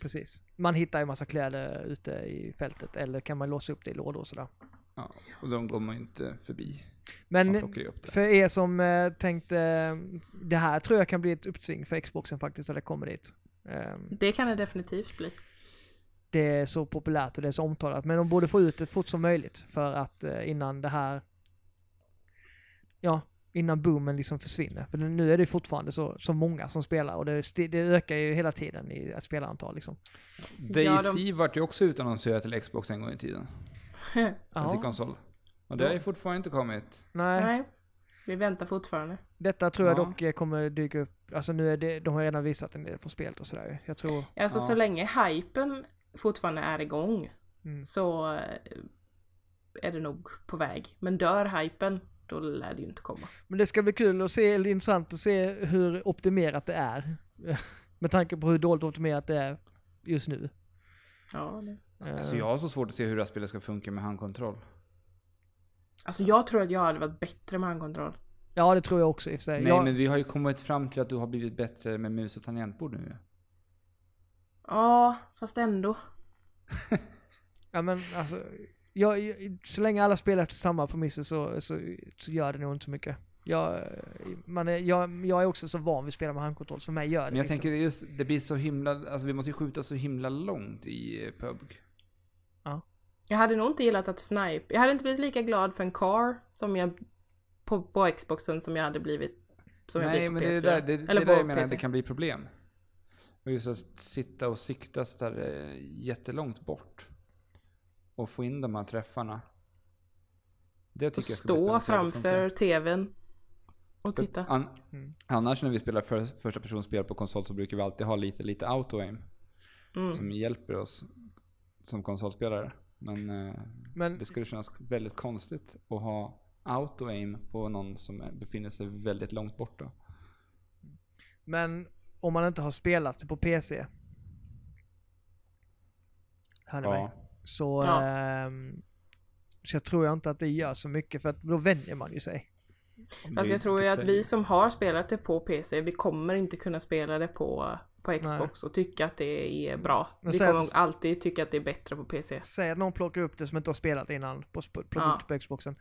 [SPEAKER 1] Precis. Man hittar ju massa kläder ute i fältet eller kan man låsa upp det i lådor och sådär.
[SPEAKER 3] Ja, och de går man ju inte förbi. Man
[SPEAKER 1] Men
[SPEAKER 3] plockar ju upp det.
[SPEAKER 1] för er som eh, tänkte, eh, det här tror jag kan bli ett uppsving för Xboxen faktiskt, eller kommer dit. Ehm,
[SPEAKER 2] Det kan det definitivt bli.
[SPEAKER 1] det är så populärt och det är så omtalat. Men de borde få ut det fort som möjligt för att eh, innan det här, ja, innan boomen liksom försvinner. För nu är det fortfarande så, så många som spelar och det, sti- det ökar ju hela tiden i spelarantal liksom.
[SPEAKER 2] Ja,
[SPEAKER 3] DayZ
[SPEAKER 2] de-
[SPEAKER 3] vart ju också utannonserat till Xbox en gång i tiden. Eller till
[SPEAKER 1] Ja,
[SPEAKER 3] konsol. Och det har ju fortfarande inte kommit.
[SPEAKER 1] nej.
[SPEAKER 2] Nej, vi väntar fortfarande.
[SPEAKER 1] Detta tror jag
[SPEAKER 3] Ja.
[SPEAKER 1] dock eh, kommer dyka upp, alltså nu är det, de har redan visat en del från spelet och sådär Jag tror,
[SPEAKER 2] Alltså
[SPEAKER 3] Ja.
[SPEAKER 2] så länge hypen fortfarande är igång
[SPEAKER 1] Mm.
[SPEAKER 2] så eh, är det nog på väg. Men dör hypen, då lär det ju inte komma.
[SPEAKER 1] men det ska bli kul att se, eller intressant att se hur optimerat det är. Med tanke på hur dåligt optimerat det är just nu.
[SPEAKER 2] Ja, det...
[SPEAKER 1] Eh,
[SPEAKER 3] Alltså jag har så svårt att se hur det här spelet ska funka med handkontroll.
[SPEAKER 2] Alltså jag tror att jag hade varit bättre med handkontroll.
[SPEAKER 1] Eh, Ja det tror jag också i och för sig.
[SPEAKER 3] Nej
[SPEAKER 1] jag,
[SPEAKER 3] men vi har ju kommit fram till att du har blivit bättre med mus och tangentbord nu ju.
[SPEAKER 2] Ja, fast ändå.
[SPEAKER 1] ja, men, alltså, jag, jag, så länge alla spelar efter samma premisser så, så, så gör det nog inte så mycket. Jag, man är, jag, jag är också så van vid att spela med handkontroll, så för mig gör det
[SPEAKER 3] Men jag
[SPEAKER 1] liksom.
[SPEAKER 3] tänker just, det blir så himla, alltså vi måste ju skjuta så himla långt i eh, PUBG.
[SPEAKER 2] Jag hade nog inte gillat att snipe. Jag hade inte blivit lika glad för en car som jag på, på Xboxen som jag hade blivit som
[SPEAKER 3] Nej
[SPEAKER 2] jag
[SPEAKER 3] men
[SPEAKER 2] blev
[SPEAKER 3] det
[SPEAKER 2] på
[SPEAKER 3] är
[SPEAKER 2] PS4.
[SPEAKER 3] det där, det, det
[SPEAKER 2] Eller
[SPEAKER 3] är där
[SPEAKER 2] på
[SPEAKER 3] jag menar att
[SPEAKER 2] PC.
[SPEAKER 3] det kan bli problem. Och just att sitta och sikta så där eh, jättelångt bort. Och få in de här träffarna. Det tycker
[SPEAKER 2] Och
[SPEAKER 3] jag ska bli spännande
[SPEAKER 2] stå
[SPEAKER 3] att se hur det
[SPEAKER 2] framför tvn och
[SPEAKER 3] För
[SPEAKER 2] titta.
[SPEAKER 3] An-
[SPEAKER 1] Mm.
[SPEAKER 3] Annars när vi spelar för, första personspel på konsol så brukar vi alltid ha lite, lite auto-aim
[SPEAKER 2] Mm.
[SPEAKER 3] som hjälper oss som konsolspelare. Men eh,
[SPEAKER 1] Men
[SPEAKER 3] det skulle kännas väldigt konstigt att ha auto-aim på någon som är- befinner sig väldigt långt borta.
[SPEAKER 1] Men om man inte har spelat det på PC. Hör ni mig?
[SPEAKER 3] Ja.
[SPEAKER 1] Så,
[SPEAKER 2] Ja.
[SPEAKER 1] ehm, så jag tror jag inte att det gör så mycket för att då vänjer man ju sig.
[SPEAKER 2] Fast
[SPEAKER 3] Det är
[SPEAKER 2] Alltså, jag tror ju
[SPEAKER 3] inte
[SPEAKER 2] att
[SPEAKER 3] så-
[SPEAKER 2] vi som har spelat det på PC, vi kommer inte kunna spela det på, på Xbox och tycka att det är bra.
[SPEAKER 1] Men
[SPEAKER 2] vi
[SPEAKER 1] sen-
[SPEAKER 2] kommer alltid tycka att det är bättre på PC.
[SPEAKER 1] Säg att någon plockar upp det som inte har spelat innan på, sp- plockar
[SPEAKER 2] Ja.
[SPEAKER 1] upp det på Xboxen.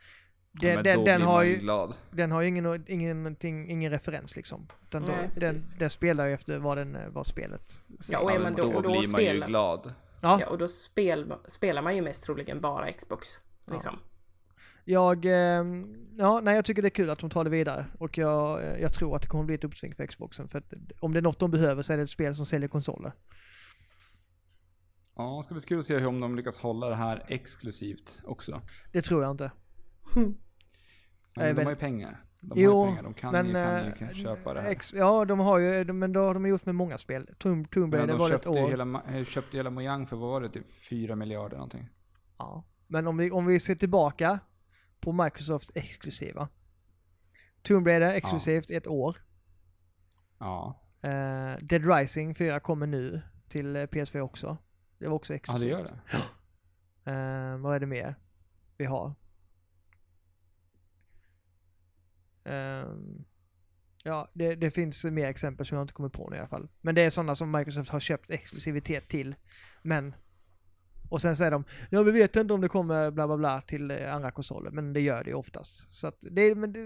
[SPEAKER 1] Den,
[SPEAKER 3] men
[SPEAKER 1] den,
[SPEAKER 3] då
[SPEAKER 1] den,
[SPEAKER 3] blir
[SPEAKER 1] har
[SPEAKER 3] man
[SPEAKER 1] ju,
[SPEAKER 3] glad.
[SPEAKER 1] den har ju ingen, ingenting, ingen referens liksom. Den,
[SPEAKER 2] Nej,
[SPEAKER 1] den,
[SPEAKER 2] precis.
[SPEAKER 1] den spelar ju efter vad, den, eh, vad spelet
[SPEAKER 2] Ja, och är
[SPEAKER 3] men
[SPEAKER 2] man då,
[SPEAKER 3] då
[SPEAKER 2] och då
[SPEAKER 3] blir man ju
[SPEAKER 2] spelar,
[SPEAKER 3] glad.
[SPEAKER 1] Ja,
[SPEAKER 2] ja, och då spel, spelar man ju mest troligen bara Xbox. Liksom.
[SPEAKER 1] jag... ehm, Ja, nej, jag tycker det är kul att de tar det vidare. Och jag, eh, jag tror att det kommer bli ett uppsving för Xboxen. För att om det är något de behöver så är det ett spel som säljer konsoler.
[SPEAKER 3] Ja, det ska bli kul att se hur- om de lyckas hålla det här exklusivt också.
[SPEAKER 1] Det tror jag inte.
[SPEAKER 3] Men de
[SPEAKER 1] väl-
[SPEAKER 3] har ju pengar. De
[SPEAKER 1] Jo,
[SPEAKER 3] har ju pengar. De kan, ju, kan ju
[SPEAKER 1] eh,
[SPEAKER 3] kan köpa det här.
[SPEAKER 1] Ex, ja, de har ju, men då har de gjort med många spel. Tomb, Tomb
[SPEAKER 3] men
[SPEAKER 1] Raider
[SPEAKER 3] de
[SPEAKER 1] var det ett
[SPEAKER 3] köpte
[SPEAKER 1] år.
[SPEAKER 3] ju hela, Ma- eh, köpte hela Mojang för vad var det? Typ 4 miljarder någonting.
[SPEAKER 1] Ja. Men om vi, om vi ser tillbaka på Microsofts exklusiva. Tomb Raider exklusivt ett år.
[SPEAKER 3] Ja,
[SPEAKER 1] Eh, Dead Rising 4 kommer nu till eh, PS4 också. Det var också
[SPEAKER 3] ja det
[SPEAKER 1] exklusivt.
[SPEAKER 3] gör det.
[SPEAKER 1] Eh, vad är det mer vi har? Ehm, ja, det, det finns mer exempel som jag inte kommer på nu i alla fall. Men det är sådana som Microsoft har köpt exklusivitet till. Men... Och sen säger de, ja vi vet inte om det kommer bla bla bla till eh, andra konsoler, men det gör det ju oftast. Så att det, men det,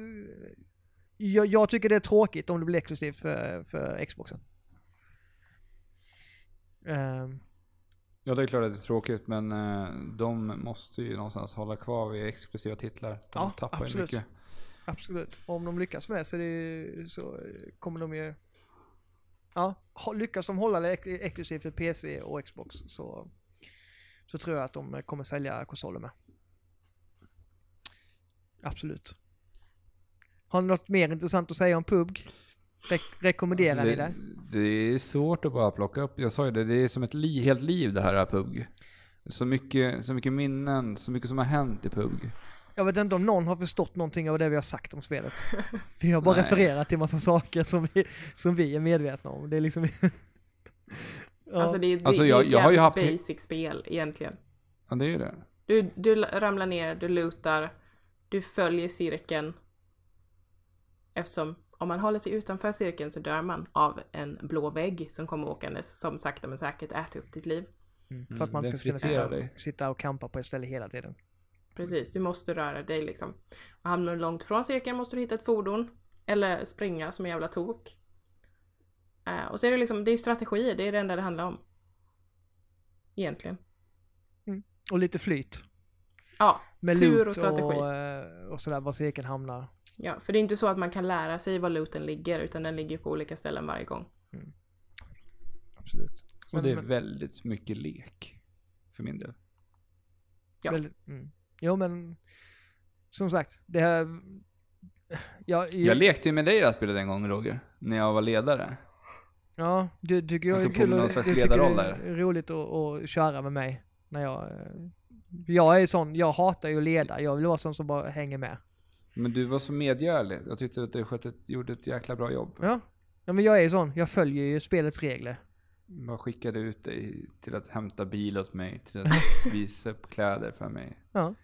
[SPEAKER 1] jag, jag tycker det är tråkigt om det blir exklusivt för, för Xboxen. Ehm,
[SPEAKER 3] Ja, det är klart att det är tråkigt, men eh, de måste ju någonstans hålla kvar vid exklusiva titlar. De
[SPEAKER 1] Ja,
[SPEAKER 3] tappar
[SPEAKER 1] absolut.
[SPEAKER 3] ju mycket.
[SPEAKER 1] Absolut. Och om de lyckas med det så, är det, ju- så eh, kommer de ju... Ja, ha- lyckas de hålla det ek- exklusivt för PC och Xbox så, så tror jag att de eh, kommer sälja konsoler med. Absolut. Har ni något mer intressant att säga om PUBG? Re- rekommenderar
[SPEAKER 3] Alltså,
[SPEAKER 1] ni det?
[SPEAKER 3] det är svårt att bara plocka upp. Jag sa ju det, det är som ett li, helt liv det här, här PUG. Så mycket, så mycket minnen, så mycket som har hänt i PUG.
[SPEAKER 1] Jag vet inte om någon har förstått någonting av det vi har sagt om spelet. Vi har bara
[SPEAKER 3] Nej.
[SPEAKER 1] refererat till massa saker som vi, som vi är medvetna om. Det är liksom... Ja.
[SPEAKER 2] Alltså det, är- det,
[SPEAKER 3] Alltså,
[SPEAKER 2] det är
[SPEAKER 3] jag-
[SPEAKER 2] ett
[SPEAKER 3] jag har ju
[SPEAKER 2] jävligt
[SPEAKER 3] haft-
[SPEAKER 2] basic spel egentligen.
[SPEAKER 3] Ja, det är ju det.
[SPEAKER 2] Du, du ramlar ner, du lutar, du följer cirkeln. Eftersom om man håller sig utanför cirkeln så dör man av en blå vägg som kommer åkandes som sakta men säkert äter upp ditt liv.
[SPEAKER 1] För att man
[SPEAKER 3] den
[SPEAKER 1] ska kunna
[SPEAKER 3] friterar
[SPEAKER 1] sitta,
[SPEAKER 3] dig.
[SPEAKER 1] sitta och kampa på ett ställe hela tiden.
[SPEAKER 2] Precis, du måste röra dig liksom. Och hamnar du långt från cirkeln måste du hitta ett fordon. Eller springa som en jävla tok. Eh, och så är det liksom, det är ju strategier, det är det enda det handlar om. Egentligen.
[SPEAKER 1] Och lite flyt.
[SPEAKER 2] Ja,
[SPEAKER 1] Med
[SPEAKER 2] Tur
[SPEAKER 1] loot
[SPEAKER 2] och strategi.
[SPEAKER 1] Och, eh, och sådär, var cirkeln hamnar.
[SPEAKER 2] ja, för det är inte så att man kan lära sig var looten ligger utan den ligger på olika ställen varje gång.
[SPEAKER 1] Absolut.
[SPEAKER 3] Och
[SPEAKER 1] Men-
[SPEAKER 3] det är
[SPEAKER 1] men-
[SPEAKER 3] väldigt mycket lek. För min del.
[SPEAKER 2] Ja.
[SPEAKER 1] Väl- mm. Jo men, som sagt, det här... Jag,
[SPEAKER 3] Jag lekte ju med dig i det här spelet en gång Roger. När jag var ledare.
[SPEAKER 1] ja, du tycker jag
[SPEAKER 3] Jag
[SPEAKER 1] är
[SPEAKER 3] tog på mig
[SPEAKER 1] kul och-
[SPEAKER 3] någon
[SPEAKER 1] du
[SPEAKER 3] slags
[SPEAKER 1] tycker det
[SPEAKER 3] ledarroll
[SPEAKER 1] är roligt att, att köra med mig. När jag, eh, jag är ju sån, jag hatar ju att leda. Jag vill vara sån som bara hänger med.
[SPEAKER 3] Men du var så medgörlig. Jag tyckte att du skötte, ett- gjorde ett jäkla bra jobb.
[SPEAKER 1] Ja. ja, men jag är ju sån. Jag följer ju spelets regler.
[SPEAKER 3] Jag skickade ut dig till att hämta bil åt mig. Till att visa upp kläder för mig.
[SPEAKER 1] Ja.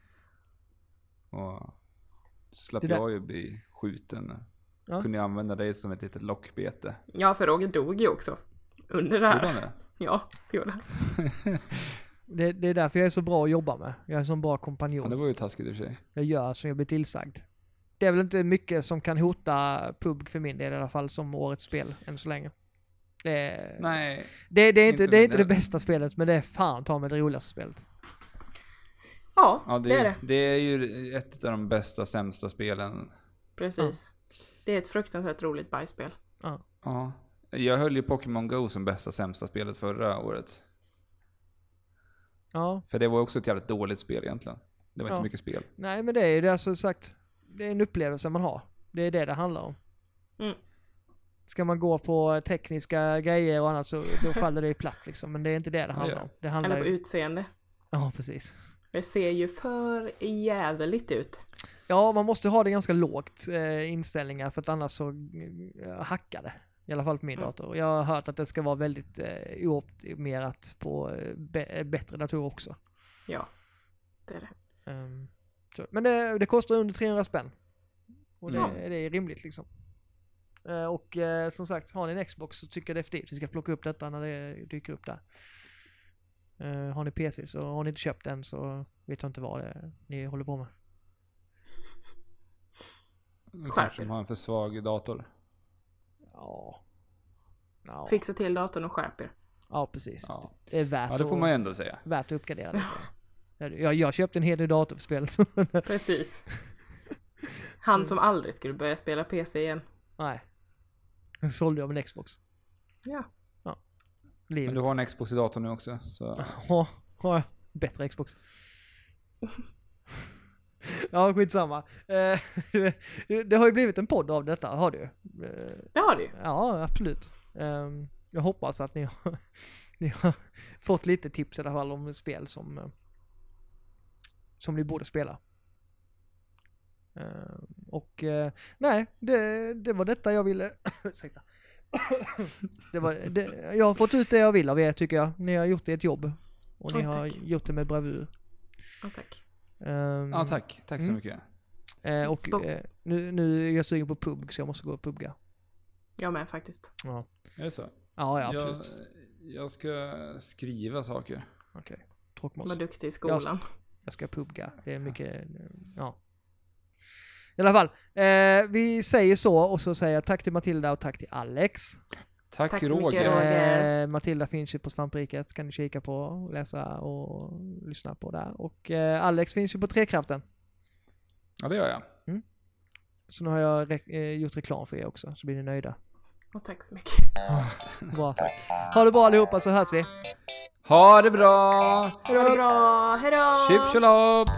[SPEAKER 3] Och slapp
[SPEAKER 1] Det där-
[SPEAKER 3] jag ju bli skjuten.
[SPEAKER 1] Ja.
[SPEAKER 3] Kunde jag använda dig som ett litet lockbete.
[SPEAKER 2] Ja, för Roger dog ju också. Under det
[SPEAKER 3] Gjorde han
[SPEAKER 2] här.
[SPEAKER 3] det?
[SPEAKER 2] Ja, det gjorde han.
[SPEAKER 1] Det, det är därför jag är så bra att jobba med. Jag är en sån bra kompanjon.
[SPEAKER 3] Ja, det var ju taskigt i och för sig.
[SPEAKER 1] jag gör som jag blir tillsagd. Det är väl inte mycket som kan hota PUBG för min del i alla fall som årets spel än så länge. Det är,
[SPEAKER 3] Nej.
[SPEAKER 1] det, det är, inte,
[SPEAKER 3] inte
[SPEAKER 1] det, är
[SPEAKER 3] min
[SPEAKER 1] inte det
[SPEAKER 3] del.
[SPEAKER 1] bästa spelet men det är fan ta mig det roligaste spelet.
[SPEAKER 2] Ja,
[SPEAKER 3] Ja, det,
[SPEAKER 2] det är det.
[SPEAKER 3] det är ju ett av de bästa, sämsta spelen
[SPEAKER 2] Precis. Det är ett fruktansvärt roligt bajsspel.
[SPEAKER 1] Ja.
[SPEAKER 3] Ja. Jag höll ju Pokémon Go som bästa sämsta spelet förra året.
[SPEAKER 1] ja.
[SPEAKER 3] För det var också ett jävligt dåligt spel egentligen. Det var
[SPEAKER 1] Ja.
[SPEAKER 3] inte mycket spel.
[SPEAKER 1] Nej men det är ju det är alltså sagt. Det är en upplevelse man har. Det är det det handlar om.
[SPEAKER 2] Mm.
[SPEAKER 1] Ska man gå på tekniska grejer och annat så då faller det ju platt liksom. Men det är inte det det handlar
[SPEAKER 3] gör.
[SPEAKER 1] om. Det handlar
[SPEAKER 2] Eller på
[SPEAKER 1] ju...
[SPEAKER 2] utseende.
[SPEAKER 1] Ja precis.
[SPEAKER 2] Det ser ju för jävligt ut.
[SPEAKER 1] Ja, man måste ha det ganska lågt eh, inställningar för att annars så eh, hackar det. I alla fall på min
[SPEAKER 2] Mm.
[SPEAKER 1] dator. Jag har hört att det ska vara väldigt eh, ooptimerat på eh, bä- bättre datorer också.
[SPEAKER 2] Ja, det är det.
[SPEAKER 1] Ehm, så. Men det, det kostar under 300 spänn. Och det,
[SPEAKER 3] Mm.
[SPEAKER 1] det är rimligt liksom. Eh, och eh, som sagt, har ni en Xbox så tycker jag definitivt vi ska plocka upp detta när det dyker upp där. Eh, har ni PC så har ni inte köpt den så vet jag inte vad det är ni håller på med.
[SPEAKER 2] Skärp
[SPEAKER 3] Kanske
[SPEAKER 2] er.
[SPEAKER 3] de har en för svag dator.
[SPEAKER 1] Ja. Ja,
[SPEAKER 2] Fixa till datorn och skärp er.
[SPEAKER 1] ja precis.
[SPEAKER 3] Ja.
[SPEAKER 1] Det är värt,
[SPEAKER 3] ja, det får
[SPEAKER 1] att,
[SPEAKER 3] man ju ändå säga.
[SPEAKER 1] värt att uppgradera det. Ja, Jag, jag köpte en hel del datorspel. så-
[SPEAKER 2] Precis. Han som aldrig skulle börja spela PC igen.
[SPEAKER 1] Nej. Sen sålde jag min Xbox.
[SPEAKER 2] Ja.
[SPEAKER 1] Livet.
[SPEAKER 3] Men du har en Xbox i datorn nu också. Så.
[SPEAKER 1] Ja, har jag. Bättre Xbox. Ja, skitsamma. Eh, Det har ju blivit en podd av detta, har du Eh,
[SPEAKER 2] Det har du ju.
[SPEAKER 1] Ja, absolut. Ehm, Jag hoppas att ni har, ni har fått lite tips i alla fall om spel som, eh, som ni borde spela. Ehm, Och eh, nej, det, det var detta jag ville... Ursäkta. det var, det, jag har fått ut det jag vill av er tycker jag. Ni har gjort ert jobb. Och ni
[SPEAKER 2] Oj,
[SPEAKER 1] har
[SPEAKER 2] tack.
[SPEAKER 1] gjort det med bravur.
[SPEAKER 2] Ja, tack.
[SPEAKER 1] Ehm,
[SPEAKER 3] Ja, tack. Tack så
[SPEAKER 1] Mm.
[SPEAKER 3] mycket.
[SPEAKER 1] eh, Och
[SPEAKER 2] Bo-
[SPEAKER 1] eh, nu, nu är jag sugen på pub så jag måste gå och pubga.
[SPEAKER 2] Jag med faktiskt.
[SPEAKER 3] Är det så?
[SPEAKER 1] Ja, ja absolut.
[SPEAKER 3] Jag, jag ska skriva saker.
[SPEAKER 1] Okej. Tråkmåns.
[SPEAKER 2] Var duktig i skolan.
[SPEAKER 1] Jag ska pubga. Det är mycket, ja. I alla fall, eh, vi säger så och så säger jag tack till Matilda och tack till Alex.
[SPEAKER 3] Tack,
[SPEAKER 2] Tack så mycket,
[SPEAKER 3] Roger.
[SPEAKER 2] Roger. Roger.
[SPEAKER 1] Eh, Matilda finns ju på Svampriket, kan ni kika på, läsa och lyssna på där. Och eh, Alex finns ju på Trekraften.
[SPEAKER 3] Ja, det gör jag.
[SPEAKER 1] Så nu har jag re- eh, gjort reklam för er också, så blir ni nöjda.
[SPEAKER 2] Och tack så mycket.
[SPEAKER 1] Bra. Ha det bra allihopa så hörs vi.
[SPEAKER 3] Ha det bra!
[SPEAKER 2] Ha det bra. Hejdå!
[SPEAKER 3] Chips och lopp!